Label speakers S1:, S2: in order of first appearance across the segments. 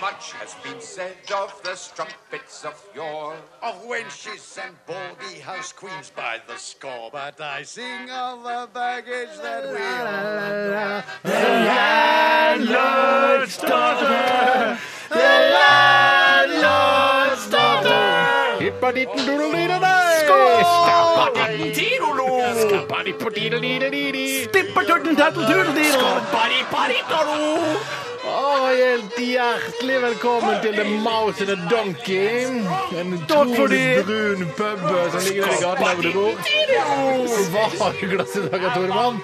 S1: Much has been said of the strumpets of yore.
S2: of wenches and baldy house queens by the score. But I sing of the baggage that we all adore.
S3: Og helt hjertelig velkommen til The Mouse and the Donkey. En utrolig brun pub som ligger der i gaten der hvor du bor. Hva har du i glasset i dag, Toremann?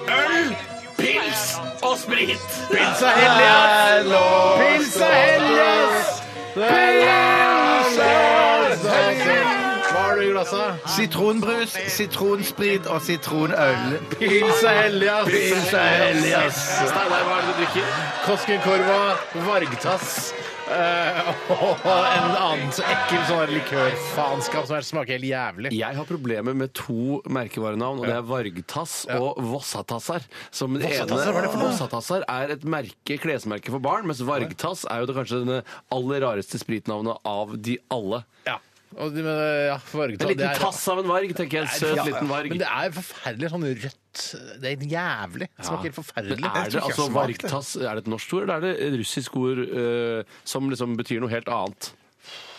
S3: Pils og sprit. Pilsa Hellias. Pilsa Hellias. Pilsa Hellias. Hva har du i glasset?
S4: Sitronbrus, sitronsprit og sitronøl.
S3: Pilsa Hellias.
S4: Pilsa Hellias.
S3: Steinar, hva er det du drikker? Koskenkorva, vargtass eh, og en annen så ekkel sånn der likørfaenskap som her smaker helt jævlig.
S5: Jeg har problemer med to merkevarenavn, og det er Vargtass og Vossatasser. Som det ene
S3: Vossatasser, hva er det for noe?
S5: Vossatasser er et merke, klesmerke for barn, mens Vargtass er jo det kanskje det aller rareste spritnavnet av de alle.
S3: Ja. Og det, men, ja, vargtass,
S5: En
S3: det
S5: liten
S3: er-
S5: tass av en varg, tenker jeg. En søt
S3: Ja,
S5: liten varg.
S3: Men det er forferdelig sånn rødt Det er helt jævlig. Det smaker helt forferdelig.
S5: Men er det altså vargtass, er det et norsk ord, eller er det et russisk ord eh, som liksom betyr noe helt annet?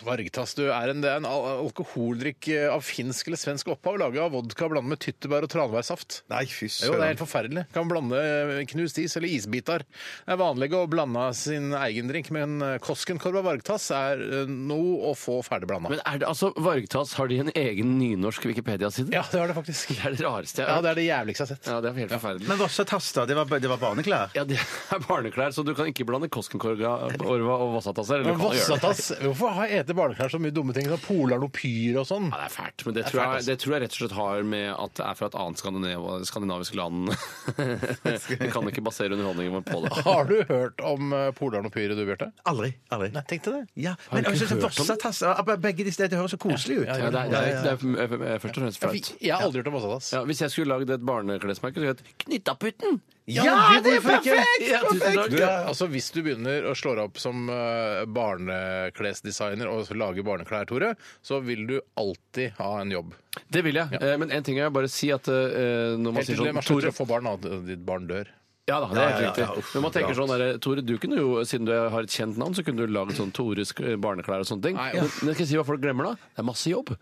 S3: Vargtass du, er en, det er en al alkoholdrikk eh, av finsk eller svensk opphav, laget av vodka blandet med tyttebær og tranbærsaft.
S4: Nei, fy
S3: Jo, det er helt
S4: søren.
S3: forferdelig. Kan blande eh, knust is eller isbiter. Det er vanlig å blande sin egen drink, men eh, Koskenkorva Vargtass er eh, noe å få ferdig blanda.
S5: Men er det altså Vargtass, har de en egen nynorsk Wikipedia-side?
S3: Ja, det var det faktisk.
S5: Det er det rareste
S3: Ja,
S5: jeg har hørt.
S3: det er det jævligste jeg har sett.
S5: Ja, det er helt forferdelig.
S4: Men Vossatass, da? Det var, det var barneklær?
S5: Ja, det er barneklær, så du kan ikke blande Koskenkorva Orva og Vossatasser. eller
S3: Men
S5: du kan jo gjøre det.
S3: Vossatass, hvorfor har jeg etter barneklær så mye dumme ting som polarnopyr og sånn?
S5: Ja, det er fælt, men det,
S3: Det er
S5: tror,
S3: fælt,
S5: jeg,
S3: altså.
S5: det tror jeg rett og slett har med at det er fra et annet skandinav, skandinavisk land. Vi kan ikke basere underholdningen vår på det.
S3: Har du hørt om eh, polarnopyret du, Bjarte?
S4: Aldri. aldri.
S3: Nei, tenkte det.
S4: Ja, men altså, jeg synes at Vossatass ja, be- Begge de stedene høres så koselig ut.
S5: Ja, det, er, det, er, det, er, det er først og fremst flaut.
S3: Jeg har aldri hørt om Vossatass.
S5: Ja, hvis jeg skulle lagd et barneklesmerke, så het det Knyttaputten!
S4: Ja, det er
S3: hvorfor ikke?
S4: perfekt!
S5: Ja, tusen takk.
S3: Du, altså Hvis du begynner å slå deg opp som eh, barneklesdesigner og lage barneklær, Tore, så vil du alltid ha en jobb.
S5: Det vil jeg. Eh, Men en ting jeg vil bare si at eh, når man
S3: Helt
S5: sier
S3: til
S5: sånn
S3: man slutter å få barn, og ditt barn dør.
S5: Ja da, det er helt
S4: Ja, ja, ja,
S5: riktig.
S4: uff,
S5: Når man tenker
S4: klart.
S5: sånn der, Tore, du kunne jo, siden du har et kjent navn, så kunne du laget sånn Tores eh, barneklær og sånne ting.
S3: Nei,
S5: men, men skal jeg si hva folk glemmer da? Det er masse jobb.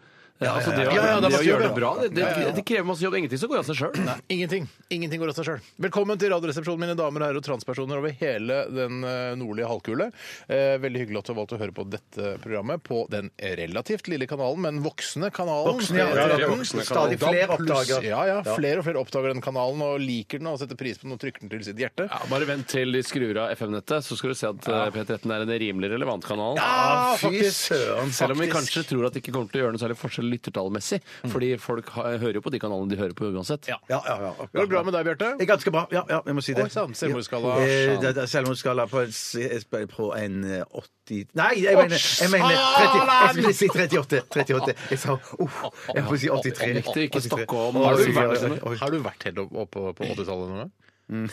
S5: Ja, altså, det,
S3: ja,
S5: å-
S3: ja, det er
S5: det,
S3: masse
S5: å gjøre
S3: jobb,
S5: det bra,
S3: ja.
S5: det, det, det krever masse jobb. Ingenting som går av seg sjøl.
S3: Ingenting. Ingenting går av seg sjøl. Velkommen til Radioresepsjonen, mine damer og herrer og transpersoner over hele den eh, nordlige halvkule. Eh, Veldig hyggelig at du har valgt å høre på dette programmet på den relativt lille kanalen, men voksne kanalen.
S4: Voksne, ja, ja, ja, voksne. Stadig
S3: Da
S4: flere
S3: pluss-
S4: oppdager.
S3: Ja, ja. Flere og flere oppdager den kanalen og liker den og setter pris på den og trykker den til sitt hjerte.
S5: Ja, bare vent til de skrur av FM-nettet, så skal du se at eh, P13 er en rimelig relevant kanal.
S3: Ah,
S4: Fy
S3: faktisk.
S4: søren,
S5: Selv om vi
S4: faktisk.
S5: kanskje tror at det ikke kommer til å gjøre noe særlig forskjell lyttertallmessig. Fordi folk ha, hører jo på de kanalene de hører på uansett.
S4: Ja, ja, ja.
S3: Går det bra med deg, Bjarte?
S4: Det er ganske bra. Ja, ja, jeg må si det.
S3: Oi, sann, selvmordsskala.
S4: Eh, det- det er Selvmordsskala på, en s- på en eh, 80 Nei, jeg mener, jeg mener 30, jeg skulle si 38. 38. Jeg sa uff, jeg får si 83.
S5: Riktig, ikke snakke om
S4: Oi,
S3: Har du
S4: oi,
S3: vært,
S4: oi, oi.
S3: har du vært helt oppe opp, på 80-tallet noen gang?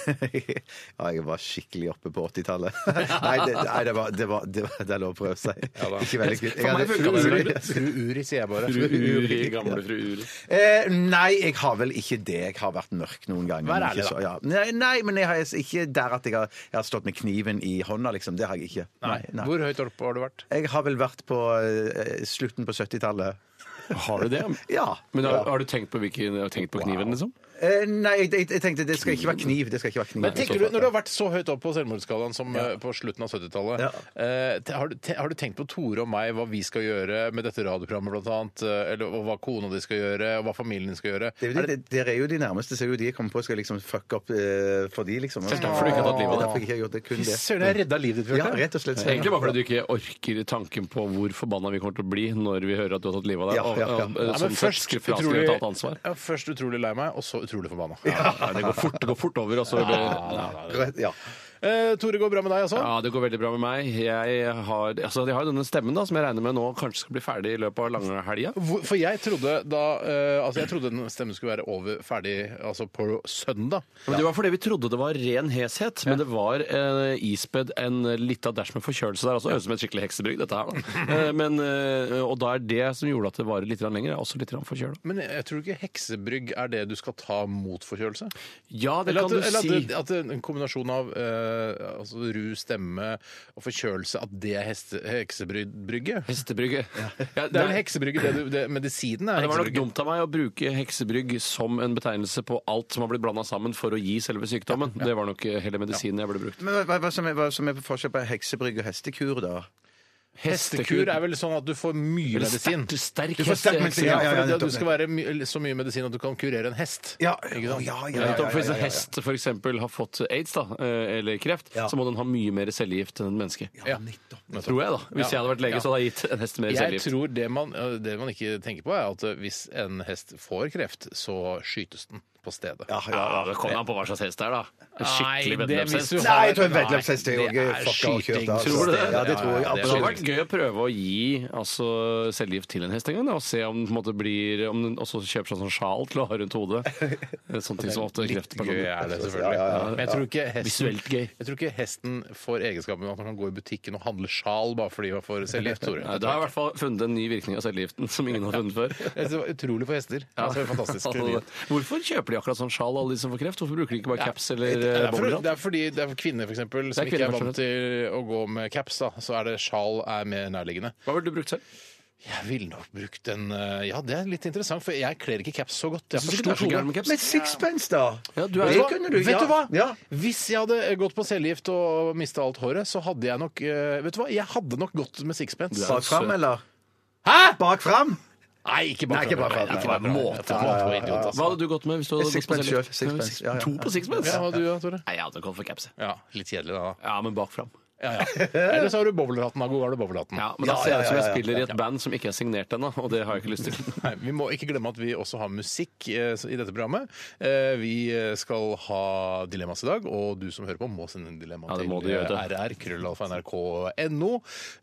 S4: Ja, jeg var skikkelig oppe på 80-tallet. Nei, det, nei, det var, det var, det var det er lov å prøve seg. Ikke veldig kult. Jeg
S5: For meg
S4: hadde-
S5: funker det.
S3: Fru Uri, sier jeg bare.
S5: Fru Uri, gamle fru Uri.
S4: Eh, nei, jeg har vel ikke det. Jeg har vært mørk noen ganger.
S3: Vær
S4: men
S3: ærlig,
S4: ikke
S3: da.
S4: så- Ja. Nei, nei, men jeg har ikke der at jeg har, jeg har stått med kniven i hånda, liksom. Det har jeg ikke. Nei, nei.
S3: Hvor høyt oppe har du vært?
S4: Jeg har vel vært på eh, slutten på 70-tallet.
S5: Har du det?
S4: Ja.
S5: Men
S4: ja.
S5: har, har du tenkt på, hvilken, har du tenkt på kniven, liksom?
S4: Eh, nei, jeg, jeg, jeg tenkte det skal ikke være kniv. Det skal ikke være kniv.
S3: Men tenker du, Når du har vært så høyt opp på selvmordsskalaen som eh, på slutten av 70-tallet,
S4: Ja.
S3: eh, te- har, du te- har du tenkt på Tore og meg, hva vi skal gjøre med dette radioprogrammet blant annet, eh, eller, og hva kona di skal gjøre, og hva familien din skal gjøre?
S4: Det er jo de, dere er jo de nærmeste, så det er jo de jeg kommer på skal liksom fucke opp eh, for de, liksom.
S5: er derfor du ikke har tatt livet av deg.
S4: Det er derfor jeg ikke har gjort det. Kun det.
S3: Søren, jeg redda livet ditt,
S4: Ja,
S3: Bjarte.
S4: rett og slett.
S5: Egentlig bare fordi du ikke orker tanken på hvor forbanna vi kommer til å bli når vi hører at du har tatt livet av deg.
S4: Ja, ja, ja.
S5: Og, og, og,
S3: Nei, men
S5: sånn sett
S3: først
S5: skulle fraskrive
S3: utrolig-
S5: et alt ansvar.
S3: Ja, først utrolig lei meg, og så utrolig forbanna.
S5: Nei, det går fort, det går fort over, og så ja.
S4: Rett- Ja.
S3: Eh, Tore, går det bra med deg altså?
S5: ja, det går veldig bra med meg. Jeg har, altså, jeg har jo denne stemmen da, som jeg regner med nå kanskje skal bli ferdig i løpet av lange helga.
S3: Hvor- For jeg trodde da eh, Altså, jeg trodde den stemmen skulle være over ferdig altså på søndag.
S5: Men Det var fordi vi trodde det var ren heshet, men det var eh, ispedd en lita dash med forkjølelse der. Altså, Høres ut som et skikkelig heksebrygg, dette her. da. Eh, men, eh, og da er det som gjorde at det varer litt grann lenger. Jeg er også litt grann forkjøla.
S3: Men jeg- jeg tror ikke heksebrygg er det du skal ta mot forkjølelse?
S5: Ja, det
S3: Eller at,
S5: kan
S3: det-
S5: du
S3: eller at,
S5: si.
S3: det- at det- en kombinasjon av eh, altså ru stemme og forkjølelse, at det er heste- heksebrygge?
S5: Hestebrygge. Ja,
S3: Det er vel
S5: nei,
S3: heksebrygge, det, du- det medisinen er
S5: Det var nok
S3: heksebrygge.
S5: dumt av meg å bruke heksebrygg som en betegnelse på alt som har blitt blanda sammen for å gi selve sykdommen. Det var nok eh, hele medisinen jeg burde brukt.
S4: Men hva, hva, hva, som er, hva som er forskjell på heksebrygg og hestekur, da?
S3: Hestekur er vel sånn at du får mye
S5: Eller
S3: medisin.
S5: sterk- sterk
S3: Du får sterk
S5: hest-
S3: medisin,
S4: ja,
S3: ja,
S4: ja, ja,
S3: for det-
S4: nettopp.
S3: du skal være my så mye medisin at du kan kurere en hest.
S4: Ja,
S3: Ikke sant?
S4: Å, ja, ja, ja,
S5: Nettopp, for
S4: ja,
S5: Hvis
S4: ja,
S5: en
S4: ja.
S5: hest for eksempel har fått aids da, eh, eller kreft, så må den ha mye mer cellegift enn et menneske.
S3: Ja.
S5: Tror jeg, da. Hvis jeg hadde vært lege, så hadde jeg gitt en hest mer
S3: Jeg
S5: cellegift.
S3: tror det man, det man ikke tenker på, er at eh, hvis en hest får kreft, så skytes den på stedet.
S5: Ja, det kommer an på hva slags hest det er, da. En skikkelig
S3: Nei, det hvis
S5: veddeløpshest.
S3: du
S5: Men
S3: har-
S4: Nei, jeg tror en veddeløpshest er jo
S3: Nei,
S4: gøy.
S3: det er
S4: Fuck, jeg har kjørt det,
S3: skyting.
S4: altså.
S5: Tror du det?
S4: Ja, det tror
S3: Ja, ja,
S4: jeg
S3: det
S5: Det hadde
S3: tror
S5: vært gøy å prøve å gi altså, cellegift til en hest en gang, da, og se om den på en måte blir Om den også kjøper seg sånn sjal til å ha rundt hodet. Sånn ting som ofte
S3: Gøy
S5: kreftpersoner
S3: er det selvfølgelig. Men jeg tror ikke hesten,
S5: Visuelt gøy.
S3: Jeg tror ikke hesten får egenskapen at man kan gå i butikken og handle sjal bare fordi man får cellegift. Tore.
S5: Nei, Det har i hvert fall funnet en ny virkning av cellegiften som ingen har funnet før.
S3: Det var utrolig for hester. Altså, fantastisk. nyhet.
S5: Hvorfor kjøper de akkurat sånn sjal, alle de som får kreft? Hvorfor bruker de ikke bare caps eller
S3: Det
S5: eh,
S3: er, for,
S5: boblehatt?
S3: det er fordi det er kvinner for eksempel, som ikke
S5: kvinner,
S3: er vant
S5: skjønner
S3: til å gå med caps. Da. Så er det sjal er mer nærliggende.
S5: Hva ville du brukt selv?
S3: Jeg ville nok brukt en eh, Ja, det er litt interessant, for jeg kler ikke caps så godt. Jeg
S5: Synes ikke
S3: forstår
S5: du er så
S3: Tore.
S5: gæren med
S4: Men
S5: caps?
S4: sixpence, da?
S5: Ja, du er-
S4: det
S5: Vet
S4: kunne du.
S3: Vet
S4: ja.
S3: du hva?
S4: Ja.
S3: Hvis jeg hadde gått på cellegift og mista alt håret, så hadde jeg nok eh, Vet du hva? Jeg hadde nok gått med sixpence.
S4: Bak fram, eller?
S3: Hæ?!
S4: Bak fram?
S3: Nei, ikke
S4: Nei,
S3: bare
S4: ikke bare for-
S3: Ikke bare måte på idiot,
S5: Hva
S3: altså.
S5: hadde du gått med hvis du hadde gått på
S4: Sixpence selv,
S5: cellegift?
S4: sixpence,
S5: Six-
S4: ja, ja.
S5: To på sixpence?
S3: Ja, hva hadde du da, Tore?
S5: Nei, jeg hadde gått for caps. jeg.
S3: Ja, litt kjedelig, da.
S5: Ja, men bak fram.
S3: Ja, ja. Eller så har du bowlerhatten. da. God gamle bowlerhatten.
S5: Ja, men da
S4: Ja,
S5: ser
S4: ja,
S5: jeg ut som
S4: ja,
S5: jeg
S4: ja,
S5: spiller i et band som ikke er signert ennå, og det har jeg ikke lyst til.
S3: Nei, Vi må ikke glemme at vi også har musikk eh, i dette programmet. Eh, Vi skal ha dilemmas i dag, og du som hører på, må sende en dilemma
S5: Ja, det
S3: til eh,
S5: må du gjøre, det.
S3: rr.krøllalfa.nrk.no.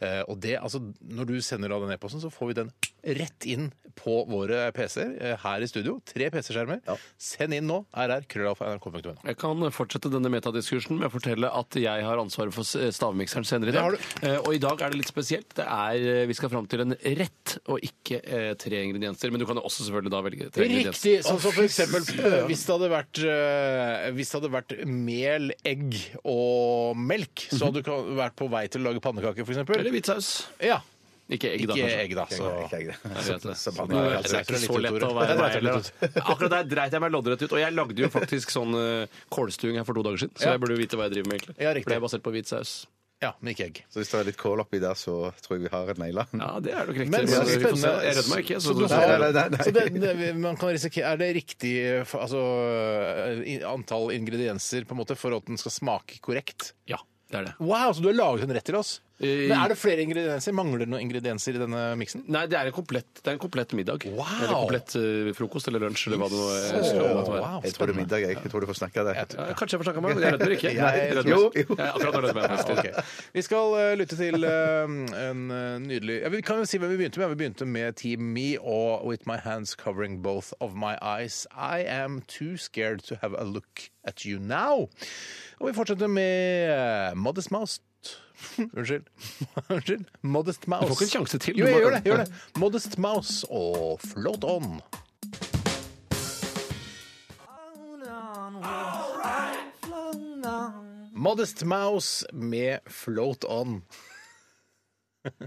S3: Eh, Og det, altså, når du sender av den e-posten, så får vi den rett inn på våre PC-er eh, her i studio. Tre PC-skjermer. Send inn nå. rr.krøllalfa.nrk.no.
S5: Jeg kan fortsette denne metadiskursen med å fortelle at jeg har ansvaret for stavmikseren senere i
S3: Det har
S5: dag.
S3: du.
S5: Eh, Og i dag er det litt spesielt. Det er, eh, vi skal fram til en rett, og ikke eh, tre ingredienser. Men du kan jo også selvfølgelig da velge tre ingredienser.
S3: Riktig! Sånn som for eksempel eh, hvis det hadde vært, eh, hvis det hadde vært mel, egg og melk, så hadde du kan- vært på vei til å lage pannekaker, for eksempel.
S5: Mhm. Eller hvit saus.
S3: Ja.
S5: Ikke egg, da.
S3: Ikke
S5: kanskje.
S3: egg, da. Så.
S4: Ikke jeg, det.
S5: Jeg vet det.
S4: Så- så-
S5: Nå, det
S3: altså
S5: er ikke så lett å være meg heller. da. Akkurat der dreit jeg meg loddrett ut. Og jeg lagde jo faktisk sånn eh, kålstuing her for to dager siden, så jeg burde jo vite hva jeg driver med, egentlig.
S3: Ja, riktig.
S5: For det er basert på hvit saus.
S3: Ja, men ikke egg.
S4: Så hvis det er litt kål oppi der, så tror jeg vi har et naila.
S5: Ja, det er nok riktig.
S3: Mm. Men så
S5: vi får se.
S3: spennende.
S5: Jeg redder meg ikke.
S3: Så du
S4: Nei, nei,
S3: har,
S4: nei, nei, nei.
S3: så det, det, man kan risikere, Er det riktig for- altså, eh, i- antall ingredienser på en måte for at den skal smake korrekt?
S5: Ja, det er det.
S3: Wow, så du har laget en rett til oss?
S5: Eh,
S3: Men Er det flere ingredienser? Mangler det noen ingredienser i denne miksen?
S5: Nei, det er en komplett, det er en komplett middag.
S3: Wow!
S5: Eller komplett eh, frokost eller lunsj eller hva det nå er.
S3: wow,
S4: Jeg tror det er middag, jeg. Jeg tror du får snakke deg.
S5: Ja, kanskje jeg får snakka meg, men jeg redder meg ikke.
S4: Nei,
S5: Jeg redder meg.
S4: jo, jo.
S5: Jeg, akkurat nå redder jeg meg.
S3: Ja,
S5: faktisk.
S3: ok. Vi skal eh, lytte til eh, en eh, nydelig ja, Vi kan jo si hvem vi begynte med. Vi begynte med Team Me og With My Hands Covering Both of My Eyes. I am too scared to have a look at you now. Og vi fortsetter med eh, Modest Mouse. Unnskyld. Unnskyld. Modest Mouse.
S5: Du får ikke en sjanse til.
S3: Jo, jeg gjør det. jeg Gjør det. Modest Mouse og Float On. Modest Mouse med Float On.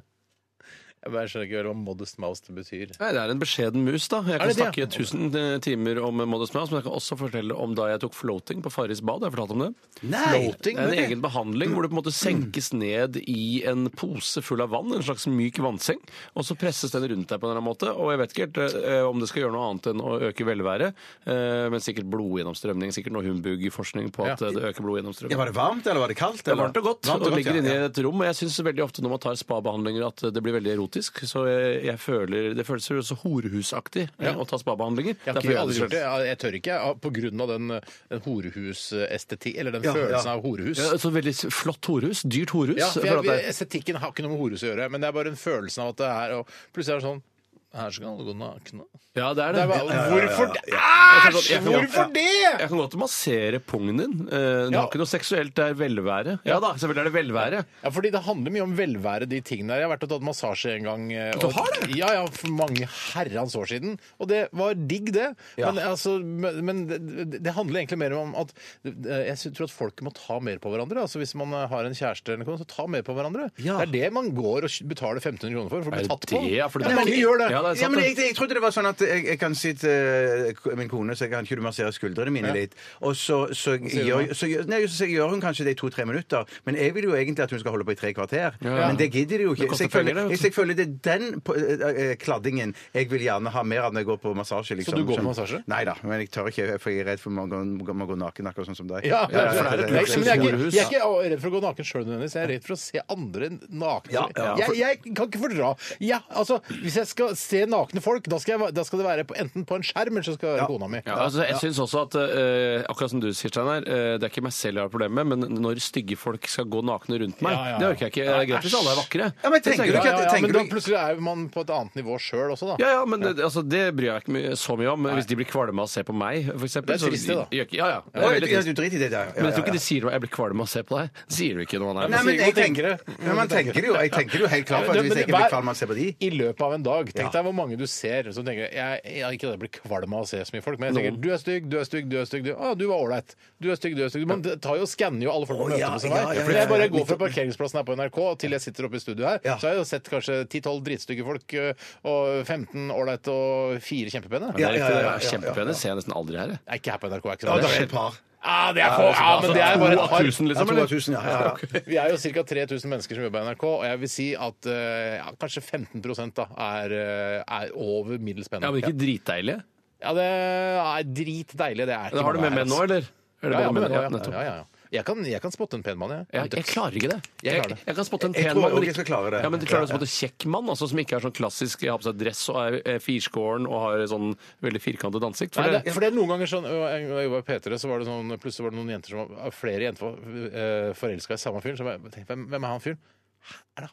S3: Jeg bare skjønner ikke vel hva Modest Mouse betyr.
S5: Nei, Det er en beskjeden mus, da. Jeg kan
S3: det det, ja?
S5: snakke tusen eh, timer om Modest Mouse, men jeg kan også fortelle om da jeg tok floating på Farris bad. Har jeg fortalt om det?
S3: Floating?
S5: Det er en
S3: vet du.
S5: egen behandling hvor du på en måte senkes ned i en pose full av vann, en slags myk vannseng, og så presses den rundt deg på en eller annen måte. Og jeg vet ikke helt eh, om det skal gjøre noe annet enn å øke velværet, eh, men sikkert blodgjennomstrømning. Sikkert noe humbug-forskning på at
S3: Ja.
S5: eh, det øker blodgjennomstrømning.
S4: Var det varmt, eller var det kaldt?
S5: Det er varmt og godt.
S4: Varmt og
S5: og
S4: godt,
S5: ligger
S4: ja,
S5: inne i
S4: ja.
S5: et rom. Og jeg syns veldig ofte når man tar spabehandlinger at det blir veldig erotisk, så jeg, jeg føler Det føles jo så horehusaktig eh, å ta spabehandlinger.
S3: Jeg har
S5: Derfor
S3: ikke
S5: gjør
S3: aldri
S5: jeg
S3: gjort
S5: det
S3: det.
S5: selv.
S3: Jeg tør ikke jeg- på grunn av den, den horehusestetikk, eller den
S4: Ja,
S3: følelsen
S4: ja.
S3: av horehus.
S5: Ja, Eh, så veldig s- flott horehus. Dyrt horehus.
S3: Ja, for
S5: for
S3: jeg,
S5: at det er-
S3: Estetikken har ikke noe med horehus å gjøre, men det er bare den følelsen av at det er og Plutselig er det sånn Her skal alle gå nakne.
S5: ja, det er
S3: Det
S5: det.
S3: er bare,
S5: Ja, ja, ja.
S3: hvorfor det?
S5: Jeg kan godt-
S3: Æsj!
S5: jeg kan godt-
S3: Hvorfor det?!
S5: Jeg kan godt massere pungen din. Eh, Det
S3: Ja.
S5: har ikke noe seksuelt, det er velvære. Ja da, selvfølgelig er det velvære.
S3: Ja, fordi Det handler mye om velvære, de tingene der. Jeg har vært og tatt massasje en gang. eh,
S5: Du
S3: og-
S5: har det?
S3: Ja, ja, For mange herrens år siden. Og det var digg, det. Men, altså, men men det, det handler egentlig mer om at eh, jeg sy- tror at folk må ta mer på hverandre. Altså Hvis man eh, har en kjæreste, eller noe, så ta mer på hverandre.
S4: Ja.
S3: Det er det man går og betaler 1500 kroner for. for å bli
S5: Er
S3: tatt
S5: det
S3: på.
S5: det, ja, for det-
S3: ja, mange gjør det.
S5: Ja, det er
S4: Ja,
S5: sant.
S4: men jeg,
S5: det.
S4: jeg, trodde det var sånn at jeg, jeg kan si til eh, k- min kone så kan ikke du massere skuldrene mine litt. Og så, så, gjør, så, gjør- nei, så gjør hun kanskje det i to-tre minutter. Men jeg vil jo egentlig at hun skal holde på i tre kvarter.
S5: Ja.
S4: Men det gidder de jo
S5: Det
S4: ikke.
S5: koster
S4: Så jeg, føler,
S5: penger, det, vet
S4: jeg,
S5: du.
S4: så jeg føler det er den på- eh, eh, kladdingen jeg vil gjerne ha mer av når jeg går på massasje. Liksom.
S3: du går på massasje?
S4: Nei da, men jeg tør ikke, for jeg er redd for man går, man går naken, akkurat sånn som deg.
S3: Ja,
S5: Ja, for det er et
S3: men jeg,
S5: luksus-
S3: men jeg, er ikke,
S5: horehus.
S3: jeg er ikke å, redd for å gå naken sjøl nødvendigvis. Jeg er redd for å se andre nakne.
S4: Ja, ja, for-
S3: jeg, jeg kan ikke fordra ja, altså, Hvis jeg skal se nakne folk, da skal, jeg, da skal det være på, enten på en skjerm eller så skal det være kona mi.
S5: Ja, altså, jeg synes også at eh, akkurat som du sier, Steinar, eh, det er ikke meg selv jeg har problemet med, men når stygge folk skal gå nakne rundt meg,
S3: Ja, ja, ja.
S5: det orker jeg ikke. Det er greit hvis alle er vakre.
S4: Ja, men
S5: Det
S4: tenker
S5: er
S4: du
S5: greit.
S4: ikke
S3: Ja,
S4: at
S3: ja,
S4: tenker
S3: men
S4: du-
S3: da plutselig er man på et annet nivå sjøl også, da.
S5: Ja, ja, men det- altså, det bryr jeg ikke my- så mye om. Hvis de blir kvalme av å se på meg, for eksempel.
S3: Det er trist, det, da.
S5: så- Ja, ja. Det
S4: Oi,
S5: er veldig
S4: du, ja,
S5: trist.
S4: du driter i det der. Ja,
S5: Men jeg tror
S4: ja,
S5: ikke
S4: ja.
S5: de sier noe. Jeg blir kvalm av å se på deg. Det sier du ikke når man er
S4: Nei, men jeg
S3: Hva tenker
S4: tenker,
S3: du?
S4: men man tenker jo, jeg tenker jo helt klart for at
S3: Men-
S4: hvis
S3: men
S4: jeg ikke blir
S3: hver-
S4: kvalm av å se på de
S3: I løpet av en dag. Tenk deg hvor mange du ser som tenker jeg, jeg Ikke at jeg blir kvalm av å se så mye folk, men jeg tenker
S4: Mm.
S3: du er stygg, du er stygg, du er stygg. Du, ah, du var ålreit. Du er stygg, du er stygg. Man tar jo og skanner jo alle folk man
S4: Å,
S3: møter
S4: ja,
S3: på sin
S4: ja,
S3: vei.
S4: ja, ja,
S3: For
S4: ja,
S3: jeg bare
S4: ja.
S3: går fra parkeringsplassen her på NRK til jeg sitter oppe i studio her,
S4: Ja.
S3: så har jeg jo sett kanskje 10-12 drittstygge folk, og 15 ålreite og 4 kjempepene.
S5: Det
S4: Ja,
S5: er
S4: ja,
S5: riktig, det
S4: ja,
S5: er
S4: ja, ja,
S5: kjempepene.
S4: ja.
S5: Det ser jeg nesten aldri her. jeg.
S3: Nei, ikke her på NRK. Er ikke
S4: Ja,
S3: sånn.
S4: det er liksom, et par.
S3: Ah, det er få! Ja, men det er bare et par.
S5: Tusen,
S4: Ja,
S5: liksom,
S4: to
S5: eller?
S4: av tusen, ja, ja, ja.
S3: Vi er jo ca. 3000 mennesker som jobber i NRK, og jeg vil si at eh, ja, kanskje 15 da, er, eh, er over middels spennende.
S5: Ja, men ikke dritdeilige.
S3: Ja, det er dritdeilig. Det er
S5: Det har du
S3: noe
S5: med
S3: her,
S5: menn nå,
S3: altså.
S5: eller? Er det
S3: Ja, ja,
S5: bare
S3: men,
S5: menn?
S3: ja,
S5: Ja, nettopp.
S3: ja, ja, ja. Jeg, kan, jeg kan spotte en pen mann, jeg.
S5: Jeg, jeg klarer ikke det.
S3: Jeg klarer det.
S5: jeg kan spotte en
S4: Jeg
S5: pen
S4: tror
S5: mann. men
S4: også jeg skal klare det.
S5: Ja, men du klarer også å spotte kjekk mann, altså, som ikke er sånn klassisk har på seg dress og er er firskåren og har sånn veldig firkantet ansikt. For
S3: Nei, det,
S5: det,
S3: for det er noen ganger sånn, og en gang jeg jobbet i P3, så var det sånn, plutselig var det noen jenter som var, øh, flere jenter var forelska i samme fyren. Så jeg tenkte, hvem, hvem er han fyren? Er det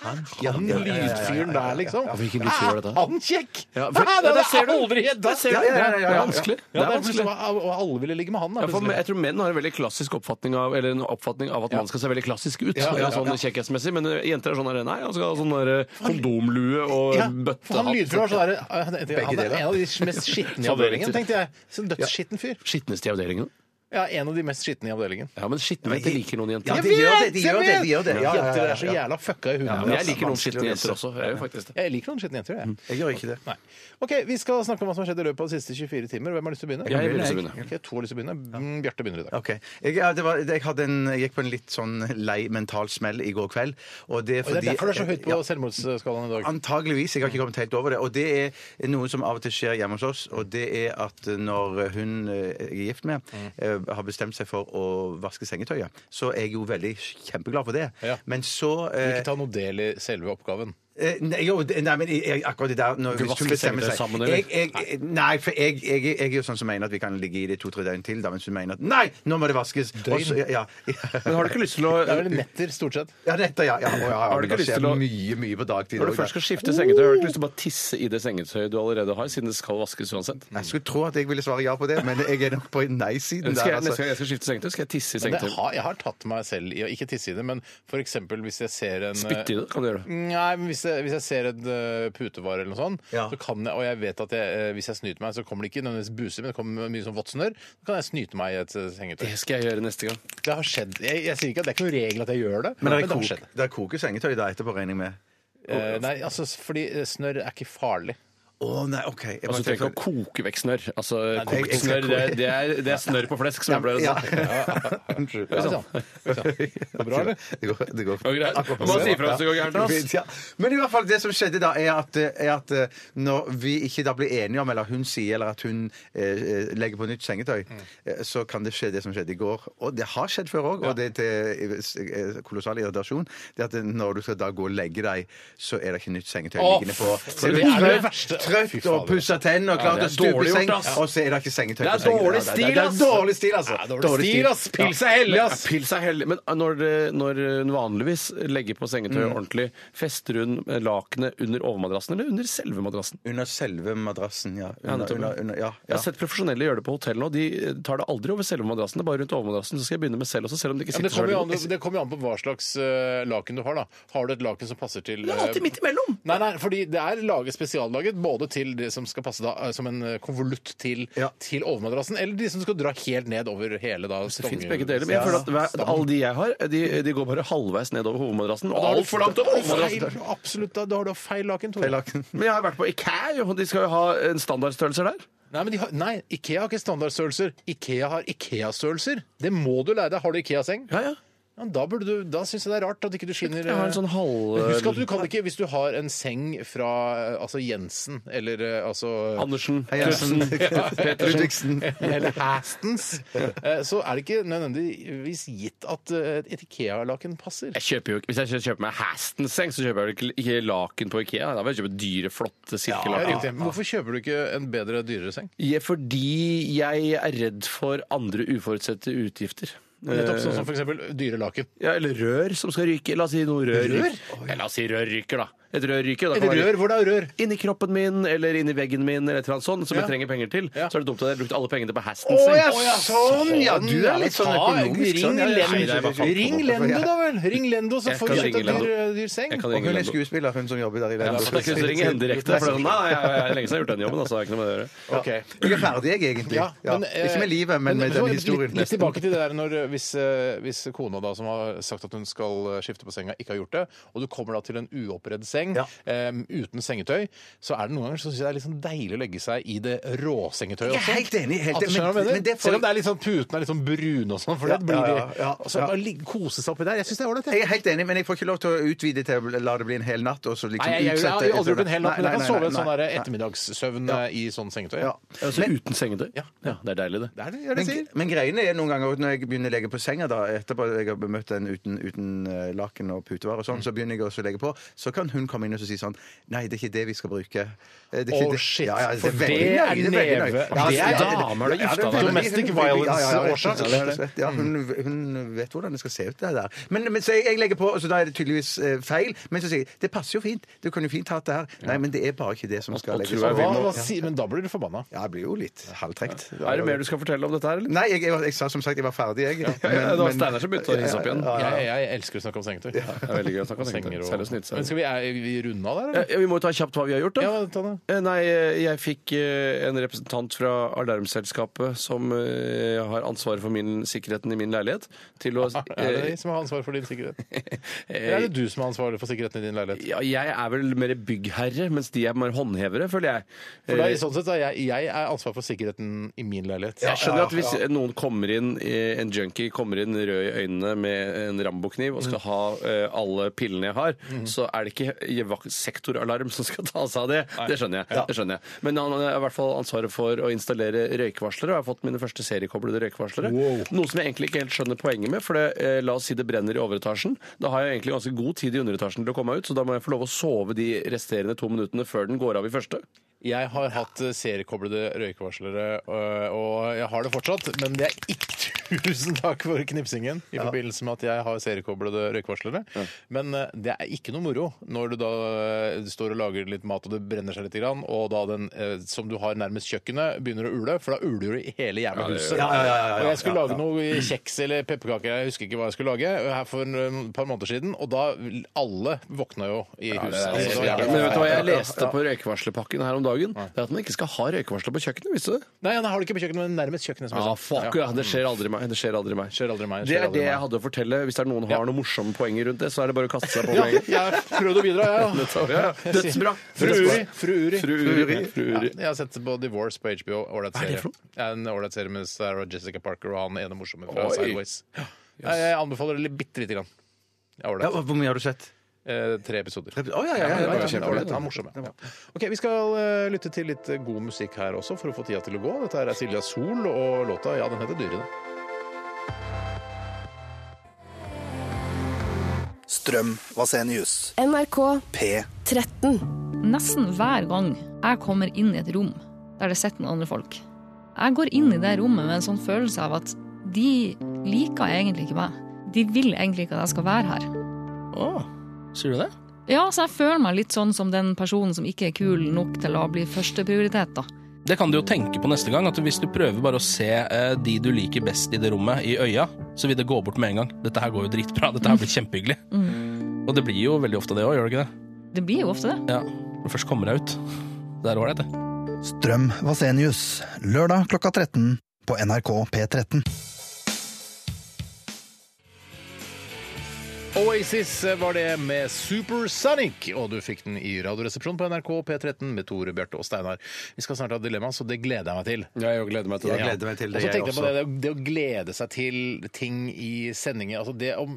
S4: Ja,
S3: han
S4: ja, ja, ja, ja, ja, ja.
S3: lydfyren der, liksom?
S5: Ja, hvilken lyd var dette?
S3: Er Han kjekk!
S5: Ja, for-
S3: Ah,
S5: ja,
S3: det
S5: der
S3: hadde
S5: ser
S3: jeg
S5: du.
S3: aldri gjedd!
S5: Der ser du.
S4: Ja, ja, ja, ja, ja.
S5: det er vanskelig.
S3: Ja,
S5: det er vanskelig.
S3: Og alle ville ligge med han, da.
S5: Ja, for
S3: plutselig.
S5: jeg tror menn har en veldig klassisk oppfatning av, eller en oppfatning av at man skal se veldig klassisk ut,
S3: Ja, ja, ja.
S5: sånn kjekkhetsmessig, men eh, jenter er sånn der, nei, han skal ha sånn der eh, kondomlue og
S3: Ja, for han
S5: bøttehatt.
S3: lydfyren var sånn der Han han er
S4: deler.
S3: en av de mest skitne i
S5: Sånn er det
S3: avdelingen,
S5: riktig.
S3: tenkte jeg. Så dødsskitten fyr.
S5: Skitneste i avdelingen.
S3: Ja, en av de mest skitne i avdelingen.
S5: Ja, men skitne jenter liker noen jenter.
S4: Ja, de gjør det, de gjør det, de gjør det. Ja, ja, ja,
S3: Jenter
S4: ja,
S3: er så
S4: ja.
S3: jævla fucka i huet.
S5: Ja, men jeg
S3: altså.
S5: liker noen
S4: vanskelig å
S5: skitne
S4: lese.
S5: jenter også. Jeg gjør faktisk det.
S3: Jeg liker noen skitne jenter, jeg.
S4: Jeg gjør ikke det.
S3: Nei. OK, vi skal snakke om hva som har skjedd i løpet av de siste 24 timer. Hvem har lyst til å begynne?
S5: Jeg vil også begynne.
S3: Ok, to har lyst til å begynne. Mm, Bjarte begynner i dag.
S4: Ok. Jeg, ja, det var, jeg, hadde en, jeg gikk på en litt sånn lei mental smell i går kveld. Og det er
S3: Og det er
S4: fordi
S3: derfor det er så høyt på
S4: Ja,
S3: selvmordsskalaen i dag.
S4: Antageligvis. Jeg har ikke kommet helt over det. Og det er noe som av og til skjer hjemme hos oss, og det er at når hun eh, jeg er gift med, eh, har bestemt seg for å vaske sengetøyet, så er jeg jo veldig kjempeglad for det.
S3: Ja.
S4: Men så eh,
S3: Ikke ta noe del i selve oppgaven.
S4: Eh, Nei, jo, det- nei, men jeg- jeg, akkurat det der når,
S5: Du
S4: Hvis hun
S5: vasker
S4: bestemmer seg
S5: sengetøy sammen, eller?
S4: jeg, jeg, Nei, for jeg, jeg, jeg er jo sånn som mener at vi kan ligge i det to-tre døgn til, da, mens hun mener at nei, nå må det vaskes.
S3: Døgn?
S4: Og så- ja,
S5: Men har du ikke lyst til å
S3: Det er vel netter, stort sett.
S4: ja, dette, ja. ja, å, ja, ja
S5: Har du ikke
S4: det
S5: lyst
S4: skjer
S5: til å-
S4: mye, mye på dagtid
S5: Når du
S4: også,
S5: først
S4: da.
S5: skal skifte sengetøy, har du ikke lyst til å bare tisse i det sengetøyet du allerede har, siden det skal vaskes uansett?
S4: Jeg skulle tro at jeg ville svare ja på det, men jeg er nok på nei-siden
S5: Skal jeg,
S4: der.
S5: neste gang
S4: Altså.
S5: jeg skal skifte sengetøy, skal jeg tisse i
S3: Men det
S5: sengetøyet.
S3: har, jeg har tatt meg selv i å ikke tisse i det, men f.eks. hvis jeg ser en eh,
S5: Spytte i det, kan du gjøre.
S3: Nei, men hvis jeg, hvis jeg ser en eh, putevare eller noe sånt,
S4: Ja.
S3: så kan jeg, og jeg vet at jeg, eh, hvis jeg snyter meg, så kommer det ikke nødvendigvis buser, men det kommer mye sånn våtsnørr, så kan jeg snyte meg i et eh, sengetøy.
S5: Det skal jeg gjøre neste gang.
S3: Det har skjedd. Jeg, jeg sier ikke at det er ikke noen regel at jeg gjør det,
S4: Men det er,
S3: har
S4: kok,
S3: skjedd.
S4: det er kokesengetøy da etterpå, regner jeg med.
S3: Eh, nei, altså, fordi eh, snørr er ikke farlig.
S4: Å nei, OK. Jeg
S5: Altså, du
S4: bare
S5: trenger ikke
S4: tenker-
S5: å koke vekk snørr. Altså,
S4: det er-
S5: kokt snørr, det, er- det, er- det er snørr på flesk, som jeg pleier å si.
S4: Unnskyld. Ja,
S3: sånn.
S4: Det
S3: bra, eller?
S4: Det går, det går.
S5: går greit.
S4: Akkurat
S5: Man
S4: på
S5: sier fra hvis det går gærent, ass.
S4: Fint, Ja. Men i hvert fall det som skjedde da, er at, er at eh, når vi ikke da blir enige om, eller hun sier, eller at hun eh, eh, legger på nytt sengetøy,
S5: Mm.
S4: eh, så kan det skje det som skjedde i går. Og det har skjedd før òg, og det er til eh, kolossal irritasjon. Det at eh, når du skal da gå og legge deg, så er det ikke nytt sengetøy
S3: Å,
S4: liggende på.
S3: f-
S4: Så
S3: det
S4: er du
S3: er det
S4: trøtt,
S3: verste. Fy
S4: trøtt
S3: fader.
S4: og pusser tennene og klar
S5: det er
S4: til å stupe
S5: dårlig
S4: i
S5: gjort,
S4: seng,
S5: ass.
S4: og så er det ikke sengetøy
S5: Det er
S4: på sengen.
S5: dårlig
S4: Ja, det er-
S5: stil,
S4: det er
S5: ass.
S4: Dårlig stil, altså!
S3: Ja, dårlig stil, ass. Pils er hellig, ass.
S5: Pils er hellig. Men ah, når, det- når hun vanligvis legger på sengetøy ordentlig, fester hun lakenet under overmadrassen eller under selve madrassen?
S4: Under selve madrassen, ja.
S5: Ja,
S4: Under,
S5: nettopp.
S4: under, under, ja,
S5: Jeg
S4: ja.
S5: har sett profesjonelle gjøre det på hotell nå. De eh, tar det aldri over selve madrassen. Det er bare rundt overmadrassen. Så skal jeg begynne med selv også, selv om det
S3: Ja,
S5: ikke
S3: men
S5: sitter
S3: det, kommer jo an,
S5: så veldig
S3: det kommer jo an på hva slags eh, laken du har. da. Har du et laken som passer til
S5: Det er
S3: eh,
S5: alltid midt imellom!
S3: Nei, nei, fordi det er laget, spesiallaget både til det som skal passe da, eh, som en eh, konvolutt til,
S4: Ja.
S3: til overmadrassen, eller de som skal dra helt ned over hele da,
S5: Det
S3: stonger-
S5: fins begge deler. Men jeg
S3: Ja,
S5: føler at hver,
S3: stang.
S5: alle de jeg har, de, de går bare halvveis ned over hovedmadrassen. Og
S3: Da har du-
S5: altfor langt
S3: da
S5: over
S3: har du feil-
S5: hovedmadrassen.
S3: Absolutt, da, da har du feil laken, Tore.
S4: Feil laken.
S5: Men jeg har vært på IKEA, og de skal jo ha eh, en standardstørrelse der.
S3: Nei, men de har, nei, Ikea har ikke standardstørrelser. Ikea har Ikea-størrelser. Det må du lære deg. Har du Ikea-seng?
S5: Ja, ja.
S3: Ja, da burde du, da syns jeg det er rart at ikke du skinner
S5: Jeg har en sånn halv-
S3: Men Husk at du kan ikke, hvis du har en seng fra eh, altså Jensen eller eh, altså
S5: Andersen,
S4: Hei, Jensen.
S5: Knutsen, Pettersen.
S4: Ludvigsen.
S3: eller Hastens, eh, så er det ikke nødvendigvis gitt at eh, et Ikea-laken passer.
S5: Jeg kjøper jo ikke, Hvis jeg kjø- kjøper meg Hastens-seng, så kjøper jeg vel ikke, ikke laken på Ikea. Da vil jeg kjøpe dyre, flotte
S3: Ja,
S5: silkelaken.
S3: riktig. Men Hvorfor kjøper du ikke en bedre, dyrere seng?
S5: Ja, fordi jeg er redd for andre uforutsette utgifter.
S3: Nettopp sånn som f.eks. dyre laken.
S5: Ja, eller rør som skal ryke. La oss si noe rør.
S3: Rør?
S5: ryker. Ja, la oss si rør ryker, da. Et rør ryker. Da
S3: Et
S5: kan være
S3: rør hvor det er rør.
S5: Inni kroppen min eller inni veggen min eller et eller annet sånt som
S3: Ja.
S5: jeg trenger penger til.
S3: Ja.
S5: Så er det dumt at jeg har brukt alle pengene på Hastens.
S4: Å
S5: seng.
S4: ja, sånn! Ja, du
S3: Ja,
S4: er litt sånn
S3: ta-
S4: økonomisk.
S3: Ring
S4: sånn, ja, ja. Nei, det er
S3: Lendo,
S4: bare falt på
S3: ring
S4: bordet,
S3: Lendo
S4: for jeg-
S3: da vel! Ring Lendo, så
S5: Jeg
S3: får
S5: kan
S3: du kjøpt
S5: ringe
S3: en dyr, eh,
S5: Lendo.
S3: dyr seng.
S5: Jeg kan
S4: Og
S5: ringe
S4: hun er
S5: Lendo.
S4: skuespiller, hun som jobber der i
S5: Ja,
S4: Lendo.
S5: for jeg kunne ringe henne direkte. For det er
S3: «Ah,
S5: sånn, nei, jeg, jeg, er lenge siden jeg har gjort den jobben. Altså, det har ikke noe med det å gjøre.
S3: Ok.
S4: Jeg er ferdig, jeg, egentlig.
S3: Ja, men,
S4: ja. Ikke med
S3: eh,
S4: livet, men med
S3: så
S4: den historien.
S3: Litt, litt tilbake til det der når, eh, hvis, eh, hvis kona da, som har sagt at hun skal eh, skifte på senga, ikke har gjort det, og du kommer da til en uoppredd seng
S4: Ja.
S3: eh, uten sengetøy, så er det noen ganger så synes jeg det er litt sånn deilig å legge seg i det råsengetøyet
S4: Jeg er
S3: også.
S4: helt enig, helt
S3: At du
S4: enig,
S3: skjønner hva jeg
S4: men-
S3: mener?
S4: men det får-
S3: Selv om det er litt sånn puten er litt sånn brun og sånn, for
S4: Ja,
S3: det blir
S4: ja,
S3: de
S4: ja, ja,
S3: og så
S4: ja.
S3: bare ligge- kose seg oppi der. Jeg syns det er ålreit.
S4: Jeg er helt enig, men jeg får ikke lov til å utvide til å la det bli en hel natt. Og så liksom
S3: Nei, jeg, jeg, jeg,
S4: utsette
S3: har aldri gjort en hel natt, men jeg kan
S4: Nei, nei,
S3: sove en
S4: nei,
S3: sånn
S4: nei.
S3: der ettermiddagssøvn eh, i sånn sengetøy.
S4: Ja.
S5: Altså, uten sengetøy. Ja. det er deilig, det.
S3: Det er det, jeg,
S4: Men,
S3: sier.
S4: men greiene er noen ganger at når jeg begynner å legge på senga da, etterpå jeg har bemøtt en uten, uten eh, laken og putevar og sånn, så begynner jeg også å legge på, så kan hun komme inn og så si sånn Nei, det er ikke det vi skal bruke. Eh, Det er ikke
S3: Å,
S4: det-
S3: shit,
S4: Ja, ja,
S3: for
S4: veldig
S3: det er
S4: nøye, veldig nøye.
S3: neve-
S4: Ja,
S3: det er
S4: ja,
S5: damer det er
S4: ja,
S5: gifta
S4: veldig-
S5: med.
S3: Domestic
S4: hun- hun- ja, ja, ja,
S3: violence-årsak.
S4: Ja, rett og slett. Ja, hun, hun vet hvordan det skal se ut, det der. Men, men så jeg, jeg legger på, og så da er det tydeligvis eh, feil. Men så sier jeg det passer jo fint, du kunne jo fint hatt det her. Nei, men det er bare ikke det som skal
S5: og
S4: legges
S5: tror jeg vi
S3: Hva,
S4: over.
S5: må-
S3: hva, si, men da blir du forbanna.
S4: Ja, jeg blir jo litt halvtrekt.
S5: Er det mer du skal fortelle om dette her, eller?
S4: Nei, jeg, jeg, var- jeg sa som sagt jeg var ferdig, jeg. Men-
S5: ja, det var
S4: men-
S5: Steinar som begynte å ringe seg opp igjen.
S4: Ja, ja, ja.
S3: Jeg, jeg elsker å snakke om sengetøy.
S5: Det er veldig gøy å snakke om
S3: Senger
S5: sengetøy.
S3: og...
S5: Seriøst nytt.
S3: Men skal vi, er vi runde av der,
S5: Ja,
S3: eller?
S5: ja, vi må jo ta kjapt hva vi har gjort, da.
S3: Ja, ta det.
S5: Eh, Nei, eh, jeg fikk eh, en representant fra alarmselskapet som eh, har ansvaret for min, sikkerheten i min leilighet, til å
S3: Er det
S5: eh,
S3: de som har ansvaret for din sikkerhet? Eller er
S5: eh,
S3: det du som har ansvaret for sikkerheten i din leilighet?
S5: ja, Jeg er vel mer byggherre, mens de er mer håndhevere, føler jeg.
S3: For da, i
S5: Eh,
S3: sånn sett, så er jeg, jeg er ansvaret for sikkerheten i min leilighet.
S5: Jeg skjønner at hvis noen kommer inn, eh, en junkie kommer inn rød i øynene med en Rambo-kniv og skal ha eh, alle pillene jeg har, så er det ikke i vak- sektoralarm som skal ta seg av det. Det skjønner jeg. det skjønner jeg. Men han har i hvert fall ansvaret for å installere røykvarslere, og jeg har fått mine første seriekoblede røykvarslere. Noe som jeg egentlig ikke helt skjønner poenget med, for det, eh, la oss si det brenner i overetasjen. Da har jeg egentlig ganske god tid i underetasjen til å komme meg ut, så da må jeg få lov å sove de resterende to minuttene før den går av i første.
S3: Jeg har hatt eh, seriekoblede røykevarslere, øh, og jeg har det fortsatt. Men det er ikke tusen takk for knipsingen i forbindelse med at jeg har seriekoblede røykevarslere. Men eh, det er ikke noe moro når du da eh, står og lager litt mat og det brenner seg litt, grann, og da den eh, som du har nærmest kjøkkenet, begynner å ule, for da uler du i hele jævla huset.
S4: Ja, ja, ja, ja, ja,
S3: og jeg skulle
S4: ja,
S3: lage noe kjeks eller pepperkaker, jeg husker ikke hva jeg skulle lage, eh, her for et par måneder siden, og da alle våkna jo i huset.
S5: Men
S3: Altså,
S5: vet du hva jeg leste på røykvarslerpakken her om dagen? Det er at man ikke skal ha røykvarsler på kjøkkenet, visste du det? Ah,
S3: Nei, han har det ikke på kjøkkenet, men nærmest kjøkkenet. som jeg sa.
S5: det skjer aldri Nei, det skjer aldri meg.
S3: Skjer aldri meg,
S5: Det
S3: skjer
S5: er
S3: aldri
S5: det jeg
S3: meg.
S5: hadde å fortelle. Hvis det er noen har noen morsomme poenger rundt det, så er det bare å kaste seg på
S3: Ja,
S5: meg.
S3: jeg prøvde å bidra, jeg. Ja.
S5: Ja, ja. Dødsbra.
S3: Fru Uri. Fru Uri.
S5: Fru Uri. Fru
S3: Ja,
S5: Uri.
S3: jeg har sett på Divorce på HBO. Ålreit
S5: er det
S3: serie.
S5: for
S3: Ja, En ålreit serie med Sarah Jessica Parker og han ene morsomme fra
S5: Oi.
S3: Sideways. Ja. Jeg jeg anbefaler det bitte lite grann. Ja,
S4: Ja,
S3: Ålreit.
S4: hvor mye har du sett?
S3: Eh, tre episoder.
S4: Å ja, ja, ja.
S3: Ja,
S4: ja,
S3: ja,
S4: ja.
S3: ja, ålreit. Han er morsom, ja. Ja. Ok, Vi skal eh, lytte til litt eh, god musikk her også for å få tida til å gå. Dette her er Silja Sol og låta Ja, den heter Dyrene.
S6: Strøm Vasenius.
S7: NRK P13.
S8: Nesten hver gang jeg kommer inn i et rom der det sitter noen andre folk, jeg går inn i det rommet med en sånn følelse av at de liker egentlig ikke meg. De vil egentlig ikke at jeg skal være her.
S9: Sier du det?
S8: Ja, så jeg føler meg litt sånn som den personen som ikke er kul nok til å bli førsteprioritet, da.
S9: Det kan du jo tenke på neste gang, at hvis du prøver bare å se eh, de du liker best i det rommet, i øya, så vil det gå bort med en gang. Dette her går jo dritbra, dette her blir kjempehyggelig.
S5: Mm.
S9: Og det blir jo veldig ofte det òg, gjør det ikke det?
S8: Det blir jo ofte det.
S9: Ja. Når du først kommer deg ut. Det er ålreit, det.
S6: Strøm Vasenius. Lørdag klokka 13 på NRK P13.
S3: Oasis var det med Supersonic, og du fikk den i Radioresepsjonen på NRK P13 med Tore, Bjarte og Steinar. Vi skal snart ha dilemma, så det gleder jeg meg til.
S5: Jeg gleder meg til
S4: Jeg
S5: det.
S4: gleder meg til
S3: Og
S4: det,
S3: så
S4: jeg
S3: tenkte jeg på
S4: også.
S3: det, det å glede seg til ting i sendinger. Altså, det om,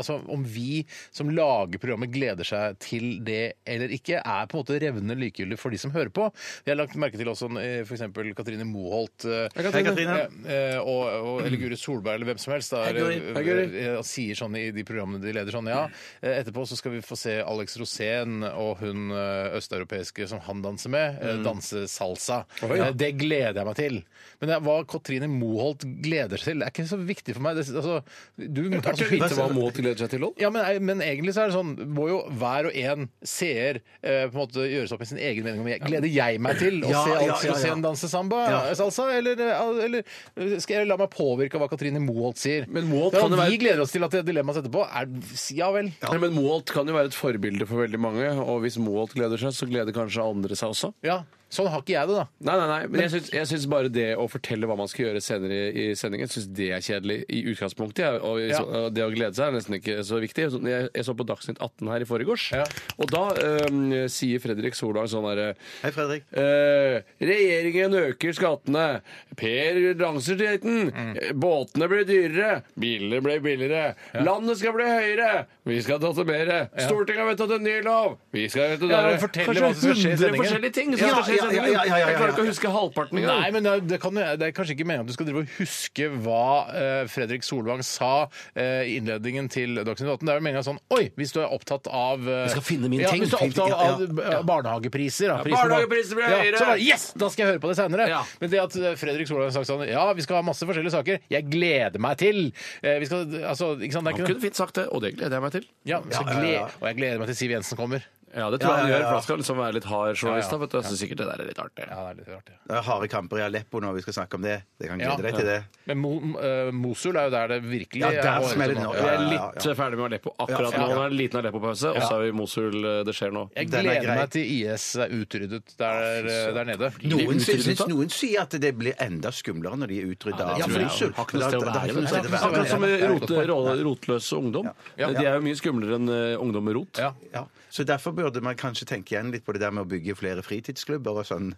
S3: altså om vi som lager programmet gleder seg til det eller ikke, er på en måte revnende likegyldig for de som hører på. Jeg har lagt merke til også f.eks. Katrine Moholt eh,
S4: Hei, Katrine.
S3: eh, eh, og, og, eller Guri Solberg eller hvem som helst da,
S4: Hei, Guri.
S3: eh,
S4: Hei, Guri.
S3: eh, sier sånn i de programmene de leder sånn, ja, eh, etterpå så skal vi få se Alex Rosén og hun eh, østeuropeiske som han danser med, eh, danse salsa. Eh, Det gleder jeg meg til. Men det, hva Katrine Moholt gleder seg til, er ikke så viktig for meg. Det, altså, du må altså,
S5: Vite hva må gleder seg til, Lodd?
S3: ja, men, men egentlig så er det sånn Må jo hver og en seer eh, på en måte gjøre seg opp i sin egen mening om jeg- Gleder jeg meg til å
S4: Ja,
S3: se
S4: ja,
S3: Alex
S4: ja, ja.
S3: Rosén danse samba, salsa, eller, eh, eller skal jeg la meg påvirke av hva Katrine Moholt sier?
S5: Men Moholt
S3: Ja,
S5: kan jo
S3: vi
S5: være-
S3: gleder oss til at det dilemmaet etterpå er Ja vel.
S5: Ja. Men Moholt kan jo være et forbilde for veldig mange, og hvis Moholt gleder seg, så gleder kanskje andre seg også.
S3: Ja. Sånn har ikke jeg det, da.
S5: Nei, nei, nei, men jeg syns, jeg syns bare det å fortelle hva man skal gjøre senere i, i sendingen, syns det er kjedelig i utgangspunktet. jeg. Og, i,
S3: Ja.
S5: så, og det å glede seg er nesten ikke så viktig. Så Jeg, jeg så på Dagsnytt 18 her i forgårs,
S3: Ja.
S5: og da øhm, sier Fredrik Solvang sånn herre
S4: Hei, Fredrik.
S5: Eh, regjeringen øker skattene. Per danser til den. Eh, Båtene blir dyrere. Bilene blir billigere. Landet skal bli høyere. Vi skal tatovere. Stortinget har vedtatt en ny lov. Vi skal vedtatt
S3: Ja,
S5: det.
S3: men fortell
S5: Kanskje
S3: hva som skal skje i
S5: 100
S3: sendingen.
S5: forskjellige ting som
S4: Ja,
S5: skal skje i
S4: ja, ja,
S5: sendingen.
S4: ja, ja, ja, ja.
S5: Jeg klarer ikke å huske halvparten engang.
S3: Nei, men det, det, kan, jo- det er kanskje ikke meningen at du skal drive og huske hva eh, Fredrik Solvang sa eh, i innledningen til Dagsnytt 18. Det er jo meningen sånn Oi, hvis du er opptatt av eh,
S6: skal finne min
S3: ja,
S6: ting.
S3: Hvis du er
S6: Fin ting,
S3: opptatt
S6: ja,
S3: av eh, barnehagepriser, da. prisen på-
S5: barnehagepriser blir høyere.
S3: Ja, så bare, yes! Da skal jeg høre på det seinere.
S5: Ja.
S3: Men det at eh, Fredrik Solvang har sagt sånn Ja, vi skal ha masse forskjellige saker. Jeg gleder meg til. Eh, vi skal Altså, ikke sant? Det er
S5: Han
S3: ikke
S5: kunne fint sagt det, og det gleder jeg meg til.
S3: ja, så gled, Og jeg gleder meg til Siv Jensen kommer.
S5: Ja, det tror jeg han
S4: ja,
S5: gjør,
S4: ja.
S5: for han skal liksom være litt hard journalist.
S3: Ja, ja.
S5: da, vet du. Jeg synes sikkert det der er litt artig.
S3: Ja, det er litt rart, ja.
S4: Det er harde kamper i Aleppo når vi skal snakke om det. Det kan glede deg til det.
S3: Men Mo, eh, Mosul er jo der det virkelig
S4: Ja, der
S3: er hårete
S4: smeller det nå.
S5: Vi er
S4: Ja, ja, ja.
S5: litt eh, ferdig med Aleppo akkurat
S4: Ja, ja,
S5: nå.
S4: ja.
S5: Det er en liten Aleppo-pause, og så er vi i Mosul. eh, Det skjer nå.
S3: Jeg
S4: Den er
S3: gleder
S4: grei.
S3: meg til IS er utryddet der, der nede.
S4: Noen syns, syns noen sier at det blir enda skumlere når de er utrydda
S5: Ja,
S4: av
S5: for de
S4: Mosul.
S5: har ikke noe
S4: Men
S5: sted å
S4: da- da- da har
S5: være,
S4: ikke noe
S3: sånn
S5: vet du.
S4: sted å være.
S5: Akkurat som
S3: Ja, ja.
S5: rote, ro- rotløs ungdom.
S3: sånn- Ja.
S5: De er jo mye skumlere enn eh, ungdom med rot.
S3: Ja.
S4: Ja, så derfor burde man kanskje tenke igjen litt på det der med å bygge flere fritidsklubber og sånne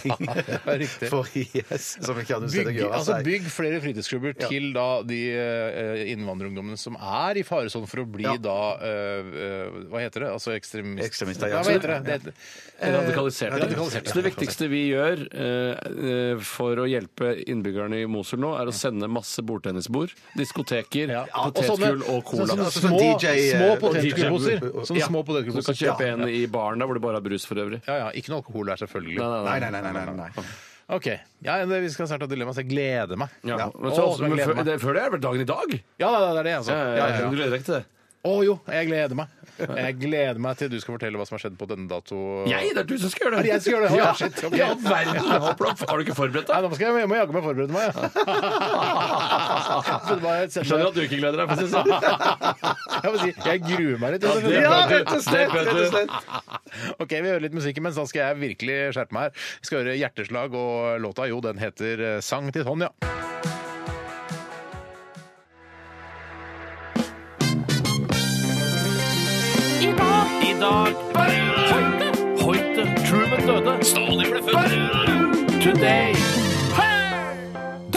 S4: ting.
S3: riktig.
S4: For IS, som ikke har noe sted å
S3: Bygg,
S4: gjøre
S3: altså
S4: seg.
S3: bygg flere fritidsklubber til da de eh, innvandrerungdommene som er i faresonen for å bli
S4: Ja.
S3: da eh, eh, Hva heter det? Altså ekstremist...
S4: Ekstremister, ja.
S3: ja. Hva heter det? det heter,
S5: Radikaliserte.
S3: radikaliserte,
S5: Så det
S3: ja.
S5: viktigste vi gjør eh, eh, for å hjelpe innbyggerne i Mosul nå, er å sende masse bordtennisbord, diskoteker,
S3: Ja.
S5: potetgull og cola.
S3: Sånne,
S4: Altså, sånn
S3: små,
S4: DJ, eh,
S3: små
S4: og
S3: potetgullposer.
S4: DJ.
S3: Sånne
S4: Ja.
S3: små
S5: Du kan
S3: potetgullposer.
S5: kjøpe en i baren der hvor det bare er brus for øvrig.
S3: Ja, ja. Ikke noe alkohol der, selvfølgelig.
S4: Nei, nei, nei. nei, nei, nei.
S3: OK. Ja, det- vi skal snart ha dilemma, så jeg gleder meg.
S5: Ja.
S3: Ja.
S5: Men så,
S3: Å, jeg
S5: men
S3: gleder
S5: før,
S3: meg.
S5: det, før det er vel dagen i dag?
S3: Ja, da, da, det er det, altså. Ja, ja, ja.
S5: Du gleder deg ikke til det?
S3: Å jo, jeg gleder meg. Jeg gleder meg til du skal fortelle hva som har skjedd på denne dato.
S5: Jeg? Det er du som skal gjøre
S3: Er det
S5: det!
S3: jeg som skal gjøre det? Å,
S5: Ja,
S3: ja, shit, ok.
S5: ja verden! Jeg håper du- Har du ikke forberedt
S3: Nei,
S5: deg?
S3: nå skal jeg, jeg må jaggu meg forberede meg, ja. Så det bare
S5: Jeg
S3: sender-
S5: skjønner at du ikke gleder deg. for å si det sånn.
S3: jeg, må si, jeg gruer meg litt.
S5: Ja, det
S3: Ja,
S5: bør du.
S3: rett og
S5: Det
S3: slett,
S5: bør
S3: rett og
S5: du.
S3: slett. OK, vi hører litt musikk imens. Da skal jeg virkelig skjerpe meg her. Vi skal høre Hjerteslag, og låta jo, den heter eh, Sang til Tonja.
S10: dag. Hoite, hoite, Truman døde. Stalin ble født. Today.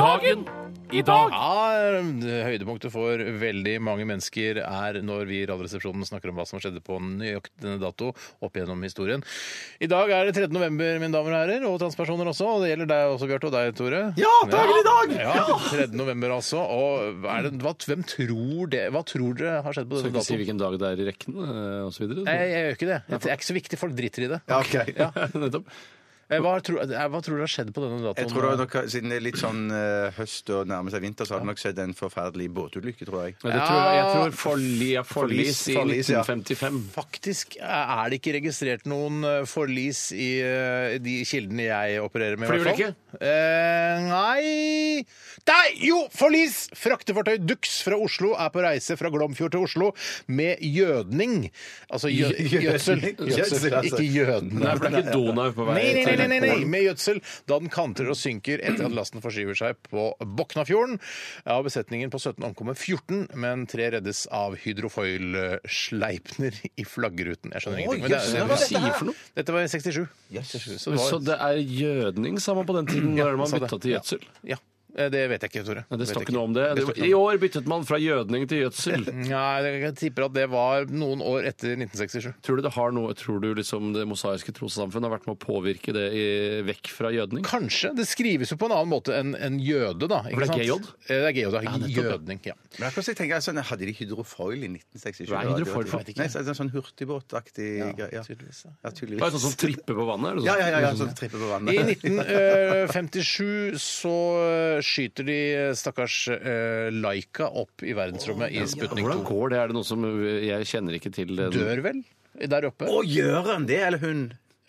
S10: Dagen i dag.
S3: Ja, høydepunktet for veldig mange mennesker er når vi i Radioresepsjonen snakker om hva som skjedde på nøyaktig dato opp gjennom historien. I dag er det 13. november, mine damer og herrer, og transpersoner også. Og det gjelder deg også, Bjarte, og deg, Tore.
S4: Ja, dagen i dag!
S3: Ja, 13. november altså. Og hva er det, hva, hvem tror det Hva tror dere har skjedd på
S5: Skal
S3: denne
S5: ikke si
S3: datoen?
S5: hvilken dag det er i rekken eh, og så videre.
S3: Nei, jeg gjør ikke det. Det er ikke så viktig. Folk driter i det.
S4: Ja, ok.
S3: Ja. Eh, Hva tror, eh, hva tror du har skjedd på denne datoen?
S4: Jeg tror det var nok, Siden det er litt sånn eh, høst og nærmer seg vinter, så har det nok skjedd en forferdelig båtulykke, tror jeg.
S5: Ja, det tror jeg, jeg tror forli, ja, forlis i
S4: Forlis, ja.
S5: 1955.
S3: Faktisk eh, er det ikke registrert noen eh, forlis i eh, de kildene jeg opererer med. i hvert fall. Eh, nei Nei, jo! Forlis! Fraktefartøy Dux fra Oslo er på reise fra Glomfjord til Oslo med jødning. Altså jø
S4: Jø-
S3: gjødsel.
S4: jødsel, altså.
S3: Ikke jødene.
S5: Nei, for det er ikke Donau på vei
S3: Nei, nei, nei, nei, nei, nei.
S5: til-
S3: med gjødsel da den kantrer og synker etter at lasten forskyver seg på Boknafjorden. Av besetningen på 17 omkommer 14, men tre reddes av hydrofoil-sleipner i flaggruten. Jeg skjønner
S5: Oi,
S3: ingenting. men det er-
S5: jøss, Eh, hva var dette her? for noe?
S3: Dette var i 67. Så det var-
S5: Så det er jødning, sa man på den tiden.
S3: Ja,
S5: Når er det man
S3: sa det.
S5: bytta til gjødsel?
S3: Ja. Eh, Det vet jeg ikke, Tore.
S5: Nei, det
S3: Vet
S5: står
S3: jeg
S5: ikke noe om det.
S3: Det Mm.
S5: det
S3: står ikke
S5: var, I år byttet man fra jødning til gjødsel.
S3: Nei, jeg tipper at det var noen år etter 1967.
S5: Tror du det har noe, tror du liksom det mosaiske trossamfunn har vært med å påvirke det i, vekk fra jødning?
S3: Kanskje. Det skrives jo på en annen måte enn enn jøde, da.
S5: For
S3: Ikke sant?
S5: det er GJ?
S3: Eh, Det er GJ, da.
S5: Ja, nettopp,
S3: Jødning. ja.
S4: Men jeg plutselig tenker jeg sånn, Hadde de hydrofoil i 1967?
S5: Hva er hydrofoil for?
S4: Jeg vet ikke. Nei, så er det en sånn hurtigbåtaktig greie. Ja,
S3: tydeligvis.
S4: Ja, tydeligvis.
S5: Det er sånn som tripper på vannet? er det sånn?
S4: Ja, ja, ja, ja, sånn tripper på vannet.
S3: I 1957 så eh, skyter de eh, stakkars eh, Laika opp i verdensrommet i Sputnik
S5: Hvordan
S3: 2.
S5: går det? Er det noe som eh, Jeg kjenner ikke til den.
S3: Dør vel der oppe?
S4: Å, gjør han det, eller hun?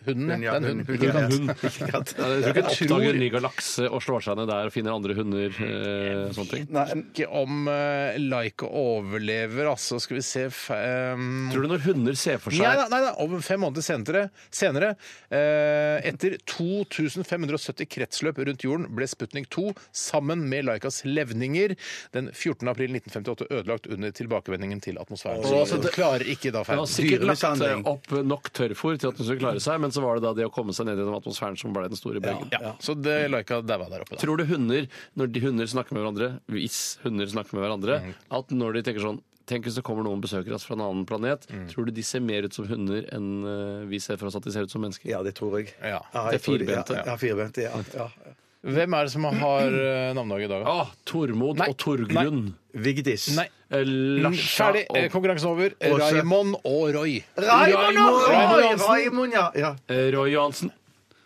S3: Hunden,
S4: Hun, ja,
S3: ja. Det er en
S4: hun,
S3: hund.
S4: hun, ja.
S3: Ikke sant?
S5: Ikke
S4: sant?
S5: Nei, Jeg tror ikke
S3: Jeg
S5: den
S3: tror-
S5: oppdager en ny galakse og slår seg ned der og finner andre hunder. Eh, og sånne ting.
S3: Ikke om eh, Laika overlever, altså. Skal vi se fe- ehm,
S5: Tror du når hunder ser for seg
S3: Nei, nei, nei, nei, om fem måneder senere, senere eh, etter 2570 kretsløp rundt jorden ble Sputnik 2 sammen med Laikas levninger den 14. april 1958 ødelagt under tilbakevendingen til atmosfæren.
S5: Åh,
S3: så
S5: så
S3: det
S5: det-
S3: klarer ikke da
S5: Den
S3: feil.
S5: har sikkert lagt eh,
S4: Dyremishandling.
S5: opp nok tørrfôr til at den skulle klare seg, men så var det da det å komme seg ned gjennom atmosfæren som ble den store bølgen.
S3: Ja, så det Laika daua der oppe. da.
S5: Tror du hunder, når de hunder snakker med hverandre, hvis hunder snakker med hverandre, at når de tenker sånn Tenk hvis det kommer noen besøkere fra en annen planet. Tror du de ser mer ut som hunder enn eh, vi ser for oss at de ser ut som mennesker?
S4: Ja, det tror jeg.
S3: Ja.
S4: jeg
S5: Det er
S4: tror
S5: firbente.
S4: Ja, ja, firbente, ja. ja.
S3: Hvem er det som har eh, navnedag i dag? da?
S5: Ah, Tormod
S3: Nei.
S5: og Torgrunn.
S4: Vigdis.
S3: Nei.
S5: Eh, Larsa
S3: Ferdig. eh,
S5: og
S3: Konkurransen over.
S4: Åse.
S3: Raymond og Roy.
S4: Raimond og
S3: Raimond
S4: Roy!
S3: Johansen.
S4: Raimond, ja. ja.
S5: eh, Roy Johansen.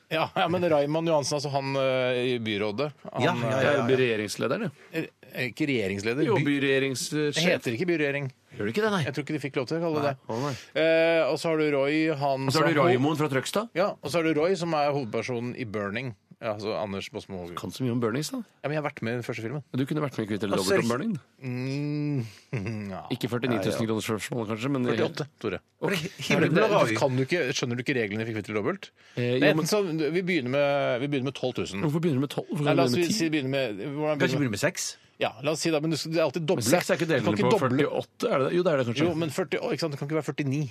S3: Ja, ja, men Raymond Johansen, altså han eh, i byrådet. Han,
S4: Ja, ja,
S5: Jeg
S4: ja,
S5: er regjeringslederen, jeg.
S3: eh, Er ikke regjeringsleder.
S5: Jo,
S3: By- Det
S5: byregjeringssjef.
S3: heter ikke byregjering.
S5: Gjør du ikke det, nei?
S3: Jeg tror ikke de fikk lov til å kalle det det.
S5: Å, nei.
S3: Eh, og så har du Roy han
S5: Og så
S3: som-
S5: er det Raymond fra Trøgstad.
S3: Ja, og så er det Roy som er hovedpersonen i Burning. Ja, altså Anders Båsmo Hoge.
S5: Kan så mye om Burnings, da.
S3: Ja, men jeg har vært med i den første filmen.
S5: Du kunne vært med i Kvitt eller dobbelt om Burning.
S3: Mm, Altså, ja.
S5: Ikke 49 000 kroner spørsmålet, kanskje, men
S3: 48, Tore.
S5: Ok.
S3: Er det-
S4: Roy.
S3: Kan du ikke, skjønner du ikke reglene i Fikk kvitt eller dobbelt?
S5: Eh, jo,
S3: Det er enten
S5: men-
S3: så- vi, begynner med, vi begynner med 12 000.
S5: Hvorfor begynner du med 12? Hvorfor
S3: Nei, la oss
S5: begynner du med 10?
S3: si, begynne med, hvordan
S4: Kan ikke
S3: begynner vi?
S4: begynne med seks?
S3: Ja, la oss si da, men du skal det er alltid doble.
S5: Men Seks er ikke
S3: Du kan
S5: delende
S3: ikke
S5: på
S3: doble.
S5: 48? Er det det? Jo, det er det kanskje.
S3: Jo, men 40, å, ikke sant? det kan ikke være 49.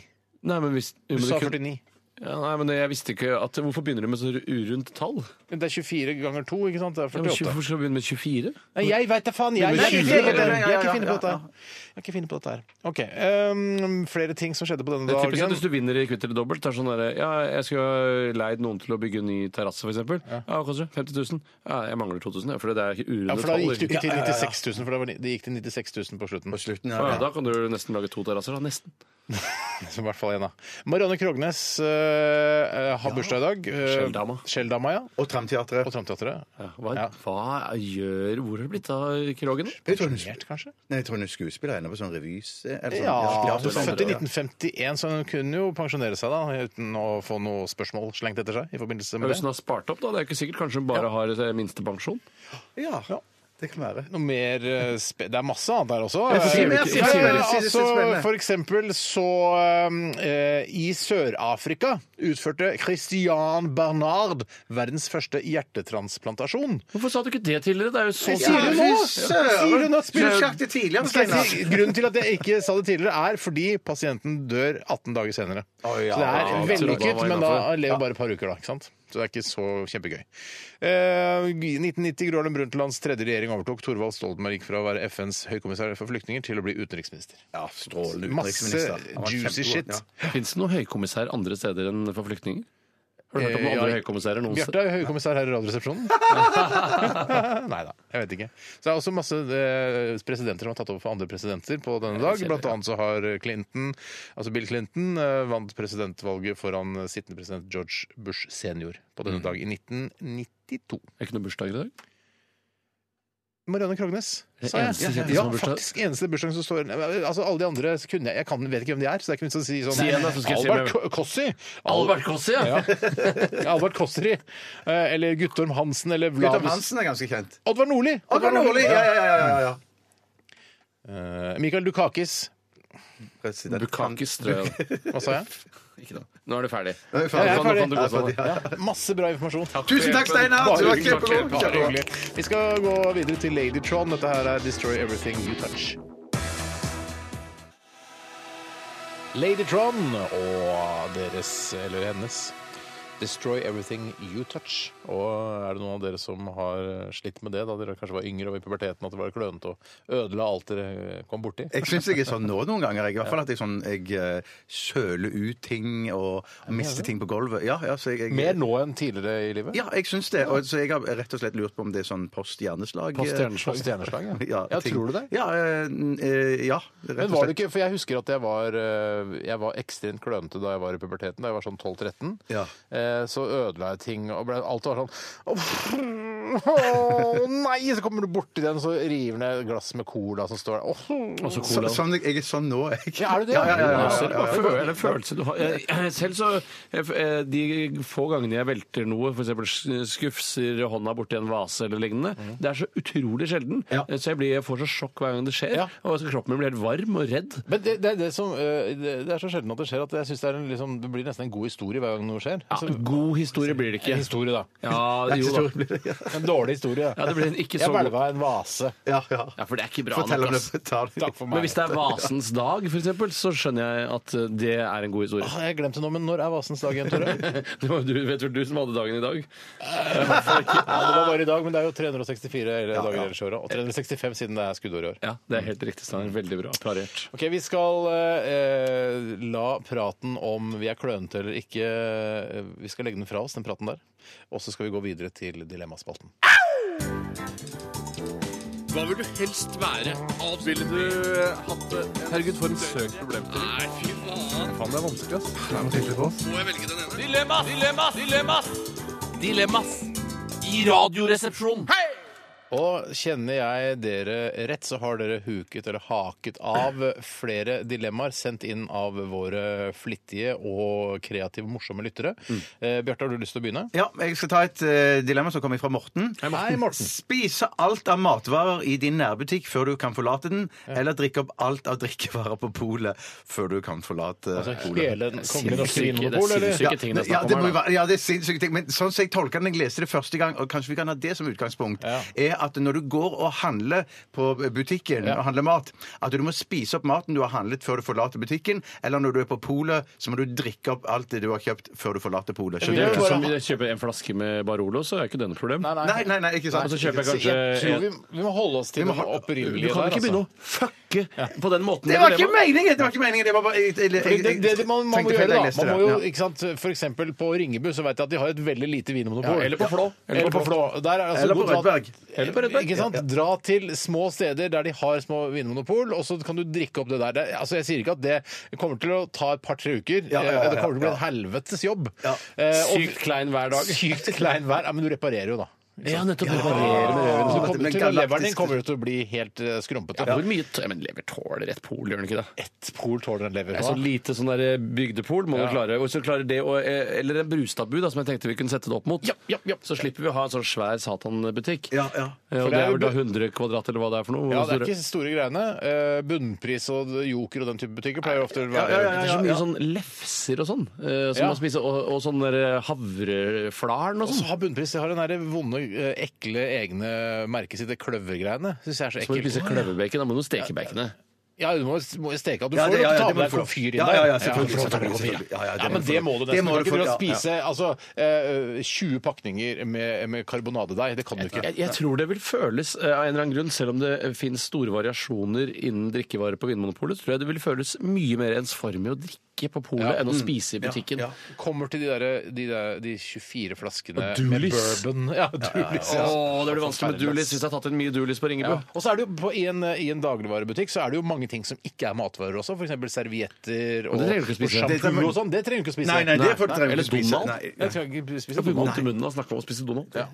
S5: nei, men hvis, jo,
S3: Du
S5: men
S3: sa
S5: det kunne-
S3: 49.
S5: ja, nei, men jeg visste ikke at Hvorfor begynner du med så urundt tall?
S3: Men Det er 24 ganger 2, ikke sant? Det er
S5: Ja, men
S3: 48.
S5: Hvorfor skal du begynne med 24?
S3: Nei, jeg veit da faen! Jeg,
S5: Men
S3: jeg, jeg,
S5: det er
S3: jeg,
S5: ikke det,
S4: ja, ja,
S3: er ikke
S4: ja,
S3: finne på
S4: ja,
S3: dette her. Jeg er ikke finne på dette her. OK. ehm, flere ting som skjedde på denne
S5: Det er typisk at
S3: dagen.
S5: Hvis du vinner i Kvitt eller dobbelt, det er sånn derre Ja, jeg skulle leid noen til å bygge en ny terrasse, f.eks. Ja, hva koster det? 50 000? Ja, jeg mangler 2000, ja, for det er ikke
S3: Ja,
S5: urunde
S3: for da
S5: tall.
S3: gikk det jo ikke til
S4: Ja, ja, ja.
S3: 96 000, for det, var, det gikk til 96 000 på slutten.
S4: På slutten, ja.
S5: Å ja,
S4: ja.
S5: da kan du nesten lage to terrasser, da. Nesten.
S3: Så i hvert fall en, da. Marianne Krognes eh, har bursdag i dag. Eh,
S5: Skjelldama.
S3: Skjelldama, ja.
S4: Og Tramteatret.
S3: På Tramteatret.
S5: Ja, hva,
S3: Ja.
S5: hva gjør Hvor har det blitt av Krogen?
S4: Jeg tror hun,
S3: Pensjonert, kanskje?
S4: nei, jeg tror hun er skuespiller ennå på sånn revys... eller sånn-
S3: Ja, hun er
S4: teater-
S3: født i 1951, så hun kunne jo pensjonere seg da, uten å få noe spørsmål slengt etter seg i forbindelse med
S5: Hvis hun
S3: det.
S5: har spart opp, da. Det er ikke sikkert. Kanskje hun bare har eh, minstepensjon?
S4: Ja. Det kan være.
S3: Noe mer eh, spe Det er masse annet her også.
S11: Ja, si
S3: Eh,
S11: mer, si
S3: ja,
S11: mer,
S3: ja,
S11: si det, si det, si det,
S3: altså,
S11: si det.
S3: for eksempel så eh, I Sør-Afrika utførte Christian Bernard verdens første hjertetransplantasjon.
S5: Hvorfor sa du ikke det tidligere? Det er jo så
S3: Jeg sier det nå!
S5: Ja, fy
S3: Jeg sier det nå.
S4: Skulle du sagt det altså, tidligere,
S3: Skal jeg si-
S4: Steinar?
S3: Grunnen til at jeg ikke sa det tidligere, er fordi pasienten dør 18 dager senere.
S4: Å, ja.
S3: Så det er
S4: Ja,
S3: vellykket,
S4: absolutt.
S3: men da
S4: Ja.
S3: lever bare et par uker, da. ikke sant? Så det er ikke så kjempegøy. Eh, I 1990 Gro Harlem Brundtlands tredje regjering overtok. Thorvald Stoltenberg gikk fra å være FNs høykommissær for flyktninger til å bli utenriksminister.
S4: Ja, strålende
S3: Masse juicy shit.
S5: Fins det noen høykommissær andre steder enn for flyktninger? Har du hørt om
S3: Eh,
S5: noen andre
S3: ja,
S5: høykommissærer noen
S3: Bjarte er høykommissær her i Radioresepsjonen. Nei da, jeg vet ikke. Så det er også masse eh, presidenter som har tatt over for andre presidenter på denne dag. Blant annet så har Clinton, altså Bill Clinton eh, vant presidentvalget foran eh, sittende president George Bush senior på
S5: Mm.
S3: denne dag i 1992.
S5: Er ikke noe bursdag i dag?
S3: Marianne Krognes.
S5: Det
S3: sa jeg.
S5: eneste kjente som
S3: ja,
S5: har bursdag.
S3: faktisk eneste bursdagen som står Altså Alle de andre så kunne jeg Jeg kan, vet ikke hvem de er, så det er ikke vits å si sånn
S5: Si en, da, så skal jeg si
S3: Albert
S5: hvem.
S3: Ko- Kossi!
S5: Albert Kossi, ja.
S3: Albert Kosseri. Eh, Eller Guttorm Hansen, eller Vlad
S4: Guttorm Hansen er ganske kjent.
S3: Oddvar Nordli!
S4: Oddvar Nordli, ja, ja, ja, ja, ja.
S3: Eh, Mikael Dukakis.
S5: Bukakis, tror jeg.
S3: Hva sa jeg?
S5: Ikke da. Nå er du ferdig.
S3: Ja, jeg er
S5: Nå kan- nå
S3: ferdig.
S5: kan du gå sånn.
S3: Ja, Masse bra informasjon.
S5: for Tusen takk, hjelpen. Steinar.
S3: Bare
S5: Du var
S3: hyggelig.
S5: kjempegod.
S3: Bare hyggelig. Vi skal gå videre til Ladytron. Dette her er Destroy Everything You Touch. Ladytron og deres, eller hennes, Destroy Everything You Touch. Og er det noen av dere som har slitt med det da dere kanskje var yngre og i puberteten, at det var klønete og ødela alt dere kom borti?
S4: Jeg syns jeg er sånn nå noen ganger. Jeg, I hvert fall at jeg, sånn, jeg eh, søler ut ting og mister ting på gulvet. Ja, ja, så jeg, jeg,
S3: Mer nå enn tidligere i livet?
S4: Ja, jeg syns det. Og, så jeg har rett og slett lurt på om det er sånn post hjerneslag.
S3: Post-hjerneslag. Post-hjerneslag, eh, ja. Ja,
S4: ting.
S3: tror du det?
S4: Ja, eh, n- eh, ja rett
S3: Men
S4: og
S3: var det
S4: slett.
S3: ikke, for Jeg husker at jeg var, eh, jeg var ekstremt klønete da jeg var i puberteten. Da jeg var sånn 12-13.
S4: Ja.
S3: Eh, Så ødela jeg ting, og ble, alt var sånn Åh, åh, nei! Så kommer du borti den, så river ned et glass med cola som står der. Åh.
S5: Også cola.
S4: Så, sånn, jeg er sånn nå, jeg.
S3: Ja, er du det?
S4: Ja, ja, ja, ja, ja,
S5: Så er det bare
S4: ja, ja.
S5: føl- er det følelse du har. Jeg- jeg- Selv så jeg- eh, De få gangene jeg velter noe, f.eks. skufser hånda borti en vase eller lignende, det er så utrolig sjelden. Eh, Så jeg, blir, jeg får så sjokk hver gang det skjer. Og så kroppen min blir helt varm og redd.
S3: Men det, det, er det, som, eh, det det er så sjelden at det skjer at jeg synes det, er en, liksom, det blir nesten en god historie hver gang noe skjer.
S5: Ja,
S3: Så-
S5: god historie blir det ikke.
S3: En historie, da.
S5: Altså, Ja, jo da.
S3: En dårlig historie.
S5: Ja, det blir en ikke
S3: jeg
S5: så god-
S3: hvelva en vase.
S4: Ja, ja.
S5: Ja, for det er ikke bra
S4: Fortell om
S5: nok. ass.
S4: det. Ta det.
S3: Takk for meg.
S5: Men hvis det er vasens dag, f.eks., så skjønner jeg at eh, det er en god historie.
S3: Åh, jeg glemte noe, men når er vasens dag igjen, Tore?
S5: Det var jo du, vet vel du som hadde dagen i dag?
S3: Ja, det var bare i dag, men det er jo 364 dager
S5: ja.
S3: ellers i året. Og 365 siden det er skuddår i år.
S5: Ja, det er helt riktig, Steinar. Veldig bra parert.
S3: Ok, Vi skal eh, la praten om vi er klønete eller ikke eh, Vi skal legge den fra oss, den praten der. Og så skal vi gå videre til Dilemmaspalten.
S12: Hva vil du helst være? Ville du
S11: eh,
S12: hatt det? Herregud, for en søk problem. Nei, fy faen.
S11: Faen, det er vanskelig, ass. Det er noe tydelig på oss.
S12: Må jeg velge den ene? Dilemmas, dilemmas, dilemmas! Dilemmas i radioresepsjonen. Hei!
S3: Og kjenner jeg dere rett, så har dere huket eller haket av flere dilemmaer sendt inn av våre flittige og kreative, morsomme lyttere.
S5: Mm.
S3: Eh, Bjarte, har du lyst til å begynne?
S4: Ja, jeg skal ta et eh, dilemma som kommer fra Morten.
S3: Hei, Morten.
S4: Spise alt av matvarer i din nærbutikk før du kan forlate den, eller drikke opp alt av drikkevarer på polet før du kan forlate
S3: Altså,
S4: polet.
S3: hele den kongen av
S5: Sinnssyke- det er
S3: svinmonopol, eller?
S5: sinnssyke ting det er
S4: ja,
S5: snakk
S4: det
S5: om
S4: må
S5: her,
S4: jo
S5: da.
S4: være, ja, det er sinnssyke ting. Men sånn som jeg tolka den, jeg leste det første gang, og kanskje vi kan ha det som utgangspunkt, er at når du går og handler på butikken og handler mat, at du må spise opp maten du har handlet før du forlater butikken, eller når du er på polet, så må du drikke opp alt det du har kjøpt før du forlater polet.
S5: Det er
S4: Skjønner
S5: jo
S4: du?
S5: ikke som om jeg kjøper en flaske med Barolo, så er ikke det noe problem.
S4: Nei, nei, nei, ikke sant.
S5: Og så kjøper jeg kanskje
S3: Jeg tror vi,
S5: en-
S3: vi må holde oss til
S5: Vi må
S3: det
S5: holde-
S3: opprinnelige altså.
S5: Du kan ikke begynne å
S3: fucke
S5: på den måten.
S4: Det var ikke meningen! Det var ikke meningen. Det var bare, jeg, jeg, jeg,
S3: Fordi det, det, det man, man må
S4: tenkte feil
S3: gjøre da,
S4: da jeg leste
S3: man må
S4: det.
S3: jo,
S4: Ja.
S3: ikke sant, for eksempel på Ringebu så vet jeg at de har et veldig lite vinmonopol.
S5: Ja, eller på Flå.
S3: Eller, på Flå. Der er det altså
S5: Eller på
S3: god mat-
S5: Rødberg. Eller på Rødberg,
S3: Ikke sant?
S5: ja, ja.
S3: Dra til små steder der de har små vinmonopol, og så kan du drikke opp det der. Det, altså, jeg sier ikke at det kommer til å ta et par-tre uker.
S5: Ja, ja, ja,
S3: Eh, Det kommer til å bli
S5: ja.
S3: en helvetes jobb.
S5: Ja.
S3: Eh, og-
S5: Sykt klein hver dag.
S3: Sykt klein hver. Ja, men du reparerer jo da.
S13: ikke
S3: Ja,
S13: sant?
S3: nettopp.
S13: Ja.
S3: Reparere med leveren. Så
S13: Ja,
S3: kommer
S13: men
S3: til og leveren din
S13: galaktisk-
S3: kommer jo til å bli helt eh, skrumpete.
S5: Ja, hvor mye t- men lever tåler et pol, gjør den ikke det?
S3: Ett pol tåler en lever.
S5: Det er så
S3: hva?
S5: lite sånn der eh, bygdepol må
S3: Ja.
S5: du klare. Og så klarer det å, eh, Eller en brustabu, da, som jeg tenkte vi kunne sette det opp mot. Så slipper vi å ha en sånn svær satanbutikk. Eh,
S3: For
S5: Og
S3: det
S5: det
S3: er
S5: er
S3: jo
S5: vel da 100 kvadrat, eller hva det er for noe?
S3: Ja, det er
S5: Store-
S3: ikke store greiene. Eh, Bunnpris og Joker og den type butikker pleier ofte å være
S5: Det er så mye sånn lefser og sånn, eh, som
S3: Ja.
S5: man spiser, og, og sånn der havreflarn og
S3: Og så
S5: sånn.
S3: har bunnpris det har den der vonde, eh, ekle egne merket sitt, det kløvergreiene. Synes jeg er så
S5: Så må du
S3: ekkelt.
S5: spise kløverbacon, da må du steke baconet.
S3: Ja, du må, må jo steke at du
S5: Ja,
S3: får
S5: det- ja,
S3: jo
S5: ja,
S3: ta med
S5: det må
S3: deg
S5: du få.
S3: komfyr inn
S5: Ja,
S3: der.
S5: ja, ja, selvfølgelig,
S3: du får ta med deg komfyr.
S5: selvfølgelig, selvfølgelig. Ja, ja, det
S3: Ja,
S5: må
S3: men
S5: du
S3: det
S5: få.
S3: må du
S5: Det
S3: nesten.
S5: må
S3: Du kan
S5: du
S3: ikke
S5: få,
S3: begynne å
S5: ja, ja.
S3: spise altså, eh, 20 pakninger med, med karbonadedeig. Det kan du ikke.
S5: Jeg, jeg tror det vil føles eh, av en eller annen grunn, selv om det eh, finnes store variasjoner innen drikkevarer på Vinmonopolet, tror jeg det vil føles mye mer ensformig å drikke på polet enn å
S3: Mm.
S5: spise i
S3: Ja,
S5: butikken.
S3: ja. Kommer til de, der, de, der, de 24 flaskene
S5: Og
S3: med
S5: Dooleys.
S3: bourbon. Ja, Dooleys, ja.
S5: Åh, det blir vanskelig med Dulis hvis jeg har tatt inn mye Dulis på Ringebu.
S3: Ja. Og så er det jo på, i, en, I en dagligvarebutikk så er det jo mange ting som ikke er matvarer også. F.eks. servietter og,
S5: Men det trenger du ikke å
S3: og
S5: spise.
S3: shampoo og sånn. Det trenger du ikke å spise.
S5: Nei, nei, det får du Nei, trenger du eller ikke å spise. Donald. Nei, nei.
S3: Jeg skal ikke
S5: Jeg
S3: spise
S5: fikk vondt i
S3: Donald.
S5: munnen av å snakke om å spise Donald.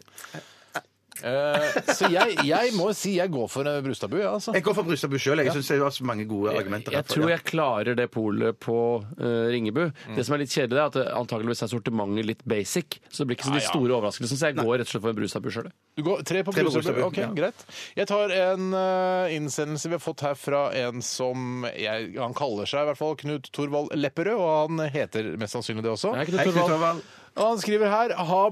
S3: Eh, så jeg, jeg må si jeg går for eh, brustabu, jeg, altså.
S4: Jeg går for Brustabu sjøl. Jeg syns det var så mange gode argumenter.
S5: Jeg tror jeg klarer det polet på eh, Ringebu. Det som er litt kjedelig, det er at det antageligvis er sortimentet litt basic. Så det blir ikke så
S3: Ja,
S5: de
S3: ja.
S5: store overraskelsene. Så jeg går rett og slett for en brustabu sjøl.
S3: Du går tre på
S5: Tre på
S3: brustabu?
S5: Brustabu,
S3: Ok,
S5: ja.
S3: greit. Jeg tar en eh, innsendelse vi har fått her fra en som jeg, Han kaller seg i hvert fall Knut Torvald Lepperød, og han heter mest sannsynlig det også.
S5: Hei, Knut Hei, Knut Torvald. Torvald.
S3: Og han skriver her ha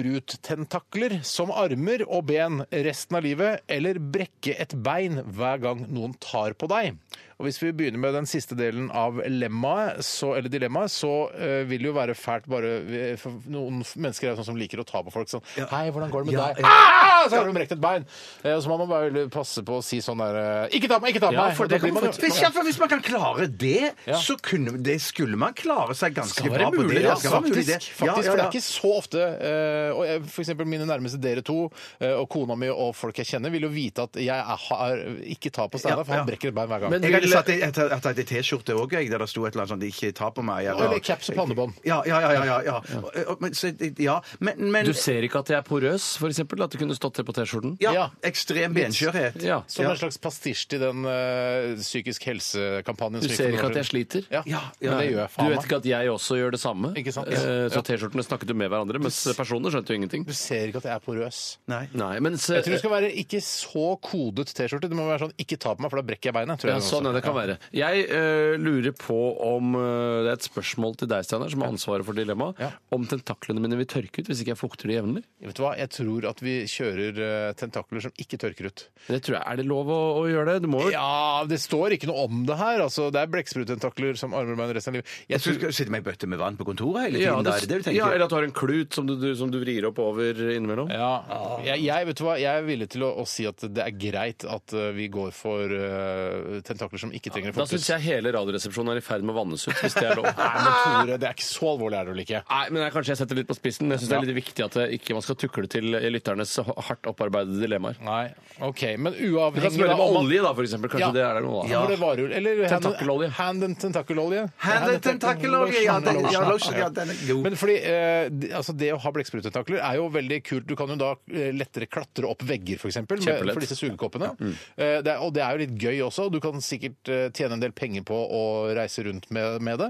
S3: blekksprutentakler som armer og ben resten av livet, eller brekke et bein hver gang noen tar på deg. Og Hvis vi begynner med den siste delen av lemmaet, så, eller dilemmaet, så eh, vil det jo være fælt bare eh, for Noen mennesker er jo sånn som liker å ta på folk sånn Hei, hvordan går det med
S13: Ja,
S3: deg?
S13: ja.
S3: Ah! Så har de brekt et bein. Eh, Så må man bare veldig passe på å si sånn der eh, Ikke ta på meg! Ikke ta på
S4: Ja,
S3: meg!
S4: for
S3: Da
S4: det
S3: blir
S4: kan
S3: man jo-
S4: faktisk- Hvis, ja, for hvis man kan klare det,
S3: Ja.
S4: så kunne, det skulle man klare seg ganske
S3: skal være
S4: bra på
S3: mulig,
S4: det.
S3: ja,
S4: Det skal være mulig, det.
S3: faktisk, faktisk, for det er ikke så ofte eh, og jeg, For eksempel mine nærmeste dere to eh, og kona mi og folk jeg kjenner, vil jo vite at jeg er, har, ikke tar på Steinar, for han
S4: Ja, ja.
S3: brekker et bein hver gang.
S4: jeg hadde satt jeg hadde- jeg hadde ei T-skjorte òg, der det sto et eller annet sånt 'ikke ta på meg'.
S3: Eller caps og pannebånd.
S4: Ja, ja, ja. ja, ja, ja. Og- og- Men, så, ja. men, men
S5: Du ser ikke at jeg er porøs, f.eks.? At det kunne stått til på T-skjorten?
S4: ja, ekstrem benskjørhet.
S5: Ja.
S3: Som
S5: Ja.
S3: en slags pastisj til den eh, psykisk helse-kampanjen.
S5: Du
S3: som gikk
S5: ser
S3: for
S5: ikke
S3: noen
S5: at jeg
S3: år siden.
S5: sliter?
S3: Ja, men det gjør jeg
S5: du
S3: faen
S5: vet
S3: meg.
S5: ikke at jeg også gjør det samme?
S3: Ikke sant?
S5: Eh,
S3: Ja.
S5: Så T-skjortene snakket jo med hverandre, mens personene skjønte jo ingenting.
S3: Du ser ikke at jeg er porøs.
S4: Nei.
S5: Nei, men så-
S3: Jeg tror det skal være ikke så kodet T-skjorte. Det må være sånn 'ikke ta på meg, for da brekker jeg beinet'. tror
S5: ja,
S3: jeg også.
S5: sånn er det kan være. Jeg eh, lurer på om eh, Det er et spørsmål til deg, Steinar, som har ansvaret for dilemmaet. Om tentaklene mine vil tørke ut hvis ikke jeg fukter de jevnlig?
S3: Vet du hva, jeg tror at vi kjører eh, tentakler som ikke tørker ut.
S5: Det tror jeg, Er det lov å, å gjøre det? Du må jo
S3: Ja, det står ikke noe om det her. Altså, det er blekksprutentakler som armer og bein resten av livet. Jeg
S4: Jeg tror du
S3: tror-
S4: skal sitte med ei bøtte med vann på kontoret hele tiden. da, er det det du tenker?
S5: ja, eller at du har en klut som du, du, som du vrir opp over innimellom. Ah.
S3: Ja. Jeg, jeg, vet du hva, jeg er villig til å, å si at det er greit at eh, vi går for eh, tentakler som ikke trenger
S5: Da syns
S3: fokus.
S5: jeg hele Radioresepsjonen er i ferd med å vannes ut, hvis det er lov.
S3: Nei, men Tore, det er ikke så alvorlig er det vel ikke?
S5: Nei, men jeg, Kanskje jeg setter det litt på spissen, men jeg syns det er litt viktig at det ikke man skal tukle til lytternes hardt opparbeidede dilemmaer.
S3: Nei, ok, men
S5: Du kan
S3: uavhengig
S5: smøre
S3: av
S5: med olje, da, for eksempel. Kanskje
S3: Ja.
S5: det er noe, da.
S3: Ja. for det varer jo- Eller hand-
S5: Tentakelolje.
S3: Hand and tentakelolje.
S4: Hand and tentakelolje, ja, den- ja, lotion, ja, den er god.
S3: Men fordi eh, de- altså det å ha blekksprutentakler er jo veldig kult. Du kan jo da eh, lettere klatre opp vegger, f.eks.
S5: Kjempelett. Mm.
S3: For disse sugekoppene. Eh, det er, og det er jo litt gøy også. Du kan sikkert eh, tjene en del penger på å reise rundt med, med det.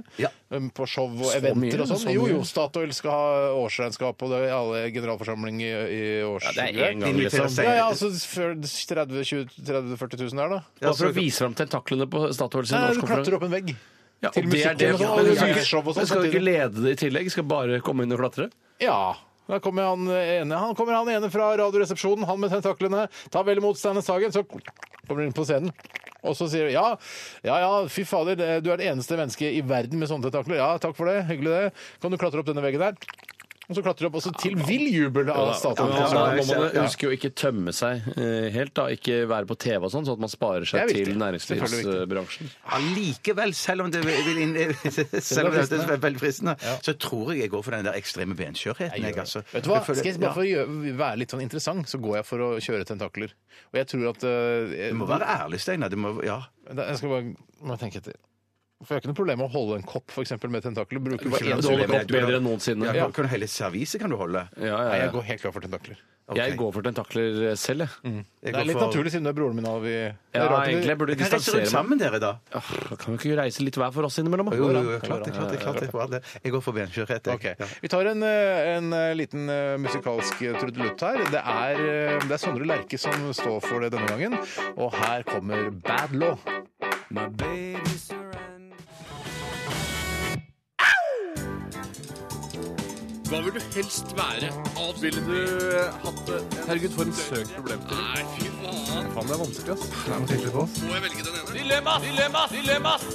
S3: Um, På show og
S5: Så
S3: eventer
S5: mye,
S3: og sånn.
S5: så
S3: Jo,
S5: mye.
S3: jo, Statoil skal ha årsregnskap, og det er alle generalforsamling i, i års...
S5: Ja, det er en gang,
S3: Inviterer
S5: liksom.
S3: seg- Ja, ja, altså 30-40 000 der, da.
S5: Bare for å vise fram tentaklene på Statoil sin
S3: Nei, nei, du klatrer
S5: årskonferanse.
S3: opp en vegg.
S5: Ja, og
S3: Til
S5: det er
S3: musikken
S5: det.
S3: og sånn, og
S5: Men
S3: det
S5: du skal
S3: blir show og
S5: ikke-
S3: sånn
S5: men skal du ikke
S3: samtidig.
S5: lede det i tillegg? Skal bare komme inn og klatre?
S3: Ja. Da kommer han eh, ene, han kommer han ene fra Radioresepsjonen, han med tentaklene. Ta vel imot Steinar Sagen, så kommer han inn på scenen. Og så sier du ja, ja ja, fy fader, det- du er det eneste mennesket i verden med sånne tentakler. Ja, takk for det, hyggelig det. Kan du klatre opp denne veggen der? Og så klatre opp, og så til vill jubel av
S5: Ja,
S3: Statoil.
S5: men da må man
S3: Ja.
S5: huske å ikke tømme seg eh, helt, da. Ikke være på TV og sånn, sånn at man sparer
S3: Det
S5: seg
S3: er viktig.
S5: til
S3: Selvfølgelig
S5: næringslivsbransjen.
S4: Allikevel, selv om det vil inn, selv om det
S3: fristende.
S4: er veldig fristende, så tror jeg jeg går for den der ekstreme benskjørheten. Jeg, altså.
S3: Vet du hva?
S4: Jeg føler-
S3: Skal jeg bare
S4: Ja.
S3: for å gjøre, være litt sånn interessant, så går jeg for å kjøre tentakler. Og jeg tror at eh,
S4: Du må være ærlig, Steinar. Du må- Ja.
S3: Da- Jeg skal bare må jeg tenke etter. For jeg har ikke noe problem med å holde en kopp for eksempel, med tentakler. Bruke
S5: Hva er det som
S3: sånn
S5: holder opp bedre enn noensinne?
S4: Ja, kan- kan du hele serviset kan du holde?
S3: Nei, jeg går helt klar for tentakler.
S5: Jeg går for tentakler selv, jeg.
S3: Det er litt naturlig siden du er broren min. Og vi...
S5: Ja, egentlig jeg burde
S4: Kan jeg reise rundt sammen, dere, da?
S5: Kan vi ikke reise litt hver for oss innimellom?
S4: Jo, jo, jo, klart det. klart det, klart det. Hva er det. Jeg går for benskjørhet. jeg.
S3: Ok.
S4: Ja.
S3: Vi tar en, eh, en eh, liten eh, musikalsk trudelutt her. Det er, eh, det er Sondre Lerche som står for det denne gangen, og her kommer Bad Law.
S14: Hva vil du helst være? Ville du eh, hatt det? Herregud, for en søkt problemstilling. Nei, fy faen.
S3: Faen, det er vanskelig, ass.
S14: Må jeg velge den ene? Dilemmas! Dilemmas! Dilemmas!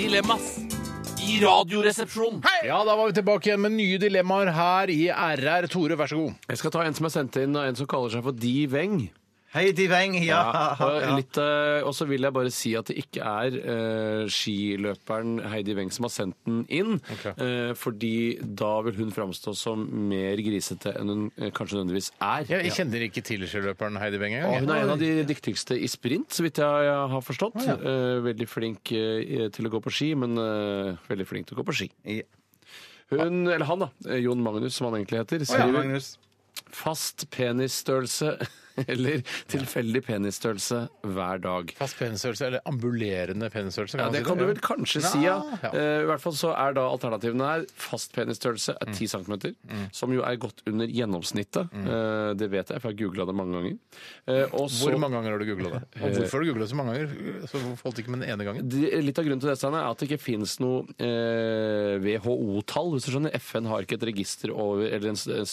S14: Dilemmas i Radioresepsjonen.
S3: Ja, da var vi tilbake igjen med nye dilemmaer her i RR. Tore, vær så god.
S5: Jeg skal ta en som er sendt inn av en som kaller seg for Di Weng.
S4: Hei, Di Weng. Ja.
S5: og
S4: ja.
S5: litt, eh, og så vil jeg bare si at det ikke er eh, skiløperen Heidi Weng som har sendt den inn. eh, fordi da vil hun framstå som mer grisete enn hun eh, kanskje nødvendigvis er.
S3: Jeg, jeg kjenner ikke til skiløperen Heidi Weng engang.
S5: Og hun er en av de dyktigste i sprint, så vidt jeg har forstått. Eh, veldig flink eh, til å gå på ski, men eh, veldig flink til å gå på ski. Hun, eller han da, eh, Jon Magnus som han egentlig heter, skriver fast penisstørrelse eller tilfeldig penisstørrelse hør hver dag.
S3: Fast penisstørrelse eller ambulerende penisstørrelse?
S5: Ja,
S3: man
S5: Det
S3: si
S5: kan du vel kanskje si, ja.
S3: Ja.
S5: Eh, I hvert fall så er da alternativene her fast penisstørrelse er 10 cm, som jo er godt under gjennomsnittet. Eh, det vet jeg, for jeg har googla det mange ganger. Eh, og så-
S3: Hvor mange ganger har du googla det? Og hvorfor har du googla det så mange ganger? Så hvorfor holdt det ikke med den ene gangen?
S5: De- Litt av grunnen til det Steiner, er at det ikke finnes noe eh, WHO-tall. hvis du skjønner. FN har ikke et register over, eller en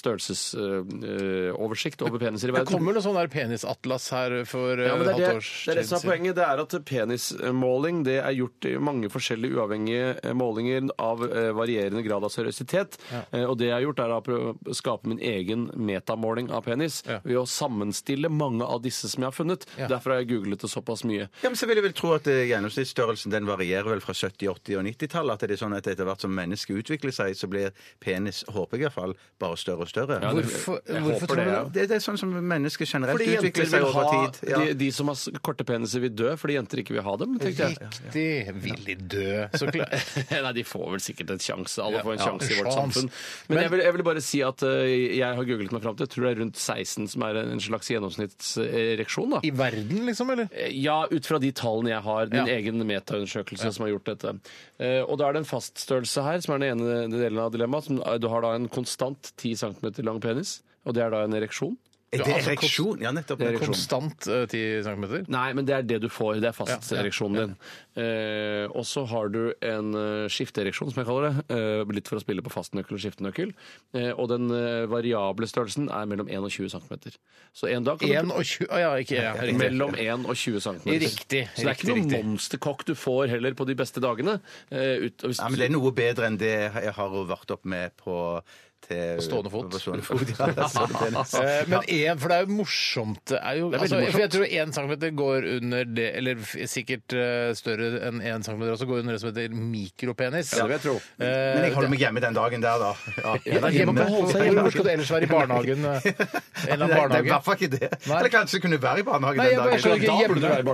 S5: størrelsesoversikt over peniser i
S3: Det
S5: verden.
S3: kommer noe sånn der penisatlas her for
S5: Ja,
S3: ja,
S5: men det, er det,
S3: halvt års
S5: det er det som er
S3: tid siden.
S5: poenget. Det er at penismåling det er gjort i mange forskjellige uavhengige eh, målinger av eh, varierende grad av seriøsitet.
S3: Ja.
S5: Eh, Og det jeg har gjort, er å prøve å skape min egen metamåling av penis ved å sammenstille mange av disse som jeg har funnet.
S4: Ja.
S5: Derfor har jeg googlet det såpass mye.
S4: Ja, men så vil jeg vel tro at eh, Gjennomsnittsstørrelsen den varierer vel fra 70-, 80- og 90-tallet. At det er sånn at etter hvert som mennesket utvikler seg, så blir penis, håper jeg i hvert fall, bare større og større.
S5: Ja, det- Hvorfor- jeg hvorfor håper tror det, du ja. det?
S4: det? Det er sånn som mennesket generelt
S5: Fordi jenter
S4: utvikler seg
S5: vil
S4: over
S5: ha
S4: tid. Ja.
S5: de, de som har s- korte peniser, vil dø fordi jenter ikke vil ha dem. tenkte jeg.
S3: Riktig. Vil de dø? Så klart.
S5: Nei, de får vel sikkert en sjanse. Alle får en
S3: Ja,
S5: sjanse i
S3: en
S5: vårt
S3: sjans.
S5: samfunn. Men, jeg, vil, jeg vil bare si at eh, jeg har googlet meg fram til jeg tror det er rundt 16 som er en en slags gjennomsnittsereksjon. da.
S3: I verden, liksom, eller?
S5: Ja, ut fra de tallene jeg har. Min
S3: Ja.
S5: egen metaundersøkelse som har gjort dette. Eh, Og da er det en faststørrelse her, som er den ene delen av dilemmaet. som- eh, Du har da en konstant 10 cm lang penis, og det er da en ereksjon.
S4: Er det ereksjon? Ja, nettopp.
S5: altså, Det er ereksjon.
S3: Konstant eh, 10 cm?
S5: Nei, men det er det du får. Det er
S3: Ja, ja,
S5: fastereksjonen din. Eh, og så har du en eh, skifteereksjon, som jeg kaller det. Eh, litt for å spille på fastnøkkel og skiftenøkkel. Eh, og den eh, variable størrelsen er mellom 1 og 20 cm. Så en dag kan du
S3: 1 og 20 ah, Ja, ikke ja, riktig.
S5: Mellom 1 og 20 cm.
S3: Riktig,
S5: Så det er
S3: riktig,
S5: ikke noen
S3: riktig.
S5: monsterkokk du får heller på de beste dagene. Eh, ut, og hvis,
S4: Ja, men det er noe bedre enn det jeg har vært opp med på til,
S3: På stående fot.
S4: På stående fot ja, det er stående penis.
S3: Eh, Men én, for det er jo morsomt. Det er jo,
S4: Det er veldig
S3: altså, for jeg
S4: morsomt.
S3: tror én centimeter går under det, eller f- sikkert eh, større enn én centimeter også, går under det som heter mikropenis.
S4: Ja, det vil jeg tro.
S3: Eh,
S4: Men jeg holder meg hjemme den dagen der, da. Ja,
S3: Ja, da, hjemme på Holsøy, eller hvor skal du ellers være? I barnehagen? eh, En eller annen
S4: Nei, Det er i
S3: barnehage?
S4: hvert fall ikke det. Eller kanskje du kunne være i barnehagen
S3: Nei, jeg
S4: den
S3: bare
S4: dagen.
S3: skjønner ikke
S4: Da burde
S3: hjemme-
S4: du være i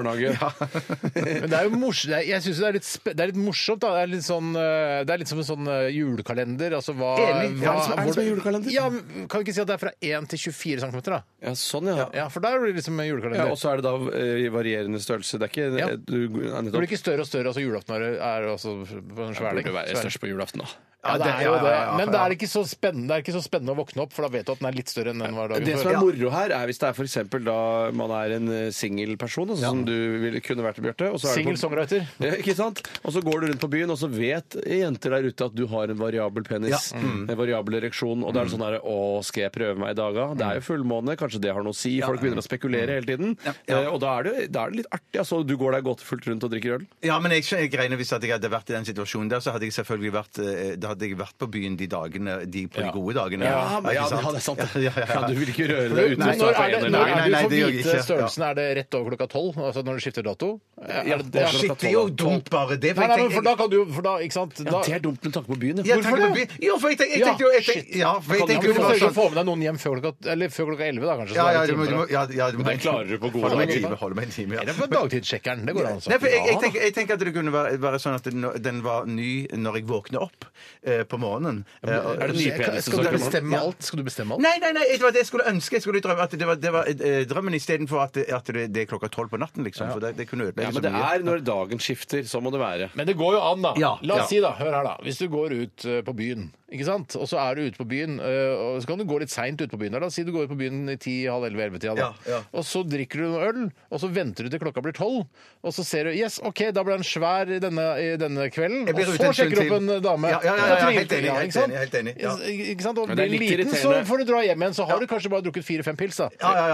S5: barnehage.
S3: Men det er jo mors det er, jeg syns det, er litt spe- det er litt morsomt. Da. Det, er litt sånn, eh, det er litt som en sånn eh, julekalender. Altså, hva,
S5: Enig.
S3: hva,
S5: Ja, hva er det som er
S3: hvor-
S5: som er julekalender?
S3: Ja, men kan vi ikke si at det er fra 1 til 24 cm, da?
S5: Ja, sånn, ja.
S3: Ja, for da er det liksom en
S5: Ja,
S3: julekalender.
S5: og så er det da eh, i varierende størrelse. Det er ikke
S3: Ja.
S5: du, ja,
S3: Det blir ikke større og større. altså Julaften er, er også på en svær
S5: Burde være størst på julaften, da.
S3: Ja, det
S5: Ja,
S3: er jo
S5: ja,
S3: det.
S5: ja, ja,
S3: Men
S5: ja.
S3: det er ikke så spennende, det er ikke så spennende å våkne opp, for da vet du at den er litt større enn den var dagen
S5: Det
S3: før.
S5: som er moro her, er hvis det er for eksempel da man er en eh, singel person, altså, som du ville kunne vært, Bjarte. og så er du
S3: Single
S5: på-
S3: songwriter.
S5: Ja, Ikke sant? Og så går du rundt på byen, og så vet jenter der ute at du har en variabel penis.
S3: Ja. Mm.
S5: En variabel ereksjon. Og da er det sånn her Å, skal jeg prøve meg i dag, da? Det
S15: Mm.
S5: er jo fullmåne, kanskje det har noe å si? Folk begynner å spekulere hele tiden. Eh, Og da er, det, da er det litt artig. Altså, du går der gåtefullt rundt og drikker øl.
S4: Ja, men jeg, skjønner- jeg regner hvis at jeg hadde vært i den situasjonen der, så hadde jeg selvfølgelig vært eh, Da hadde jeg vært på byen de dagene, de, på de gode dagene.
S3: Ja, men-
S4: ikke
S3: ja, det er sant, det.
S15: Ja, du vil ikke røre deg
S3: Men
S15: uten
S3: Når
S15: å starte
S3: er det,
S15: en eller
S3: når
S15: annen.
S3: er
S15: Nei,
S3: det
S15: nei,
S3: du
S15: det gjør
S3: får
S15: jeg
S3: vite
S15: ikke.
S3: størrelsen? Er det rett over klokka tolv? Altså når du skifter dato? Er
S15: Ja,
S3: over
S15: shit,
S3: klokka
S15: det er
S3: tolv,
S15: jo
S3: da?
S15: dumt bare det, for
S3: Nei,
S15: jeg
S3: nei, men
S15: tenker-
S3: for da kan du jo- for da, ikke sant
S15: Ja, det er dumt med tanke på byen,
S3: ja.
S15: Hvorfor
S3: Hvorfor
S15: det?
S3: det?
S4: Jo, for jeg tenker, jeg
S3: Ja,
S4: tenkte jo jeg
S3: shit.
S4: tenkte, ja,
S3: Ja,
S4: for jeg
S3: men
S4: tenkte
S3: Du
S4: jo det
S3: må sørge
S4: var
S3: for å
S4: sånn
S3: få med deg noen hjem før klokka, eller før klokka 11, da kanskje. så
S4: Ja,
S3: er
S4: ja,
S3: det
S4: du må-
S3: timer,
S4: du må- ja, ja, du må-
S3: Men den klarer du på gode
S4: Holder meg en
S3: dager,
S4: time,
S3: da.
S4: holder meg en time, ja.
S3: Eller på dagtidssjekkeren. Det går an. altså.
S4: Nei, for jeg, jeg,
S3: Ja.
S4: tenker, jeg tenker at det kunne være, være sånn at den, den var ny når jeg våkner opp eh, på morgenen. Eh, og-
S3: Er det nypedelse
S4: Skal
S3: som
S4: du
S3: kommer?
S4: bestemme alt?
S3: Skal du bestemme alt?
S4: Nei, nei, nei, det var det jeg skulle ønske. Jeg skulle drømme at det var, det var eh, drømmen istedenfor at, det- at det, det er klokka tolv på natten, liksom. For det, det kunne ødelegge
S5: Ja, men
S4: så
S5: det
S4: mye.
S5: er når dagen skifter, så må det være.
S3: Men det går jo an, da.
S5: Ja,
S3: La oss
S5: ja.
S3: si, da, hør her, da. Hvis du går ut eh, på byen, ikke sant, og så er du ute på byen, eh, og så kan du gå litt seint ut på byen. La oss si du går ut på byen i ti-halv elleve-ellevetida, da.
S4: Ja, ja.
S3: Og så drikker du noe øl, og så venter du til klokka blir tolv, og så ser du Yes, OK, da ble den svær i denne, i denne kvelden.
S4: Jeg blir
S3: Og
S4: ute
S3: så
S4: en
S3: sjekker
S4: stund
S3: du opp en eh,
S4: til.
S3: dame.
S4: Ja, ja, ja,
S3: Og
S4: ja,
S3: trives-
S4: helt enig,
S3: ja,
S4: helt
S3: ikke sant?
S4: enig, helt enig, ja.
S3: Ikke- Ikke sant? Og
S5: Men
S3: blir
S5: det er
S3: den
S5: litt
S3: liten, så
S5: irriterende.
S3: får du dra hjem igjen. Så har du kanskje bare drukket fire-fem pils, da.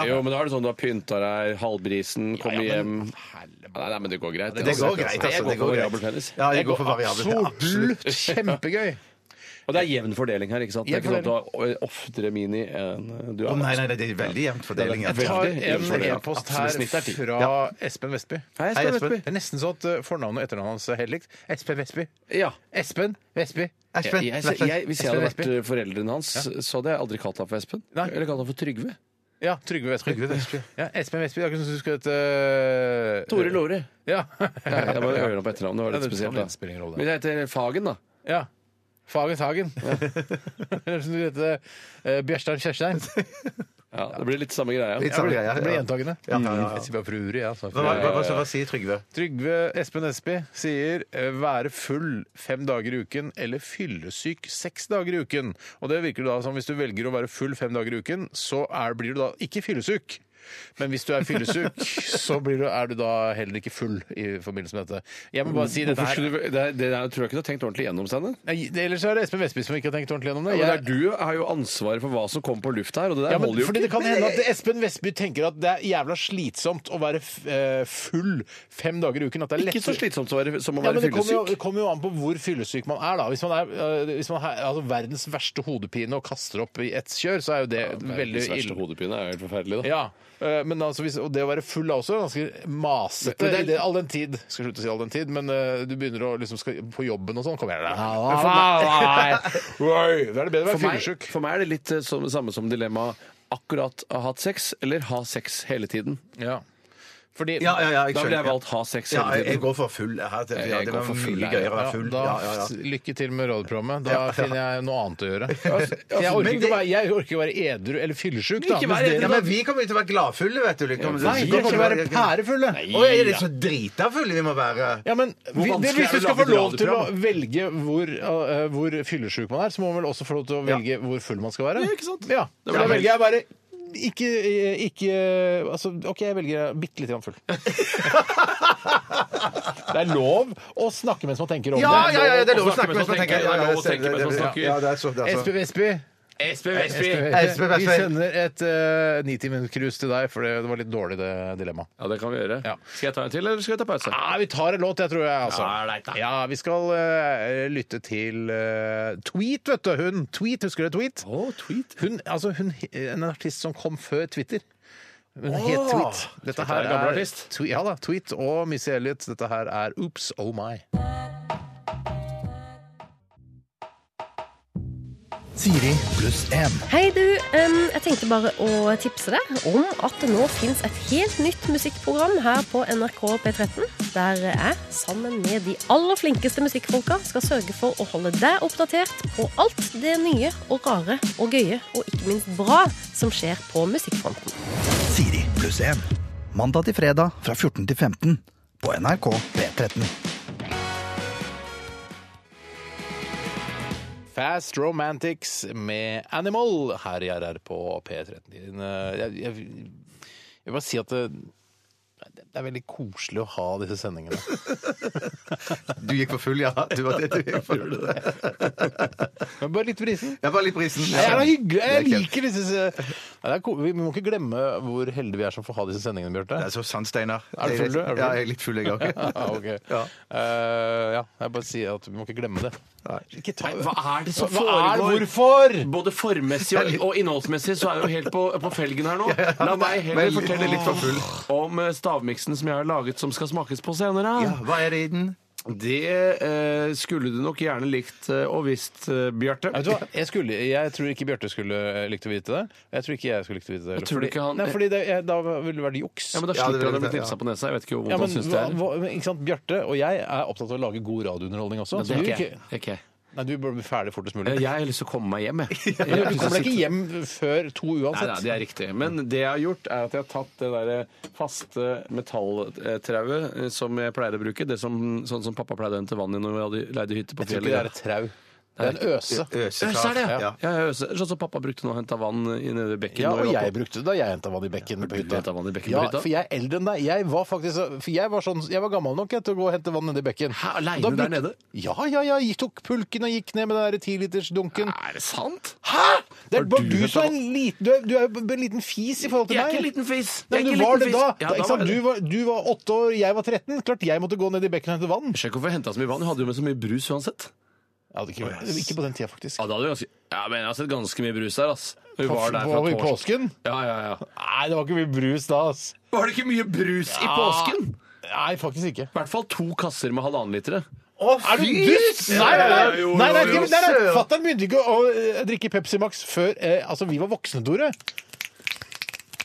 S5: Jo, men da er det sånn du har pynta deg, halvbrisen, kommer hjem Nei, nei, men det går greit.
S4: Det går greit, altså.
S5: Jeg går
S4: Det går
S5: for
S4: greit.
S5: variabel penis.
S4: Ja, jeg går for variabel.
S3: Absolutt kjempegøy.
S5: Og det er jevn fordeling her, ikke sant? Det er ikke
S3: Jevn
S5: sånn at du har oftere mini enn du har.
S4: Å, nei, nei, nei, det er veldig jevn fordeling, altså. ja.
S3: Jeg tar
S5: Veldig jevn
S3: en
S5: fordeling.
S3: e-post
S5: Absolutt
S3: her
S5: snitt er ti.
S3: fra
S5: Ja.
S3: Espen Vestby.
S5: Hei, Espen Hei, Espen. Vestby.
S3: Det er nesten sånn at eh, fornavnet og etternavnet hans er helt likt. Espen Vestby.
S5: Ja.
S3: Espen Vestby.
S5: Jeg, jeg, jeg, hvis jeg
S3: Espen
S5: hadde vært
S3: Vestby.
S5: eh, foreldrene hans, så hadde jeg aldri kalt ham for Espen. Eller kalt ham for Trygve.
S3: Ja, Trygve Vestby.
S5: Trygve Vestby.
S3: Ja, Espen Vestby. Det er ikke sånn som du skal hete
S5: Tore Lore.
S3: eh, Ja.
S5: Nei, jeg bare hører på etternavnet. Det var
S3: Ja, det sånn kan-
S5: litt
S3: det
S5: spesielt.
S3: spiller ingen
S5: da.
S3: rolle.
S5: Men jeg heter Fagen, da.
S3: Ja. Fagens Hagen. Eller som du heter eh, Bjørstein Kjørstein.
S5: Ja, det blir litt samme greia.
S3: Litt samme greia, ja. Det blir gjentagende.
S4: sånn, Ja, ja, ja, ja.
S3: Jeg sier bare Fruri, ja. altså. så-
S4: Hva, hva, hva, hva, hva sier Trygve?
S3: Trygve Espen Espi sier eh, være full fem dager i uken eller fyllesyk seks dager i uken. Og det virker da som hvis du velger å være full fem dager i uken, så er, blir du da ikke fyllesyk. Men hvis du er fyllesyk, så blir du, er du da heller ikke full i forbindelse med dette. Jeg må bare si dette
S5: Hvorfor
S3: her.
S5: skulle Mm, du- Det, er- det er- tror jeg ikke du har tenkt ordentlig gjennom, Steinar.
S3: Nei, det- ellers er det Espen Vestby som ikke har tenkt ordentlig gjennom det.
S5: Ja, men
S3: Jeg-
S5: det er du har jo ansvaret for hva som kommer på luft her, og det der
S3: Ja, men,
S5: holder jo
S3: fordi det kan hende at Espen Vestby tenker at det er jævla slitsomt å være f- eh, full fem dager i uken. At det er
S5: Ikke så
S3: lettere-
S5: slitsomt som å være, som å
S3: Ja,
S5: være
S3: men det kommer, jo,
S5: fyllesyk.
S3: det kommer jo an på hvor fyllesyk man er, da. Hvis man er øh, hvis man har altså, verdens verste hodepine og kaster opp i ett kjør, så er jo det veldig
S5: Verdens verste
S3: ille.
S5: hodepine er jo helt forferdelig, da.
S3: Ja, øh, men altså, hvis, og det å være full er også ganske masete.
S5: Men det er-
S3: i det, all den tid, skal slutte å si all den tid, men øh, du begynner å liksom skal, på jobben og sånn, kommer jeg deg. Oi, Da er det bedre å være
S5: For meg,
S3: fyllesyk.
S5: for meg er det litt eh, som, samme som dilemmaet akkurat ha hatt sex eller ha sex hele tiden.
S3: Ja. Fordi,
S4: Ja, ja, ja, jeg
S5: da ville jeg
S4: skjønner.
S5: valgt ha sex
S4: Ja,
S5: hele
S4: jeg,
S5: tiden.
S4: jeg går for full. Jeg, har-
S5: Jeg-
S4: ja,
S5: jeg
S4: det
S5: går
S4: var
S5: for full,
S4: mye
S5: jeg.
S4: gøyere å
S3: Ja,
S4: være full.
S3: da,
S4: Ja, ja, ja.
S3: Lykke til med radioprogrammet. Da
S4: Ja, ja.
S3: finner jeg noe annet å gjøre.
S5: altså,
S3: jeg, orker
S4: men
S3: ikke
S4: det-
S3: å være, jeg orker ikke å være edru eller fyllesyk, da.
S5: Ikke
S3: mens
S5: være
S3: dere-
S5: edru,
S4: Ja, men vi kommer jo til å være gladfulle, vet du. Liksom.
S3: Nei, dere kommer til å være pærefulle.
S4: Å, er det så drita fulle vi må være?
S3: Ja, men vi,
S4: Hvor
S3: det, Hvis
S4: vanskelig er
S3: du
S4: det å
S3: skal få
S4: lage et
S3: lov til å
S4: radioprogram?
S3: velge hvor, uh, hvor fyllesyk man er, så må man vel også få lov til å velge hvor full man skal være.
S5: Ja, ikke sant?
S3: Ja,
S5: Det
S3: for
S5: var
S3: Da
S5: det.
S3: velger jeg bare ikke, eh, ikke altså, OK, jeg velger bitte lite grann full. det er lov å snakke mens man tenker om
S4: Ja,
S3: det.
S4: ja, ja, det er lov å snakke mens man tenker. Ja, ja,
S5: Det er lov å tenke mens man snakker.
S4: Ja, det er så, det er så.
S3: Espen Vestby.
S5: Eh, Espen
S4: Espen Vestby.
S3: Vi sender et uh, nitiminutts-krus til deg, for det, det var litt dårlig, det dilemmaet.
S5: Ja, Ah, det kan vi gjøre.
S3: Ja.
S5: Skal jeg ta en til, eller skal jeg ta pause?
S3: Ja, vi tar en låt, jeg tror jeg. Altså.
S5: Ja, leit da.
S3: Ja, vi skal eh, lytte til eh, Tweet, vet du. Hun Tweet, husker du Tweet?
S5: Å, tweet.
S3: Hun, altså, hun, en artist som kom før Twitter. Hun
S4: Åh!
S3: het Tweet. Dette
S5: er
S3: her
S5: en
S3: er,
S5: gammel artist.
S3: Twe- ja da, Tweet og Missy Elliot. Dette her er Oops Oh My.
S6: Siri pluss én.
S16: Hei du, Em, Um, jeg tenkte bare å tipse deg om at det nå finnes et helt nytt musikkprogram her på NRK P13, der jeg, sammen med de aller flinkeste musikkfolka, skal sørge for å holde deg oppdatert på alt det nye og rare og gøye, og ikke minst bra, som skjer på musikkfronten.
S6: Siri pluss én. Mandag til fredag fra 14 til 15 på NRK P13.
S3: Fast Romantics med Animal her i RR på P13. Eh, Jeg, jeg, jeg vil bare si at det, det er veldig koselig å ha disse sendingene.
S4: Du gikk for full, ja. Du var det, du gikk for full.
S3: Men bare litt brisen.
S4: Jeg var litt brisen.
S3: Det er da hyggelig. Jeg
S4: Det er
S3: liker disse Ja, det er ko- vi må ikke glemme hvor heldige vi er som får ha disse sendingene, Bjarte.
S4: Det er så sant, Steinar.
S3: Er du full, du? Er du
S4: Ja, jeg er litt full, jeg òg.
S3: ja, ok.
S4: Ja.
S3: Eh, ja, jeg bare sier at vi må ikke glemme det. Ikke ta
S5: Hva er det som
S3: Hva er-
S5: foregår?
S3: Hvorfor?
S5: Både formmessig og, og innholdsmessig så er vi jo helt på, på felgen her nå. La meg heller
S4: Men litt-
S5: fortelle
S4: litt for full.
S5: om eh, stavmiksen som jeg har laget, som skal smakes på senere.
S4: Ja, hva er det i den?
S5: Det eh, skulle du nok gjerne likt eh, og visst, eh, Bjarte.
S3: Vet du hva? Jeg, skulle, jeg tror ikke Bjarte skulle eh, likt å vite det. Jeg tror ikke jeg skulle likt å vite det. heller,
S5: tror
S3: fordi-
S5: ikke han-
S3: Nei, fordi det, jeg, Da ville det vært juks.
S5: Ja, men da slipper han å bli knipsa på nesa. Jeg vet ikke hvor vondt
S3: Ja, men,
S5: han syns det er.
S3: hva- hva- men, ikke sant, Bjarte og jeg er opptatt av å lage god radiounderholdning også.
S5: Nei, det
S3: så
S5: er
S3: du
S5: ikke jeg. Det er ikke jeg.
S3: Nei, Du bør bli ferdig fortest mulig.
S5: Eh, Jeg har lyst til å komme meg hjem, jeg.
S3: Men du
S5: Jeg synes jeg
S3: kommer deg ikke
S5: sitter-
S3: hjem før to
S5: Nei,
S3: uansett.
S5: nei, det er riktig. Men det jeg har gjort, er at jeg har tatt det der eh, faste metalltrauet eh, som jeg pleier å bruke. Det som, sånn som pappa pleide å hente vann i når vi hadde leide hytte på
S3: Jeg tror ikke det er
S5: fjellet.
S3: et trau. Det er en øse.
S5: Øse er det, ja.
S3: Ja.
S5: ja. ja, øse. Sånn som pappa brukte nå, henta vann i nede ved bekken.
S3: Ja,
S5: når
S3: og
S5: vi var
S3: jeg
S5: på-
S3: brukte det da jeg henta vann i bekken på hytta.
S5: hentet vann i bekken på
S3: Ja,
S5: hytta?
S3: for jeg er eldre enn deg. Jeg var faktisk for jeg var, sånn, jeg var gammel nok jeg, til å gå og hente vann nedi bekken. Hæ,
S5: alene der nede?
S3: Ja, ja, ja. Jeg tok pulken og gikk ned med den der tilitersdunken.
S5: Er det sant?
S3: Hæ?! Det
S5: Har
S3: er bare
S5: du
S3: du
S5: hørt
S3: som er
S5: om-
S3: en liten Du er, du er jo en liten fis i forhold til
S5: Jeg er
S3: meg.
S5: ikke en liten fis.
S3: Nei,
S5: Jeg er
S3: men
S5: ikke
S3: du
S5: en
S3: var det
S5: liten
S3: da.
S5: fis. Ja, da
S3: ikke
S5: var
S3: sant?
S5: jeg
S3: Du,
S5: det.
S3: var, du var åtte år, jeg var 13. Klart jeg måtte gå ned i bekken og hente vann.
S5: Sjekk hvorfor jeg henta så mye vann. Jeg hadde jo med så mye brus uansett.
S3: Ja, det kunne, ikke på den tida, faktisk.
S5: Ja, da hadde vi ganske, ja, men jeg har sett ganske mye brus der, ass. Vi var der fra
S3: På- I
S5: torsdag.
S3: påsken?
S5: Ja, ja, ja.
S3: Nei, det var ikke mye brus da, ass.
S5: Var det ikke mye brus i påsken?
S3: Nei, faktisk ikke.
S5: I hvert fall to kasser med halvannen litere.
S3: Å, er du
S5: fy!
S3: dust? Nei, nei, nei.
S5: Jo, jo,
S3: nei, nei,
S5: jo, jo,
S3: nei, nei,
S5: søren.
S3: Fatter'n begynte ikke å eh, drikke Pepsi Max før eh, Altså, vi var voksne, Tore.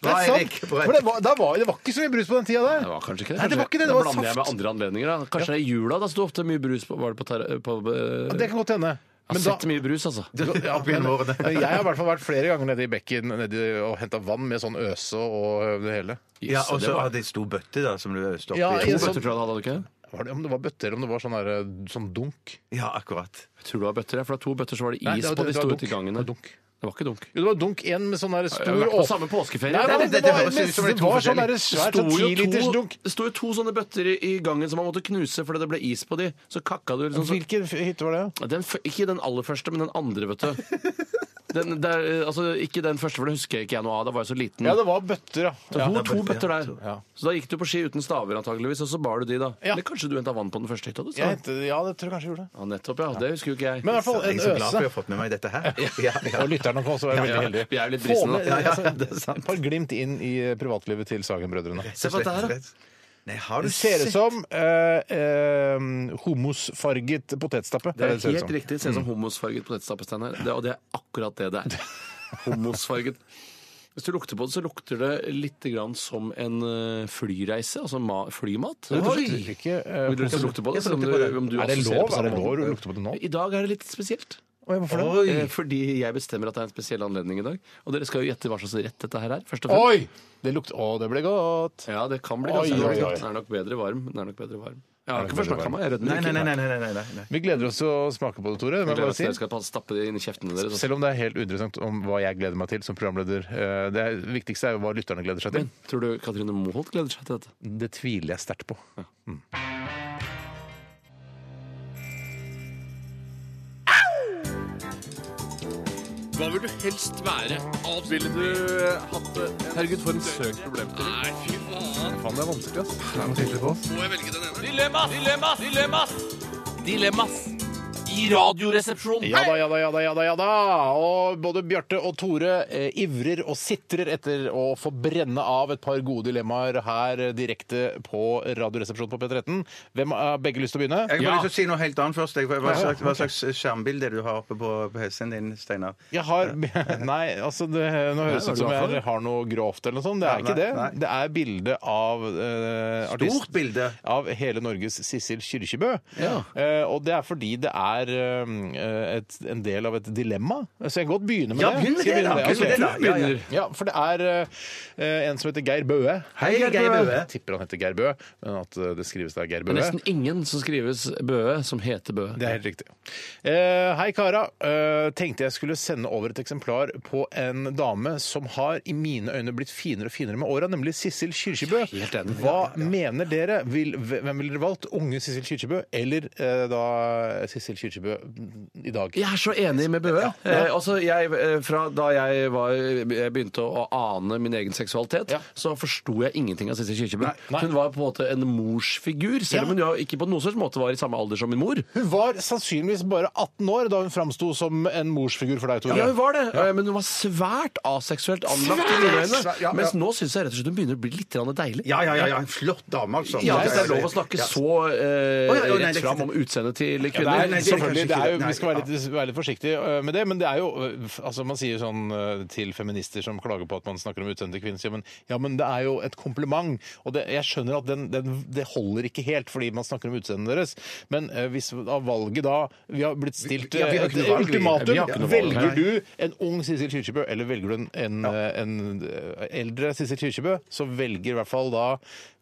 S3: Det
S5: Nei,
S3: er sant.
S5: Erik,
S3: For det var, da var, det var ikke så mye brus på den tida der.
S5: Det var kanskje ikke det.
S3: Nei, det var ikke det. Det
S5: Da
S3: var
S5: blander jeg med
S3: saft.
S5: andre anledninger. Da. Kanskje det er i jula. Da sto ofte mye brus på, var det på, ter på eh,
S3: Ja, Det kan godt hende.
S5: Jeg har sett mye brus, altså.
S3: Ja, men- men jeg har i hvert fall vært flere ganger nede i bekken nede og henta vann med sånn øse og det hele.
S4: Ja, og så hadde jeg stor bøtte da, som du øste opp
S3: Ja,
S4: i.
S3: i en sånn-
S5: jeg hadde, ikke?
S3: Var det, om det var bøtter, eller om det var sånn, der, sånn dunk.
S4: Ja, akkurat.
S5: Jeg tror det var bøtter, ja, for det var to bøtter så var det is
S3: Nei, det var-
S5: på de
S3: det var
S5: store
S3: dunk.
S5: tilgangene.
S3: Det
S5: var ikke dunk.
S3: Jo, det var dunk én med sånn der
S5: Jeg har
S3: stor
S5: vært på
S3: åp-
S5: samme påskeferie.
S3: Nei,
S5: Nei,
S3: men
S5: det-
S3: det,
S5: det
S3: var,
S5: høres ut som
S3: det
S5: det er to
S3: var sånn
S5: forskjellige.
S3: derre svært
S5: Det
S3: sånn
S5: sto jo to-
S3: tiliters dunk.
S5: Det sto jo to sånne bøtter i, i gangen som man måtte knuse fordi det ble is på de. Så kakka du liksom så-
S3: Hvilken hytte var det?
S5: Den, f- ikke den aller første, men den andre, vet du. Den, der, eh, altså, ikke den første, for det husker jeg ikke jeg noe av. Da var jeg så liten.
S3: Ja, det var bøtter, ja.
S5: Så
S3: ja.
S5: to, to bøtter der. Så da gikk du på ski uten staver, antageligvis, og så bar du de, da. Eller kanskje du henta vann på den første hytta? Du,
S3: Jeg
S5: sa.
S3: hentet- ja, det tror jeg kanskje jeg gjorde.
S5: Ja, nettopp, ja. Det husker jo ikke jeg.
S3: Men i hvert fall
S4: Jeg
S3: en
S4: er så glad for jeg
S3: øse.
S4: har fått med meg dette her. Ja, ja.
S3: Og lytterne kan også være
S4: Ja,
S3: veldig
S4: ja.
S3: heldige.
S5: Vi er jo litt
S3: Få
S5: brisen nå.
S3: med-
S5: Ja,
S4: ja,
S3: altså, Et par glimt inn i privatlivet til Sagen-brødrene.
S5: Se på dette her, da.
S4: Nei, har du
S3: Det ser ut
S4: sett?
S3: som eh, eh, hummusfarget potetstappe.
S5: Det er
S3: ser ut
S5: helt
S3: som. Mm.
S5: riktig. Ser ut som homosfarget potetstappestein her. Det, og det er akkurat det det er. Homosfarget. Hvis du lukter på det, så lukter det litt grann som en eh, flyreise, altså ma flymat.
S3: Oi!
S5: rett og slett. Vil du ikke lukte på det? selv om du- om du
S3: eh, Er det
S5: også ser
S3: lov?
S5: på
S3: Er
S5: samme
S3: det lov
S5: måte?
S3: å lukte på det nå?
S5: I dag er det litt spesielt.
S3: hvorfor det?
S5: Eh, Fordi jeg bestemmer at det er en spesiell anledning i dag. Og dere skal jo gjette hva slags rett dette her er. Først og fremst.
S3: Oi! Det lukter Å, det ble godt.
S5: Ja, det kan bli
S3: Oi,
S5: ganske
S3: oi,
S5: godt.
S3: oi.
S5: Den er nok bedre varm. Den er nok bedre varm. Jeg
S3: Den er
S5: har ikke
S3: nok bedre
S5: forsnakka
S3: varm.
S5: meg. Jeg rødmer
S4: Nei, nei,
S5: ikke.
S4: nei, nei, nei, nei, nei, nei.
S3: Vi gleder oss til å smake på det, Tore. Det må jeg
S5: Jeg
S3: bare
S5: gleder meg
S3: si.
S5: til dere skal ta- stappe det inn i kjeftene deres.
S3: Selv om det er sånn. helt uinteressant om hva jeg gleder meg til som programleder. Eh, Det viktigste er jo hva lytterne gleder seg til.
S5: Men tror du Katrine Moholt gleder seg til dette?
S3: Det tviler jeg sterkt på. Mm.
S17: Hva vil du helst være? Alt ville du eh, hatt det? Herregud, for en søk problem. Nei, fy faen.
S3: Faen, det er vanskelig, ass.
S17: Må jeg velge den ene? Dilemmas! Dilemmas! Dilemmas! Dilemmas! I radioresepsjonen.
S3: Ja da, ja da, ja da. ja da, ja da. Og både Bjarte og Tore eh, ivrer og sitrer etter å få brenne av et par gode dilemmaer her eh, direkte på Radioresepsjonen på P13. Hvem eh, har begge lyst til å begynne?
S4: Jeg har
S3: Ja.
S4: bare lyst til å si noe helt annet først. jeg. Hva
S3: Ja, ja,
S4: slags, hva slags skjermbilde er det du har oppe på, på PC-en din, Steinar?
S3: Jeg har Nei, altså det, nå høres det ut
S4: hva er
S3: som
S4: det du har for?
S3: jeg har noe grovt eller noe sånt. Det er
S4: Ja,
S3: ikke
S4: nei,
S3: det.
S4: nei.
S3: Det er bilde av eh, artist
S4: Stort bilde.
S3: Av hele Norges Sissel Kyrkjebø.
S4: Ja.
S3: Eh, og det er fordi det er eh, et, en del av et dilemma. Så jeg kan godt begynne med
S4: Ja,
S3: det.
S4: begynn med
S3: Skal jeg
S4: det, da.
S3: begynne
S4: Begynn
S3: Ok.
S4: med det, da. Ja, ja.
S3: Ja, for det er eh, en som heter Geir Bøe.
S4: Hei, Geir Bøe.
S3: Jeg tipper han heter Geir Bøe, men at eh, det skrives da Geir
S5: Det
S3: Bøe.
S5: er nesten ingen som skrives Bøe, som heter Bøe.
S3: Det er helt riktig. Eh, hei, Kara. Eh, tenkte jeg skulle sende over et eksemplar på en dame som har i mine øyne blitt finere og finere med åra, nemlig Sissel Kyrkjebø. Hva mener dere? Vil, hvem ville dere valgt? Unge Sissel Kyrkjebø eller eh, da Sissel Kyrkjebø i dag.
S5: Jeg er så enig med Bøe. Eh, altså jeg, eh, fra da jeg, var, jeg begynte å, å ane min egen seksualitet, så forsto jeg ingenting av Sissel Kyrkjebø. Hun var på en måte en morsfigur, selv om hun jo ikke på noen slags måte var i samme alder som min mor.
S3: Hun var sannsynligvis bare 18 år da hun framsto som en morsfigur for deg, Tore.
S5: Ja, hun var det, eh, men hun var svært aseksuelt anlagt i mine øyne.
S4: Svært! Ja, ja.
S5: Mens nå syns jeg rett og slett hun begynner å bli litt grann deilig.
S4: Ja, ja, ja, ja, en flott dame, altså.
S5: Ja, hvis det er lov å snakke
S4: Ja.
S5: så eh,
S4: Å, ja, ja, nei, det
S5: rett
S4: er
S5: fram
S4: ikke-
S5: om utseendet til
S3: Ja, det
S5: kvinner.
S3: er, nei, selvfølgelig, det er jo,
S5: Nei,
S3: vi skal være
S5: ja.
S3: litt, være litt forsiktige øh, med det, men det er jo øh, f- altså Man sier jo sånn øh, til feminister som klager på at man snakker om utseendet til kvinner, sier man ja, men det er jo et kompliment. Og det, jeg skjønner at den, den, det holder ikke helt fordi man snakker om utseendet deres, men øh, hvis av valget da Vi har blitt stilt
S4: Ja, vi har
S3: øh,
S4: ikke noe
S3: et
S4: valg, vi. Vi
S3: ultimatum.
S4: har ikke noe valg.
S3: Velger du en ung Sissel Kyrkjebø, eller velger du en, en, øh, en øh, eldre Sissel Kyrkjebø, så velger i hvert fall da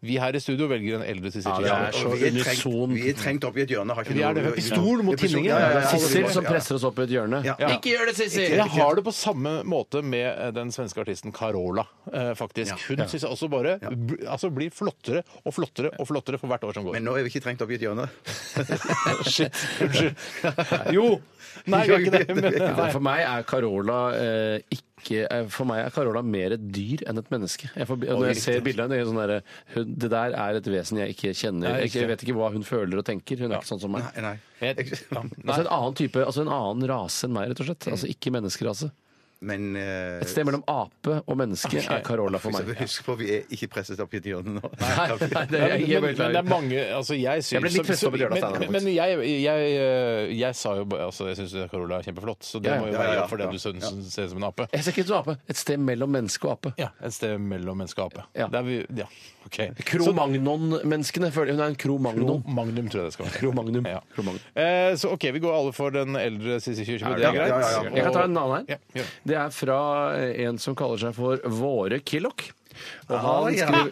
S3: vi her i studio velger en eldre Sissel
S4: Ja,
S3: Kyrkjebø.
S4: det er så vi er trengt- unison. vi er trengt opp i et hjørne. Har ikke
S3: vi
S4: noe-
S3: er det med pistol
S4: Ja,
S3: mot
S4: pistol,
S3: tinningen.
S4: ja, ja, ja.
S5: Sissel som presser oss opp i et hjørne.
S3: Ja. Jeg har det på samme måte med eh, den svenske artisten Carola, eh, faktisk. Hun
S4: Ja.
S3: synes jeg også bare b- altså, blir flottere og flottere og flottere for hvert år som går.
S4: Men nå er vi ikke trengt opp i et hjørne.
S3: Shit. Unnskyld. Jo! Nei, vi har ikke det. Men,
S5: Ja,
S3: nei.
S5: for meg er Carola eh, ikke eh, For meg er Carola mer et dyr enn et menneske. Jeg får,
S3: Oi,
S5: når jeg
S3: riktig.
S5: ser bildet av henne, tenker jeg sånn derre, hun- Det der er et vesen jeg ikke kjenner.
S3: Nei,
S5: Jeg,
S3: riktig.
S5: jeg vet ikke hva hun føler og tenker. Hun er ikke sånn som meg. Altså en annen type, altså en annen rase enn meg, rett og slett.
S4: Mm.
S5: Altså ikke menneskerase.
S4: Men eh,
S5: Et sted mellom ape og menneske
S4: ok.
S5: er Carola for meg.
S4: Husk på, vi er ikke presset opp i et hjørne nå.
S5: Nei, nei, det er-
S3: Men,
S5: jeg
S3: men, men
S5: er helt
S3: det
S5: ærlig.
S3: er mange altså jeg, synes,
S5: Jeg ble litt presset opp i hjørnet, Steinar,
S3: Men, men jeg, jeg, jeg, jeg sa jo bare altså, Jeg syns Carola er kjempeflott, så det
S5: Ja, ja.
S3: må jo
S5: Ja, ja,
S3: være
S5: ja.
S3: for det du
S5: Ja.
S3: syns ser ut som en ape.
S5: Jeg ser ikke ut som ape. Et sted mellom menneske og ape.
S3: Ja, Et sted mellom menneske og ape. Der vi, ja, ok. Så-
S5: Kromagnon-menneskene. føler- Hun er en kromagnon.
S3: Magnum, tror jeg det skal være.
S5: Kromagnum. Kromagnum.
S3: Eh, så OK, vi går alle for den eldre Sissy Kyrkjebø. Det
S5: Ja,
S3: er greit.
S5: ja, ja, ja. Jeg kan ta en
S3: Og-
S5: annen her.
S3: Ja, gjør
S5: Det er fra eh, en som kaller seg for Våre Killoch. Og
S3: Ah,
S5: han
S3: ja.
S5: skriver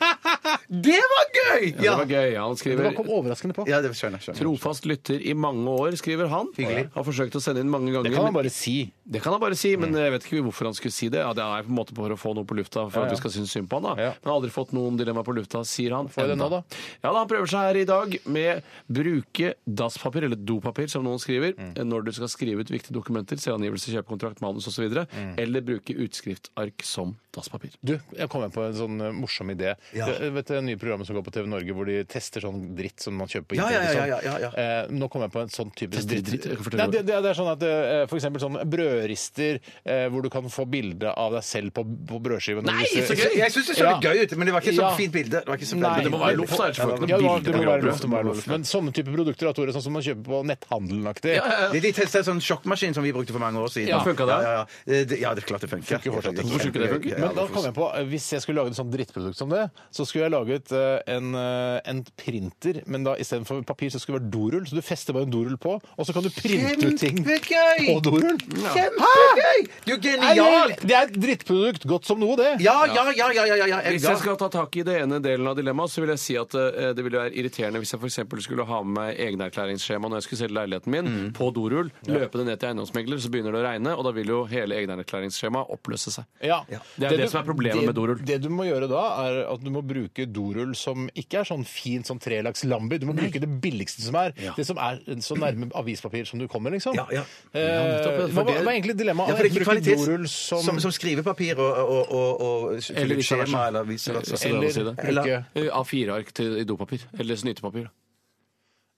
S4: Det var gøy!
S5: ja, det var gøy. Han skriver
S3: overraskende på.
S4: Ja, det skjønner jeg.
S5: Trofast lytter i mange år, skriver han. Har forsøkt å sende inn mange ganger.
S3: Det kan han
S5: men-
S3: bare si.
S5: Det kan han bare si,
S3: Mm.
S5: men jeg vet ikke hvorfor han skulle si det. Ja, det er på en måte for å få noe på lufta for
S3: Ja,
S5: at
S3: ja.
S5: vi skal synes synd på han. da. Men han har aldri fått noen dilemma på lufta, sier han.
S3: Får jeg det nå,
S5: Enda.
S3: da?
S5: Ja, da, Han prøver seg her i dag med bruke dasspapir, eller dopapir, som noen skriver,
S3: Mm.
S5: når du skal skrive ut viktige dokumenter, selvangivelse, kjøpekontrakt, manus osv., videre,
S3: Mm.
S5: eller bruke utskriftark som dasspapir.
S3: Du, jeg kom med på en sånn eh, morsom idé.
S5: Ja.
S3: Du vet det nye programmet som går på TV Norge, hvor de tester sånn dritt som man kjøper på
S4: Ja,
S3: internett?
S4: ja, ja,
S3: og
S4: ja,
S3: sånn.
S4: ja,
S3: Eh, nå kom jeg på en sånn typisk
S5: Tester
S3: dritt.
S5: dritt, jeg kan fortelle
S3: Nei,
S5: hva-
S3: det, det, det er sånn at eh, for eksempel sånn brødrister eh, hvor du kan få bilde av deg selv på, på brødskiven.
S4: Nei, så gøy! Jeg synes det så litt gøy ut, men det var ikke sånn fint bilde. Det var ikke så
S3: Nei.
S4: veldig- Det må være luft, da, ellers får du ikke noe
S3: Ja, det må-
S4: bilde
S3: det må
S4: på
S3: være
S4: brødskiven.
S3: luft, det må være luft. Men sånne typer produkter da, Tore, sånn som man kjøper på netthandelen-aktig.
S4: De, de testa en sånn sjokkmaskin som vi brukte for mange år siden.
S3: Ja, funka det?
S4: Ja, ja, ja. Det- ja, det er klart det funker.
S3: Funker fortsatt.
S4: Hvorfor skulle det funke?
S3: Men da kom jeg på, eh, hvis jeg skulle laget et sånt drittprodukt som det, så skulle jeg laget eh, en, eh, en printer, men da istedenfor papir, så skulle det være dorull. Så du fester bare en dorull på, og så kan du printe ut ting
S4: Kjempegøy!
S3: på dorull.
S4: Ja.
S3: Hæ?
S4: Du er
S3: Nei,
S4: genial!
S3: Det er et drittprodukt godt som noe, det.
S4: Ja, ja, ja, ja, ja, ja, ja.
S5: Hvis jeg skal ta tak i det ene delen av dilemmaet, så vil jeg si at eh, det ville være irriterende hvis jeg f.eks. skulle ha med meg egenerklæringsskjema når jeg skulle selge leiligheten min,
S3: Mm.
S5: på dorull, løpe det ned til eiendomsmegler, så begynner det å regne, og da vil jo hele egenerklæringsskjemaet oppløse seg.
S3: Ja.
S5: Det er det, som er problemet
S3: det-
S5: med dorull.
S3: Det du må gjøre da, er at du må bruke dorull som ikke er sånn fint sånn trelaks lambi. Du må bruke det billigste som er. Det som er så nærme avispapir som du kommer, liksom.
S4: Ja, ja.
S3: Eh, hva, var- hva er egentlig dilemmaet?
S4: Ja, for det er ikke
S3: bruke
S4: kvalitets...
S3: dorull som,
S4: som, som skrivepapir og, og, og, og
S5: Eller vice versa.
S4: skjema eller vice versa.
S5: Eller
S4: Eller-
S5: bruke A4-ark til i dopapir. Eller snytepapir.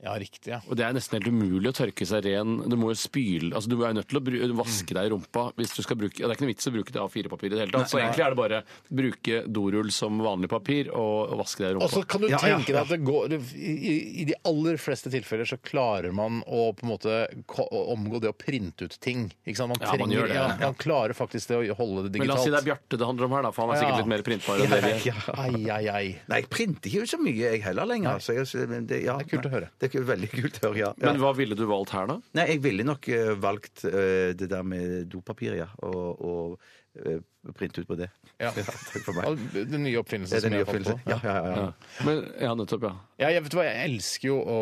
S3: Ja, riktig. Ja.
S5: Og det er nesten helt umulig å tørke seg ren. Du må jo spyle altså Du er nødt til å bru- vaske deg i rumpa hvis du skal bruke ja, Det er ikke noe vits å bruke det A4-papiret i det hele tatt.
S3: Nei,
S5: Så
S3: nei.
S5: egentlig er det bare bruke dorull som vanlig papir og vaske deg i rumpa.
S3: Og så kan du tenke deg at det går i, i- I de aller fleste tilfeller så klarer man å på en måte ko- å omgå det å printe ut ting. Ikke sant? Man,
S5: Ja, man
S3: trenger-
S5: gjør det.
S3: Ja, man klarer faktisk det å holde det digitalt.
S5: Men la oss si det er Bjarte det handler om her, da, for han er
S3: Ja.
S5: sikkert litt mer printbar enn det vi er.
S4: Ja,
S3: Ai, ai, ai.
S4: Nei, jeg printer ikke ut så mye jeg heller lenger. altså. Jeg- men det, ja, det er kult å høre. Det er veldig kult å høre, ja. ja.
S5: Men hva ville du valgt her, da?
S4: Nei, jeg ville nok eh, valgt eh, det der med dopapir, ja. Og, og eh, printe ut på det.
S3: Ja.
S4: takk for meg.
S3: Den nye oppfinnelsen
S4: Det er den
S3: som jeg
S4: nye
S3: har fått på.
S4: oppfinnelsen. Ja, ja, ja, ja.
S5: Men, ja, nettopp, ja.
S3: Ja, jeg vet du hva, jeg elsker jo å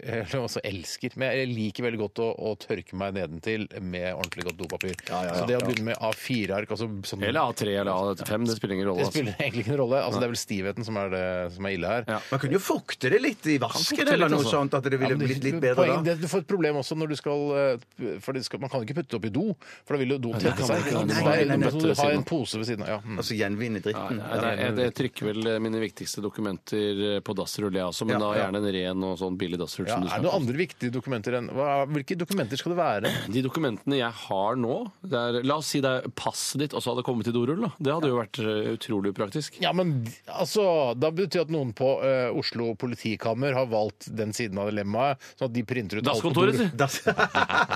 S3: Eller også elsker, men jeg liker veldig godt å, å tørke meg nedentil med ordentlig godt dopapir.
S5: ja,
S3: så det å
S5: ja.
S3: begynne med A4-ark altså sånn,
S5: Eller A3 eller A5, det spiller ingen rolle.
S3: Det spiller egentlig ikke noen rolle. Altså, det er vel stivheten som er det som er ille her.
S4: Man kunne jo fukte det litt i vasken eller noe sånt, at det ville
S3: men
S4: blitt litt bedre
S3: poeng,
S4: da.
S3: det- Du får et problem også når du skal eh, For det skal, man kan ikke putte det opp i do, for da vil jo do
S4: Nei, det
S3: tette
S4: kan
S3: seg.
S4: man ikke. Nei,
S3: Nei,
S4: nei, nei, nei.
S3: Du må ha en pose ved siden av. Ja. Mm.
S4: Altså gjenvinne dritten.
S5: Nei, nei, jeg, jeg trykker vel mine viktigste dokumenter på dassrull, jeg også, men
S3: Ja,
S5: da
S3: ja.
S5: gjerne en ren og sånn billig dassrull.
S3: Ja,
S5: som
S3: er
S5: du
S3: det
S5: snakker
S3: noen
S5: om.
S3: andre viktige dokumenter enn hva, Hvilke dokumenter skal det være?
S5: De dokumentene jeg har nå det er, La oss si det er passet ditt, og så hadde det kommet i dorull. da. Det hadde jo vært eh, utrolig upraktisk.
S3: Ja, men altså, Da betyr det at noen på eh, Oslo politikammer har valgt den siden av dilemmaet. Sånn at de printer ut
S5: Dasskontoret,
S3: alt på do.
S5: sier Dass- I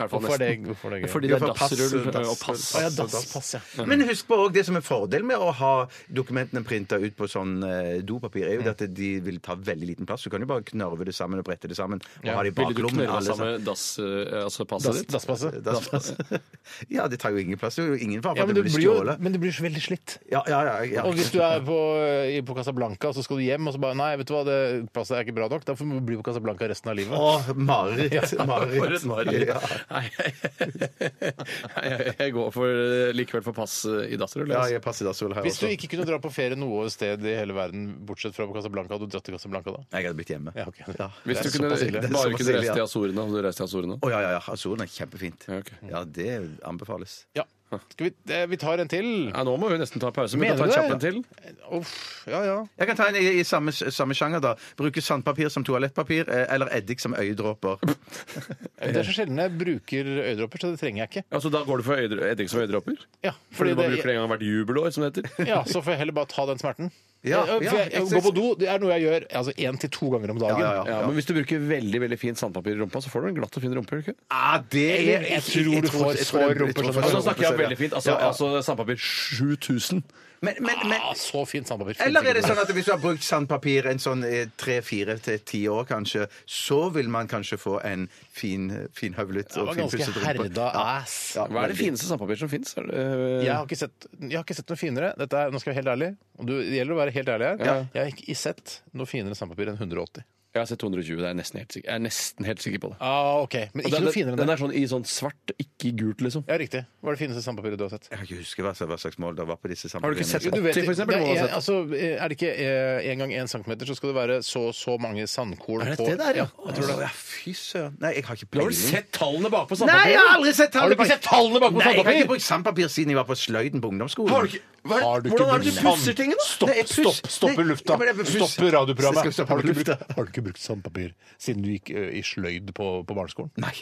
S5: hvert fall
S3: Hvorfor er det-
S5: nesten.
S3: hvorfor er det gøy?
S5: Fordi
S3: Jo,
S5: det er
S3: for pass,
S5: dassrull eh,
S3: dass-
S5: og pass.
S3: Å ja, dasspass, ja.
S5: Mm.
S4: Men husk på også det som er fordelen med å ha dokumentene printa ut på sånn eh, dopapir,
S3: Mm.
S4: er jo det at de vil ta veldig liten plass. Du kan jo bare knørve det sammen og brette det sammen. Og
S5: Ja.
S4: ha det i
S5: Ville du
S4: baklommen.
S5: knørre
S4: alle sammen.
S5: sammen dass, eh, altså passet ditt?
S4: Dasspasset. Ja, det tar jo ingen plass. Det er jo ingen fare for
S3: Ja,
S4: at
S3: men,
S4: det
S3: det
S4: blir
S3: blir jo,
S4: stjålet.
S3: men det blir så veldig slitt.
S4: Ja, ja, ja, ja.
S3: Og hvis du er på, eh, i- på Casablanca, så skal du hjem, og så bare Nei, vet du hva, det passet er ikke bra nok. Da får du bli på Casablanca resten av livet.
S4: Å, mareritt,
S3: Ja.
S4: mareritt. For et mareritt. Ja.
S5: Jeg, jeg går for, eh, likevel for pass eh, i dassrull.
S4: Ja,
S5: altså.
S4: jeg passer dassrull her
S3: Hvis du
S4: også.
S3: ikke kunne dra på ferie noe sted i hele verden bortsett fra på Casablanca, hadde du dratt til Casablanca da?
S4: Jeg hadde blitt hjemme.
S3: Ja, ok.
S5: Hvis
S3: Det
S5: du
S3: er
S5: kunne
S3: såpass ille.
S5: bare
S3: Det er
S5: kunne
S3: såpass ille,
S5: reist
S3: ja.
S5: til Azorene, hadde du reist til Azorene?
S4: Å ja, ja, ja. Azoren er kjempefint. Ja, det anbefales.
S3: Ja. Skal vi, eh, vi tar en til.
S5: Ja, nå må vi nesten ta pause. men vi
S3: Mener du
S5: kan ta
S3: det?
S5: en kjapp en
S3: Uff, ja, ja.
S4: Jeg kan ta en i, i samme, samme sjanger, da. Bruke sandpapir som toalettpapir, eh, eller eddik som øyedråper.
S3: Men Det er så sjelden jeg bruker øyedråper, så det trenger jeg ikke.
S5: Altså, da går du for øyedr- eddik som øyedråper?
S3: Ja,
S5: Fordi
S3: fordi
S5: du bare
S3: det-
S5: bruker det en gang hvert jubelår, som det heter?
S3: Ja, så får jeg heller bare ta den smerten.
S5: Ja,
S3: jeg,
S5: ja,
S3: for jeg, jeg,
S5: ikke
S3: går
S5: sant.
S3: på do det er noe jeg gjør altså én til to ganger om dagen.
S5: Ja, Men hvis du bruker veldig veldig fint sandpapir i rumpa, så får du en glatt og fin rumpe? gjør du ikke?
S4: Ah, det er
S3: Jeg- jeg tror du får så rumper som-
S5: Altså, Da snakker jeg om veldig fint. Altså,
S3: Ja, ja.
S5: altså sandpapir 7000.
S3: ah, så fint sandpapir. Fint
S4: Eller er det
S3: sikkert.
S4: sånn at hvis du har brukt sandpapir en sånn tre-fire til ti år, kanskje, så vil man kanskje få en fin, finhøvlet
S3: Det
S4: og
S3: var ganske
S4: finpusset
S3: herda
S4: rumpe? Ja.
S3: ass.
S4: Ja, Hva er det veldig. fineste
S5: sandpapir som fins? eh,
S3: Jeg har ikke sett, jeg har ikke sett noe finere. Dette er, nå skal jeg være helt ærlig. Og du, det gjelder å være helt ærlig her.
S5: Ja.
S3: Jeg har ikke sett noe finere sandpapir enn 180.
S5: Jeg har sett 220. Det er jeg nesten helt sikker, jeg er nesten helt sikker på det.
S3: Ah, ok. Men
S5: Og
S3: ikke
S5: den-
S3: noe finere enn det.
S5: Den er sånn i sånn svart, ikke i gult, liksom.
S3: Ja, riktig. Hva er det fineste sandpapiret du har sett?
S4: Jeg kan ikke huske hva, hva slags mål det var på disse
S5: Har du ikke
S4: sandpapirene.
S5: sett
S3: Jo, du vet,
S5: 80, for eksempel?
S3: det
S5: må
S3: er, en-
S5: man ha sett.
S3: altså, er det ikke eh, en gang én centimeter, så skal det være så og så mange sandkorn
S4: Er det
S3: på
S4: det der, ja?
S3: jeg tror det.
S4: Ja, fy søren. Nei, jeg har ikke
S5: Du har
S4: peiling.
S5: vel sett tallene bakpå
S4: Nei,
S5: sandpapiret?
S4: jeg har aldri sett
S5: Har du ikke sett tallene bakpå
S4: Nei, jeg har
S5: sandpapir?
S4: ikke brukt sandpapir siden jeg var på sløyden på ungdomsskolen.
S5: Har du ikke- hva-
S3: Har du ikke
S5: hvordan er det
S3: brukt
S5: du pusser ting, da?
S3: Stopp,
S5: Nei, jeg puss-
S3: stopp, stopp i
S5: Nei,
S3: lufta.
S5: ja, men jeg- puss-
S3: Stopp i radioprogrammet.
S4: Skal vi stoppe
S3: Har, du ikke
S4: lufta?
S3: brukt- har du ikke brukt sandpapir siden du gikk eh, i sløyd på, på barneskolen?
S4: Nei.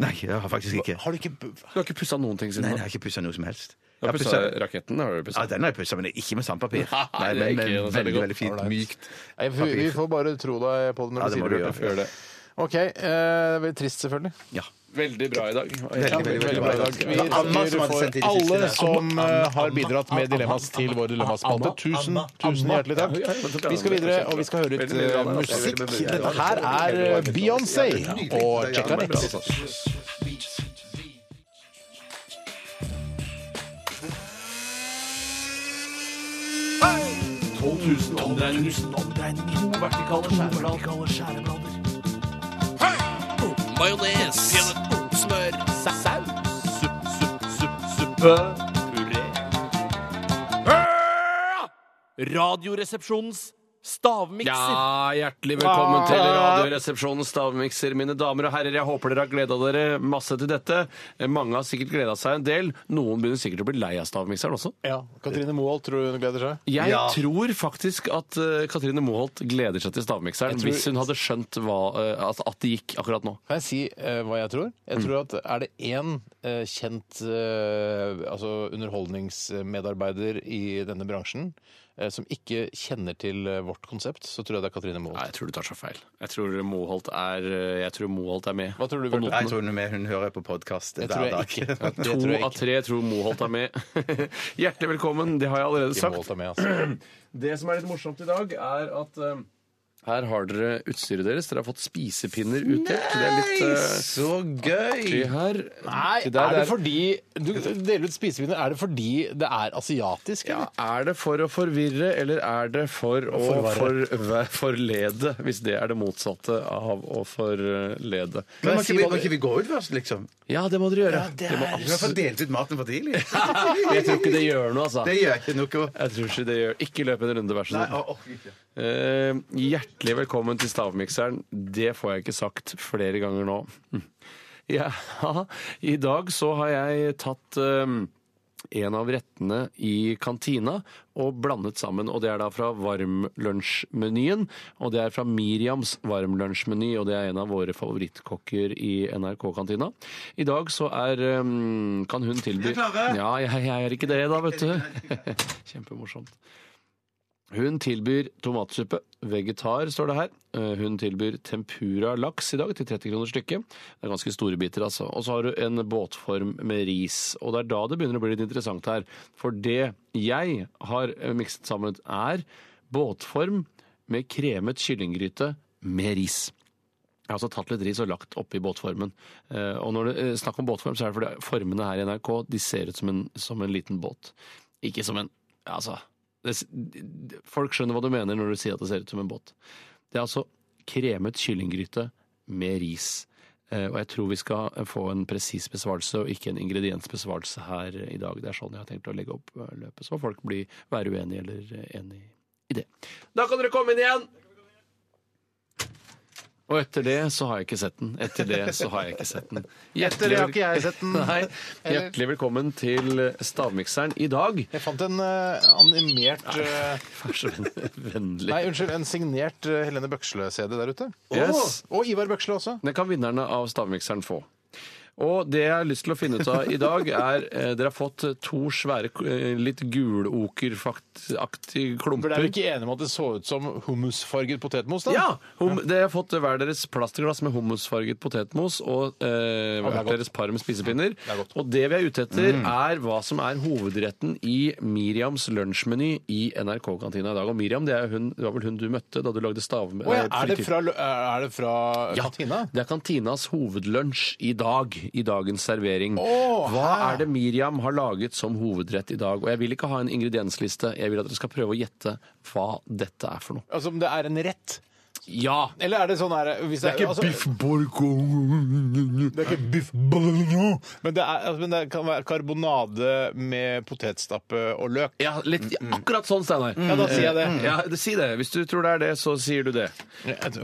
S4: Nei, jeg har faktisk ikke.
S3: Har du ikke bu-
S5: Du har ikke pussa noen ting
S4: Nei,
S5: siden
S4: jeg
S5: da?
S4: har ikke pussa noe som helst.
S5: Du har pussa raketten, har du
S4: Ja,
S5: pussa.
S4: den har jeg pussa, men ikke med sandpapir.
S5: Nei, det
S4: Nei,
S5: er
S4: men,
S5: ikke
S4: men
S5: noe særlig
S4: veldig,
S5: godt.
S4: veldig fint,
S3: Alright.
S4: mykt
S3: Nei, vi, vi
S4: papir.
S3: får bare tro deg på det når du
S4: Ja, det må
S3: sier
S4: du
S3: det.
S4: gjøre.
S3: Bjarte. OK. Eh, det blir trist, selvfølgelig.
S4: Ja.
S5: Veldig bra i dag.
S3: Ja, veldig, veldig bra i dag. Vi takker for alle som eh, har bidratt med dilemmas til vår dilemmaspalte. Tusen, tusen hjertelig takk. Vi skal videre, og vi skal høre litt eh, musikk. Dette her er eh, Beyoncé og Check-a-Nett.
S18: Majones. Smør. Saus. Supp, supp, supp, suppe. Puré. Radioresepsjonens stavmikser.
S5: Ja, hjertelig velkommen til Radioresepsjonens stavmikser, mine damer og herrer. Jeg håper dere har gleda dere masse til dette. Mange har sikkert gleda seg en del. Noen begynner sikkert å bli lei av stavmikseren også.
S3: Ja, Katrine Moholt, tror du hun gleder seg?
S5: Jeg tror faktisk at eh, Katrine Moholt gleder seg til stavmikseren
S3: Jeg tror-
S5: hvis hun hadde skjønt hva, eh, at, at det gikk akkurat nå.
S3: Kan jeg si eh, hva jeg tror? Jeg tror at Er det én eh, kjent eh, altså underholdningsmedarbeider i denne bransjen eh, som ikke kjenner til eh, vårt konsept, så tror jeg det er Katrine Moholt.
S5: Nei, jeg tror du tar så feil. Jeg tror Moholt er, eh, jeg tror Moholt er med.
S3: Hva tror du,
S5: på
S3: Bjarte?
S5: notene.
S4: Jeg tror hun, er med, hun hører på podkast hver
S3: tror jeg
S4: dag.
S3: ikke.
S4: Det
S5: To
S4: tror jeg
S5: av tre tror Moholt er med. Hjertelig velkommen, det har jeg allerede
S3: Ikke
S5: sagt.
S3: Moholt er med, altså.
S5: Det som er litt morsomt i dag, er at eh, Her har dere utstyret deres. Dere har fått spisepinner utdelt. Det er litt eh,
S4: Så gøy!
S5: Her.
S3: Nei,
S5: Det der-
S3: er det
S5: der-
S3: fordi Du deler ut spisepinner. Er det fordi det er asiatisk?
S5: Ja, er det for å forvirre, eller er det for å
S3: Forvarre.
S5: forve- forlede? Hvis det er det motsatte av å forlede.
S4: Men må ikke, vi, må ikke vi gå ut først, liksom?
S5: Ja, det må dere gjøre.
S4: det
S5: Det må
S4: er... Du har fått delt ut maten for tidlig.
S5: Jeg tror ikke det gjør noe, altså.
S4: Det gjør ikke noe.
S5: Jeg tror ikke det gjør Ikke løp en runde, vær så
S4: Nei,
S5: snill.
S4: å, å, ikke.
S5: Eh, hjertelig velkommen til Stavmikseren. Det får jeg ikke sagt flere ganger nå. Hm. Ja, I dag så har jeg tatt eh, en av rettene i kantina og blandet sammen. Og det er da fra varmlunsjmenyen. Og det er fra Miriams varmlunsjmeny, og det er en av våre favorittkokker i NRK-kantina. I dag så er eh, Kan hun tilby Ja, jeg, jeg er ikke det, da, vet du. Kjempemorsomt. Hun tilbyr tomatsuppe. Vegetar, står det her. Eh, Hun tilbyr tempura laks i dag til 30 kroner stykket. Det er ganske store biter, altså. Og så har du en båtform med ris. Og det er da det begynner å bli litt interessant her. For det jeg har eh, mikset sammen, er båtform med kremet kyllinggryte med ris. Jeg har altså tatt litt ris og lagt oppi båtformen. Eh, Og når det er snakk om båtform, så er det fordi formene her i NRK de ser ut som en, som en liten båt. Ikke som en Altså. Det, s- d- d- folk skjønner hva du mener når du sier at det ser ut som en båt. Det er altså kremet kyllinggryte med ris. Eh, Og jeg tror vi skal eh, få en presis besvarelse og ikke en ingrediensbesvarelse her i dag. Det er sånn jeg har tenkt å legge opp eh, løpet, så folk blir være uenige eller eh, enige i det. Da kan dere komme inn igjen! Og etter det så har jeg ikke sett den. Etter det så har jeg ikke sett den.
S3: Etter det har ikke jeg sett den.
S5: Nei. Hjertelig velkommen til Stavmikseren i dag.
S3: Jeg fant en eh, animert eh,
S5: Vær så venn- vennlig.
S3: Nei, unnskyld, en signert eh, Helene Bøksle-CD der ute.
S5: Yes.
S3: Å, Og Ivar Bøksle også.
S5: Den kan vinnerne av stavmikseren få. Og det jeg har lyst til å finne ut av i dag, er eh, Dere har fått to svære, eh, litt gulokeraktige
S3: For
S5: klumper.
S3: dere er jo ikke enige om at det så ut som hummusfarget potetmos? da?
S5: Ja! Hum, dere har fått hver deres plastglass med hummusfarget potetmos og
S3: det er
S5: eh, hvert
S3: godt.
S5: deres par med spisepinner. og det vi er ute
S3: Mm.
S5: etter, er hva som er hovedretten i Miriams lunsjmeny i NRK-kantina i dag. Og Miriam, det, er hun, det var vel hun du møtte da du lagde stav...
S3: Å ja,
S5: eh,
S3: er, det fra, lø- er det fra eh, kantina?
S5: det er kantinas hovedlunsj i dag, i dagens servering.
S3: Å,
S5: Hva
S3: hæ?
S5: er det Miriam har laget som hovedrett i dag? Og jeg vil ikke ha en ingrediensliste, jeg vil at dere skal prøve å gjette hva dette er for noe.
S3: Altså om det er en rett?
S5: Ja!
S3: Eller er det sånn her hvis
S5: Det er ikke biff bourguignon.
S3: Det er ikke biff bourguignon. Men det, er, altså, men det kan være karbonade med potetstappe og løk.
S5: Ja, litt, ja, akkurat sånn, Steinar. Mm.
S3: Ja, da sier jeg det.
S5: Ja, si det. Hvis du tror det er det, så sier du det.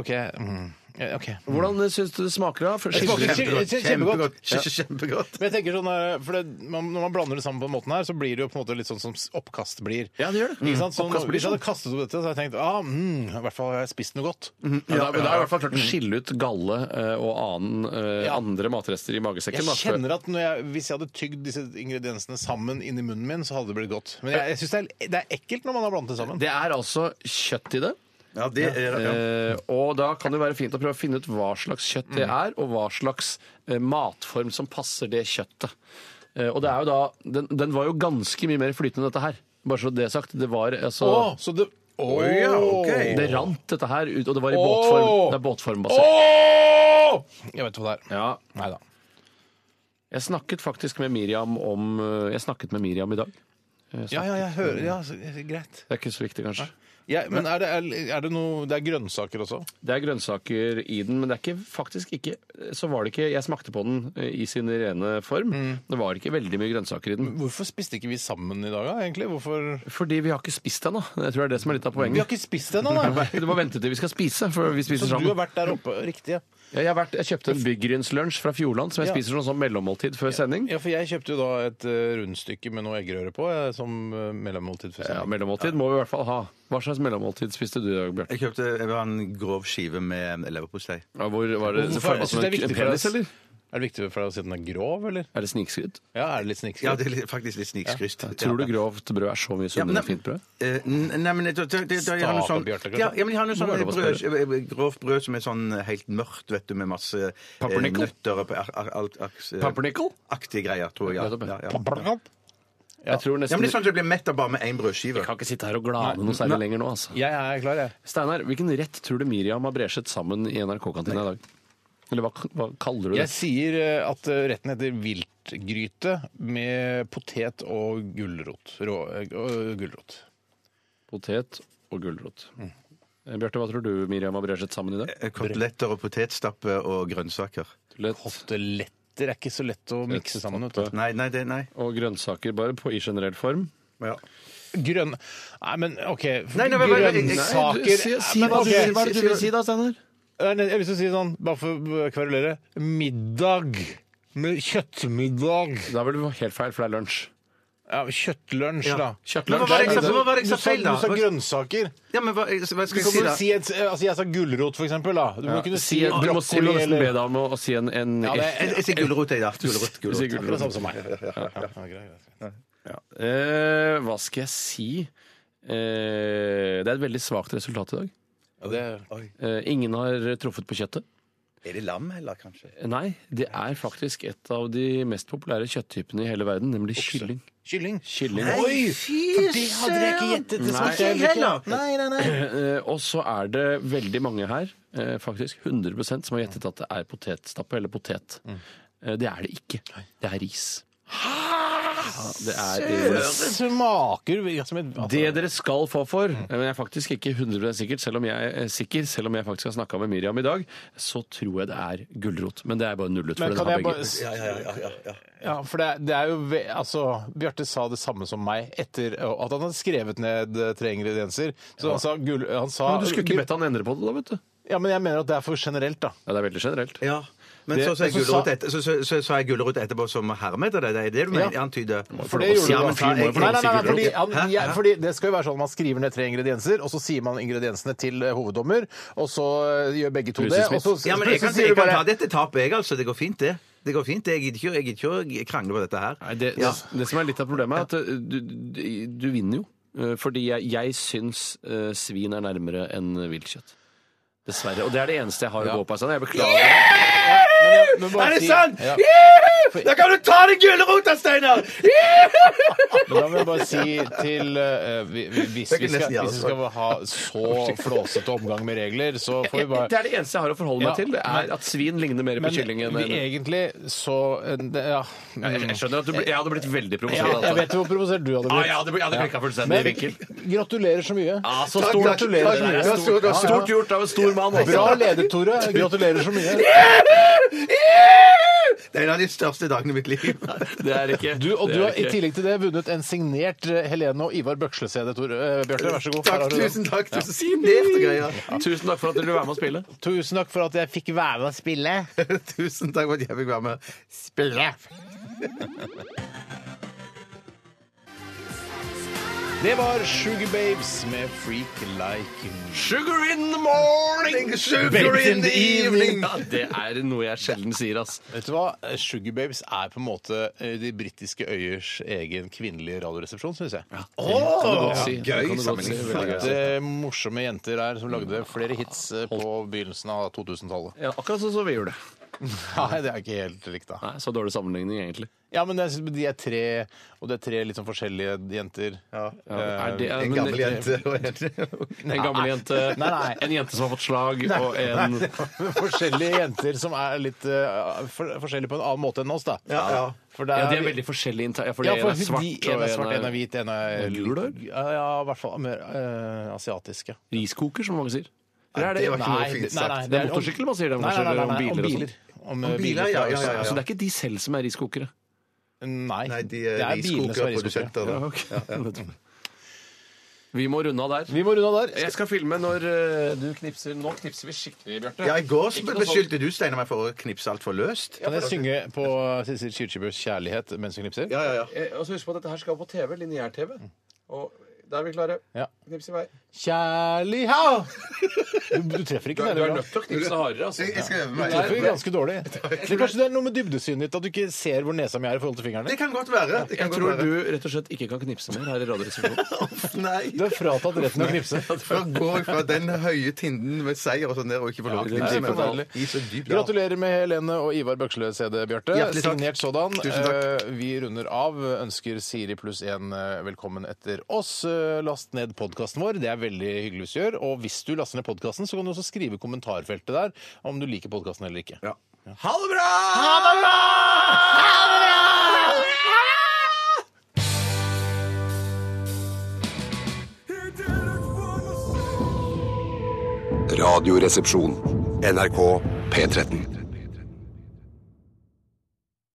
S3: OK. Mm. Ja, ok.
S5: Hvordan eh, syns du det smaker, da?
S3: Det smaker kjempegodt. Kjempegodt.
S4: Kjempegodt.
S3: Men jeg tenker sånn, eh, for det, man, Når man blander det sammen på den måten her, så blir det jo på en måte litt sånn som s- oppkast blir.
S5: Ja, det gjør det.
S3: Ikke sant? Så
S5: Mm.
S3: nå-
S5: Oppkast blir
S3: Hvis jeg hadde kastet opp dette, så hadde jeg tenkt ah, mm, i hvert fall har jeg spist noe godt.
S5: Ja, mm. da, da har jeg i hvert fall klart å skille ut galle eh, og annen, eh, andre matrester i
S3: Jeg
S5: magesekken. da, tror jeg.
S3: kjenner at når jeg, Hvis jeg hadde tygd disse ingrediensene sammen inni munnen min, så hadde det blitt godt. Men jeg, jeg syns det, er- det er ekkelt når man har blandet det sammen.
S5: Det er altså kjøtt i det.
S4: Ja, det er ja.
S5: Eh, og da kan det være fint å prøve å finne ut hva slags kjøtt det
S3: Mm.
S5: er, og hva slags eh, matform som passer det kjøttet. Eh, og det er jo da, den, den var jo ganske mye mer flytende, dette her. Bare så det er sagt. Det var altså
S3: Å, så det Å
S5: ja, Det rant dette her ut, og det var i båtform.
S3: Åh!
S5: Det er båtformbasert.
S3: Åh! Jeg vet hva det er.
S5: Ja.
S3: Nei da.
S5: Jeg snakket faktisk med Miriam om eh, Jeg snakket med Miriam i dag. Jeg
S3: Ja,
S5: snakket-
S3: ja, jeg hører ja, så- Greit.
S5: Det er ikke så viktig, kanskje.
S3: Ja, men er det, er, er det noe Det er grønnsaker også?
S5: Det er grønnsaker i den, men det er ikke, faktisk ikke Så var det ikke Jeg smakte på den eh, i sin rene form.
S3: Mm.
S5: Det var ikke veldig mye grønnsaker i den.
S3: Hvorfor spiste ikke vi sammen i dag, da, egentlig? Hvorfor
S5: Fordi vi har ikke spist ennå. Jeg tror det er det som er litt av
S3: Vi har
S5: poenget.
S3: ikke spist ennå, da!
S5: Du må vente til vi skal spise. For vi
S3: Så
S5: spiser
S3: du har
S5: sammen.
S3: vært der oppe, riktig? Ja.
S5: Ja, Jeg, har vært, jeg kjøpte en byggrynslunsj fra Fjordland som jeg
S3: Ja.
S5: spiser som sånn mellommåltid før sending.
S3: Ja, for jeg kjøpte jo da et eh, rundstykke med noe eggerøre på eh, som eh, mellommåltid. for
S5: Ja,
S3: seg.
S5: mellommåltid må vi i hvert fall ha. Hva slags mellommåltid spiste du i dag, Bjarte?
S4: Jeg kjøpte det var en grov skive med leverpostei.
S5: Ja, hvor var det,
S3: Hvorfor-
S5: formet
S3: jeg synes
S5: som
S3: det
S5: en
S3: er viktig for
S5: penis,
S3: oss.
S5: eller?
S3: Er det viktig for deg å si at den er grov, eller?
S5: Er det snikskryt?
S3: Ja, er det litt snikskritt?
S4: Ja, det er litt- faktisk litt snikskryst.
S5: Tror du grovt brød er så mye sunnere enn
S4: nei-
S5: fint brød?
S4: Eh, n- Nei, men jeg, tror- det- det- det- jeg har noe
S3: Stape,
S4: sånn
S3: Bjarte, kanskje?
S4: ja, ja, men jeg har noe
S5: Må
S4: sånn
S5: være lov å
S4: brød, grovt brød som er sånn helt mørkt, vet du, med masse eh,
S5: Pumpernickel?
S4: nøtter og pa- ar- ar- ar- aks-
S5: Pumpernickel?
S4: aktige greier, tror jeg. Ja,
S5: Nettopp, ja.
S4: ja, ja.
S3: Pumpernickel?
S5: Jeg
S4: Ja.
S5: tror nesten-
S4: ja, men det er sånn at du blir mett av bare med én brødskive. Jeg
S5: kan ikke sitte her og glane noe særlig lenger nå, altså.
S3: Jeg er klar, jeg.
S5: Steinar, hvilken rett tror du Miriam har bresjet sammen i NRK-kantina i dag? Eller hva, hva kaller du det?
S3: Jeg sier eh, at eh, retten heter viltgryte med potet og gulrot. Rå, eh, og gulrot.
S5: Potet og gulrot. Eh, Bjarte, hva tror du Miriam har bresjet sammen i dag?
S4: Eh, Koteletter og potetstappe og grønnsaker.
S3: Eh, Koteletter er ikke så lett å mikse sammen. Vet du.
S4: Nei, nei, det, nei.
S5: Og grønnsaker bare på, i generell form.
S4: Ja.
S3: Grønn Nei, men OK.
S5: Nei, nei, men- men-
S3: Grønnsaker
S5: Nei, si- si
S3: Men,
S5: hva du-
S3: ok.
S5: hva er det du vil si da, Steinar?
S3: Nei, nei, Jeg vil si sånn, bare for å kverulere Middag. Med kjøttmiddag.
S5: Da er vel helt feil, for det er lunsj.
S3: Ja, kjøttlunsj,
S4: Ja,
S3: da.
S4: kjøttlunsj. Men hva var det jeg sa- hva var det jeg sa
S3: Du sa-
S4: feil, da?
S3: Du sa grønnsaker.
S4: Ja, men hva, eh, hva skal
S3: Du
S4: jeg
S3: kan
S4: si,
S3: jo
S4: da?
S3: si et, altså jeg sa gulrot, for eksempel. Da. Du må
S5: Ja.
S3: kunne
S5: si,
S3: si,
S5: du må si, du må nesten be deg om å å si en, en
S3: Ja, det-
S4: Jeg, jeg sier gulrot, jeg, da. Gulrot.
S5: Du sier
S3: Akkurat sånn. samme
S5: gulrot.
S3: som meg.
S5: Eh, hva skal jeg si? Eh, det er et veldig svakt resultat i dag. Eh, ingen har truffet på kjøttet.
S4: Er det lam, eller kanskje?
S5: Nei, det er faktisk et av de mest populære kjøtttypene i hele verden, nemlig kylling.
S3: Kylling?
S5: Kylling.
S3: Oi! For det hadde jeg ikke gjettet. Det
S5: Nei.
S3: smakte
S5: Ikke heller.
S3: Nei, nei, nei.
S5: Eh, Og så er det veldig mange her, eh, faktisk 100 som har gjettet at det er potetstappe eller potet.
S3: Mm.
S5: Eh, Det er det ikke. Det er ris. Ja, det er ris.
S3: Det smaker jo Altså, som et
S5: Det dere skal få for, eh, men jeg er faktisk ikke 100 sikkert, selv om jeg er sikker, selv om jeg faktisk har snakka med Miriam i dag, så tror jeg det er gulrot. Men det er bare nullet. for
S3: Men
S5: den
S3: kan
S5: har
S3: jeg
S5: begge.
S3: bare s- Ja, ja, ja, Ja, for det, er- det er jo ve- Altså, Bjarte sa det samme som meg etter at han hadde skrevet ned eh, tre ingredienser. Så
S5: Ja.
S3: han sa, gull, han sa
S5: Men du skulle ikke bedt han endre på det, da, vet du.
S3: Ja, men jeg mener at det er for generelt, da.
S5: Ja, det er veldig generelt.
S4: Ja. Men
S3: Det-
S4: så sa jeg
S3: men så
S4: gulrot
S3: sa-
S4: etter- så- så- så sa jeg gulrot etterpå som hermet, eller? Det er det du mener?
S3: Ja.
S4: Antyder?
S3: For det gjorde
S4: Ja,
S3: du da.
S4: men faen,
S3: Nei,
S4: jeg-
S3: nei, nei, nei, fordi,
S4: Hæ?
S3: han, jeg,
S4: Hæ?
S3: fordi Det skal jo være sånn at man skriver ned tre ingredienser, og så sier man ingrediensene til eh, hoveddommer, og så eh, gjør begge to det. Og så,
S4: Ja, men jeg
S3: så
S4: kan,
S3: sier
S4: jeg
S3: du
S4: kan
S3: bare
S4: ta dette tapet, jeg, altså. Det går fint, det. Det går fint, det. Jeg gidder ikke, jeg gidder ikke å krangle på dette her.
S5: Nei, det,
S4: Ja.
S5: det, det som er litt av problemet, er at eh, du, du, du vinner jo. Eh, Fordi jeg, jeg syns eh, svin er nærmere enn viltkjøtt. Dessverre. Og det er det eneste jeg har å gå på. Sånn. Jeg beklager.
S3: Men bare
S4: Er det
S3: si-
S4: sant?
S3: Ja.
S4: Juhu! Da kan du ta deg gulrota, Steinar! Juhu!
S3: Men da må jeg bare si til eh, vi, vi, Hvis
S4: Det
S3: vi skal,
S4: er ikke nesten jeg, altså.
S3: hvis vi skal ha så flåsete omgang med regler, så får vi bare
S5: Det er det eneste jeg har å forholde
S3: Ja,
S5: meg til. Det
S3: men-
S5: er at svin ligner mer på
S3: Men
S5: kylling enn
S3: vi, egentlig så eh, det- Ja.
S5: Ja, jeg, jeg skjønner at du ble, jeg hadde blitt veldig
S3: Ja,
S5: provosert.
S3: jeg vet jo hvor provosert du hadde
S5: Ja,
S3: blitt.
S5: jeg hadde bl- jeg hadde blikket fullstendig
S3: Men
S5: vinkel.
S3: Gratulerer så mye.
S5: Ja, så
S3: Takk,
S5: stor-
S3: takk,
S5: gratulerer.
S3: takk,
S5: Det er
S3: takk.
S5: stort-
S3: Ja, ja.
S5: stort gjort av en stor mann, altså.
S3: Bra ledet, Tore. Gratulerer så mye.
S4: Det er en av de største dagene i mitt liv.
S5: Det er ikke.
S3: Du, og
S4: Det
S3: du
S4: er
S3: har i
S4: ikke.
S3: tillegg til det vunnet en signert eh, Helene og Ivar Bøksle-CD, Tore. Eh, Bjarte, vær så god. Her
S4: Takk,
S3: har du den.
S4: tusen takk.
S3: Ja.
S4: Tusen signert og greier.
S5: Tusen takk for at du ville være med og spille.
S3: Tusen takk for at jeg fikk være med og spille.
S4: Tusen takk for at jeg fikk være med. Spille!
S3: Det var Sugar Babes med Freak Like Me.
S5: Sugar in the morning,
S3: sugar in the evening.
S5: Ja, det er noe jeg sjelden sier, ass.
S3: Vet du hva? Sugar Babes er på en måte eh, de britiske øyers egen kvinnelige radioresepsjon, syns jeg.
S4: Åh,
S3: Kan du godt si.
S4: gøy
S3: Det kan du godt si.
S4: sammenligning.
S3: Veldig gøy. Det er morsomme jenter her som lagde flere hits eh, på begynnelsen av 2000-tallet.
S5: Ja, akkurat sånn som vi gjorde.
S3: Nei, det er ikke helt likt, da.
S5: Nei, Så dårlig sammenligning, egentlig.
S3: Ja, men det er, de er tre, og det er tre litt sånn forskjellige jenter.
S5: Ja, er det-
S3: Eh,
S5: men- En gammel jente,
S3: Nei, nei.
S5: en jente som har fått slag, og en
S3: Nei, forskjellige jenter som er litt eh, for, forskjellige på en annen måte enn oss, da.
S5: Ja, ja.
S3: For
S5: Ja, de er veldig forskjellige inter- ja, fordi
S3: ja, for
S5: en er svart,
S3: de- en
S5: og
S3: er svart,
S5: en er-
S3: en er hvit, en er
S5: En gul, da?
S3: Ja, ja, i hvert fall mer eh, asiatiske.
S5: Riskoker, som mange sier. Eller er
S3: Nei,
S5: det,
S3: det var ikke noe
S5: Nei,
S3: fint
S5: det-
S3: sagt.
S5: Nei, nei, det
S3: Det
S5: er
S3: er om-
S5: motorsykkel man sier det,
S3: Nei,
S5: kanskje,
S3: nei, nei,
S5: eller om
S3: nei,
S5: biler.
S3: om
S5: og sånn.
S3: biler. Om, eh, Om biler, biler, ja, ja, ja, ja.
S5: Så det er ikke de selv som er riskokere?
S3: Nei, eh,
S4: de
S3: sånn- det er bilene som er riskokere.
S5: Ja, ok. Vi må runde av der.
S3: Vi må runde av der.
S5: Jeg skal filme når eh, du knipser. Nå knipser vi skikkelig, Bjarte.
S4: Ja, I går så
S5: Ikke noe
S4: beskyldte du Steinar meg for å knipse altfor løst.
S3: Kan jeg synge på Sissel Kyrkjebøs kjærlighet mens vi knipser?
S4: Ja, ja, ja.
S5: sånt. Eh, Og så husk på at dette her skal på TV. Lineær-TV. Og da er vi klare.
S3: Mm. Ja.
S5: Knips i vei.
S3: Kjærlig ha! Du, du treffer ikke
S10: Du er-
S3: den,
S10: du er
S3: da.
S10: nødt til å knipse hardere, altså. Jeg- jeg skal øve meg.
S3: Du treffer
S10: Nei.
S3: ganske dårlig. Men kanskje det er noe med dybdesynet ditt, at du ikke ser hvor nesa mi er i forhold til fingrene?
S4: Det kan godt være. Det kan
S5: Jeg
S4: godt
S5: tror
S4: være.
S5: du rett og slett ikke kan knipse mer her i Radioresepsjonen.
S4: Nei.
S3: Du er fratatt retten til å knipse.
S4: Da går jeg fra den høye tinden med seier og sånn der og ikke får lov til å
S3: Ja, det er
S4: knipse. mer.
S3: forferdelig.
S4: I så dypt, ja.
S3: Gratulerer med Helene og Ivar Bøksle-CD, Bjarte.
S4: Hjertelig takk.
S3: Signert sådan.
S4: Tusen takk.
S3: Eh, Vi runder av. Ønsker Siri pluss én velkommen etter oss. Eh, Last ned podkasten vår. Det er veldig hyggelig hvis du gjør. Og hvis du laster ned podkasten, så kan du også skrive i kommentarfeltet der om du liker podkasten eller ikke. Ja.
S4: Ha det bra!
S3: Ha det bra!
S19: Radioresepsjon. NRK P13.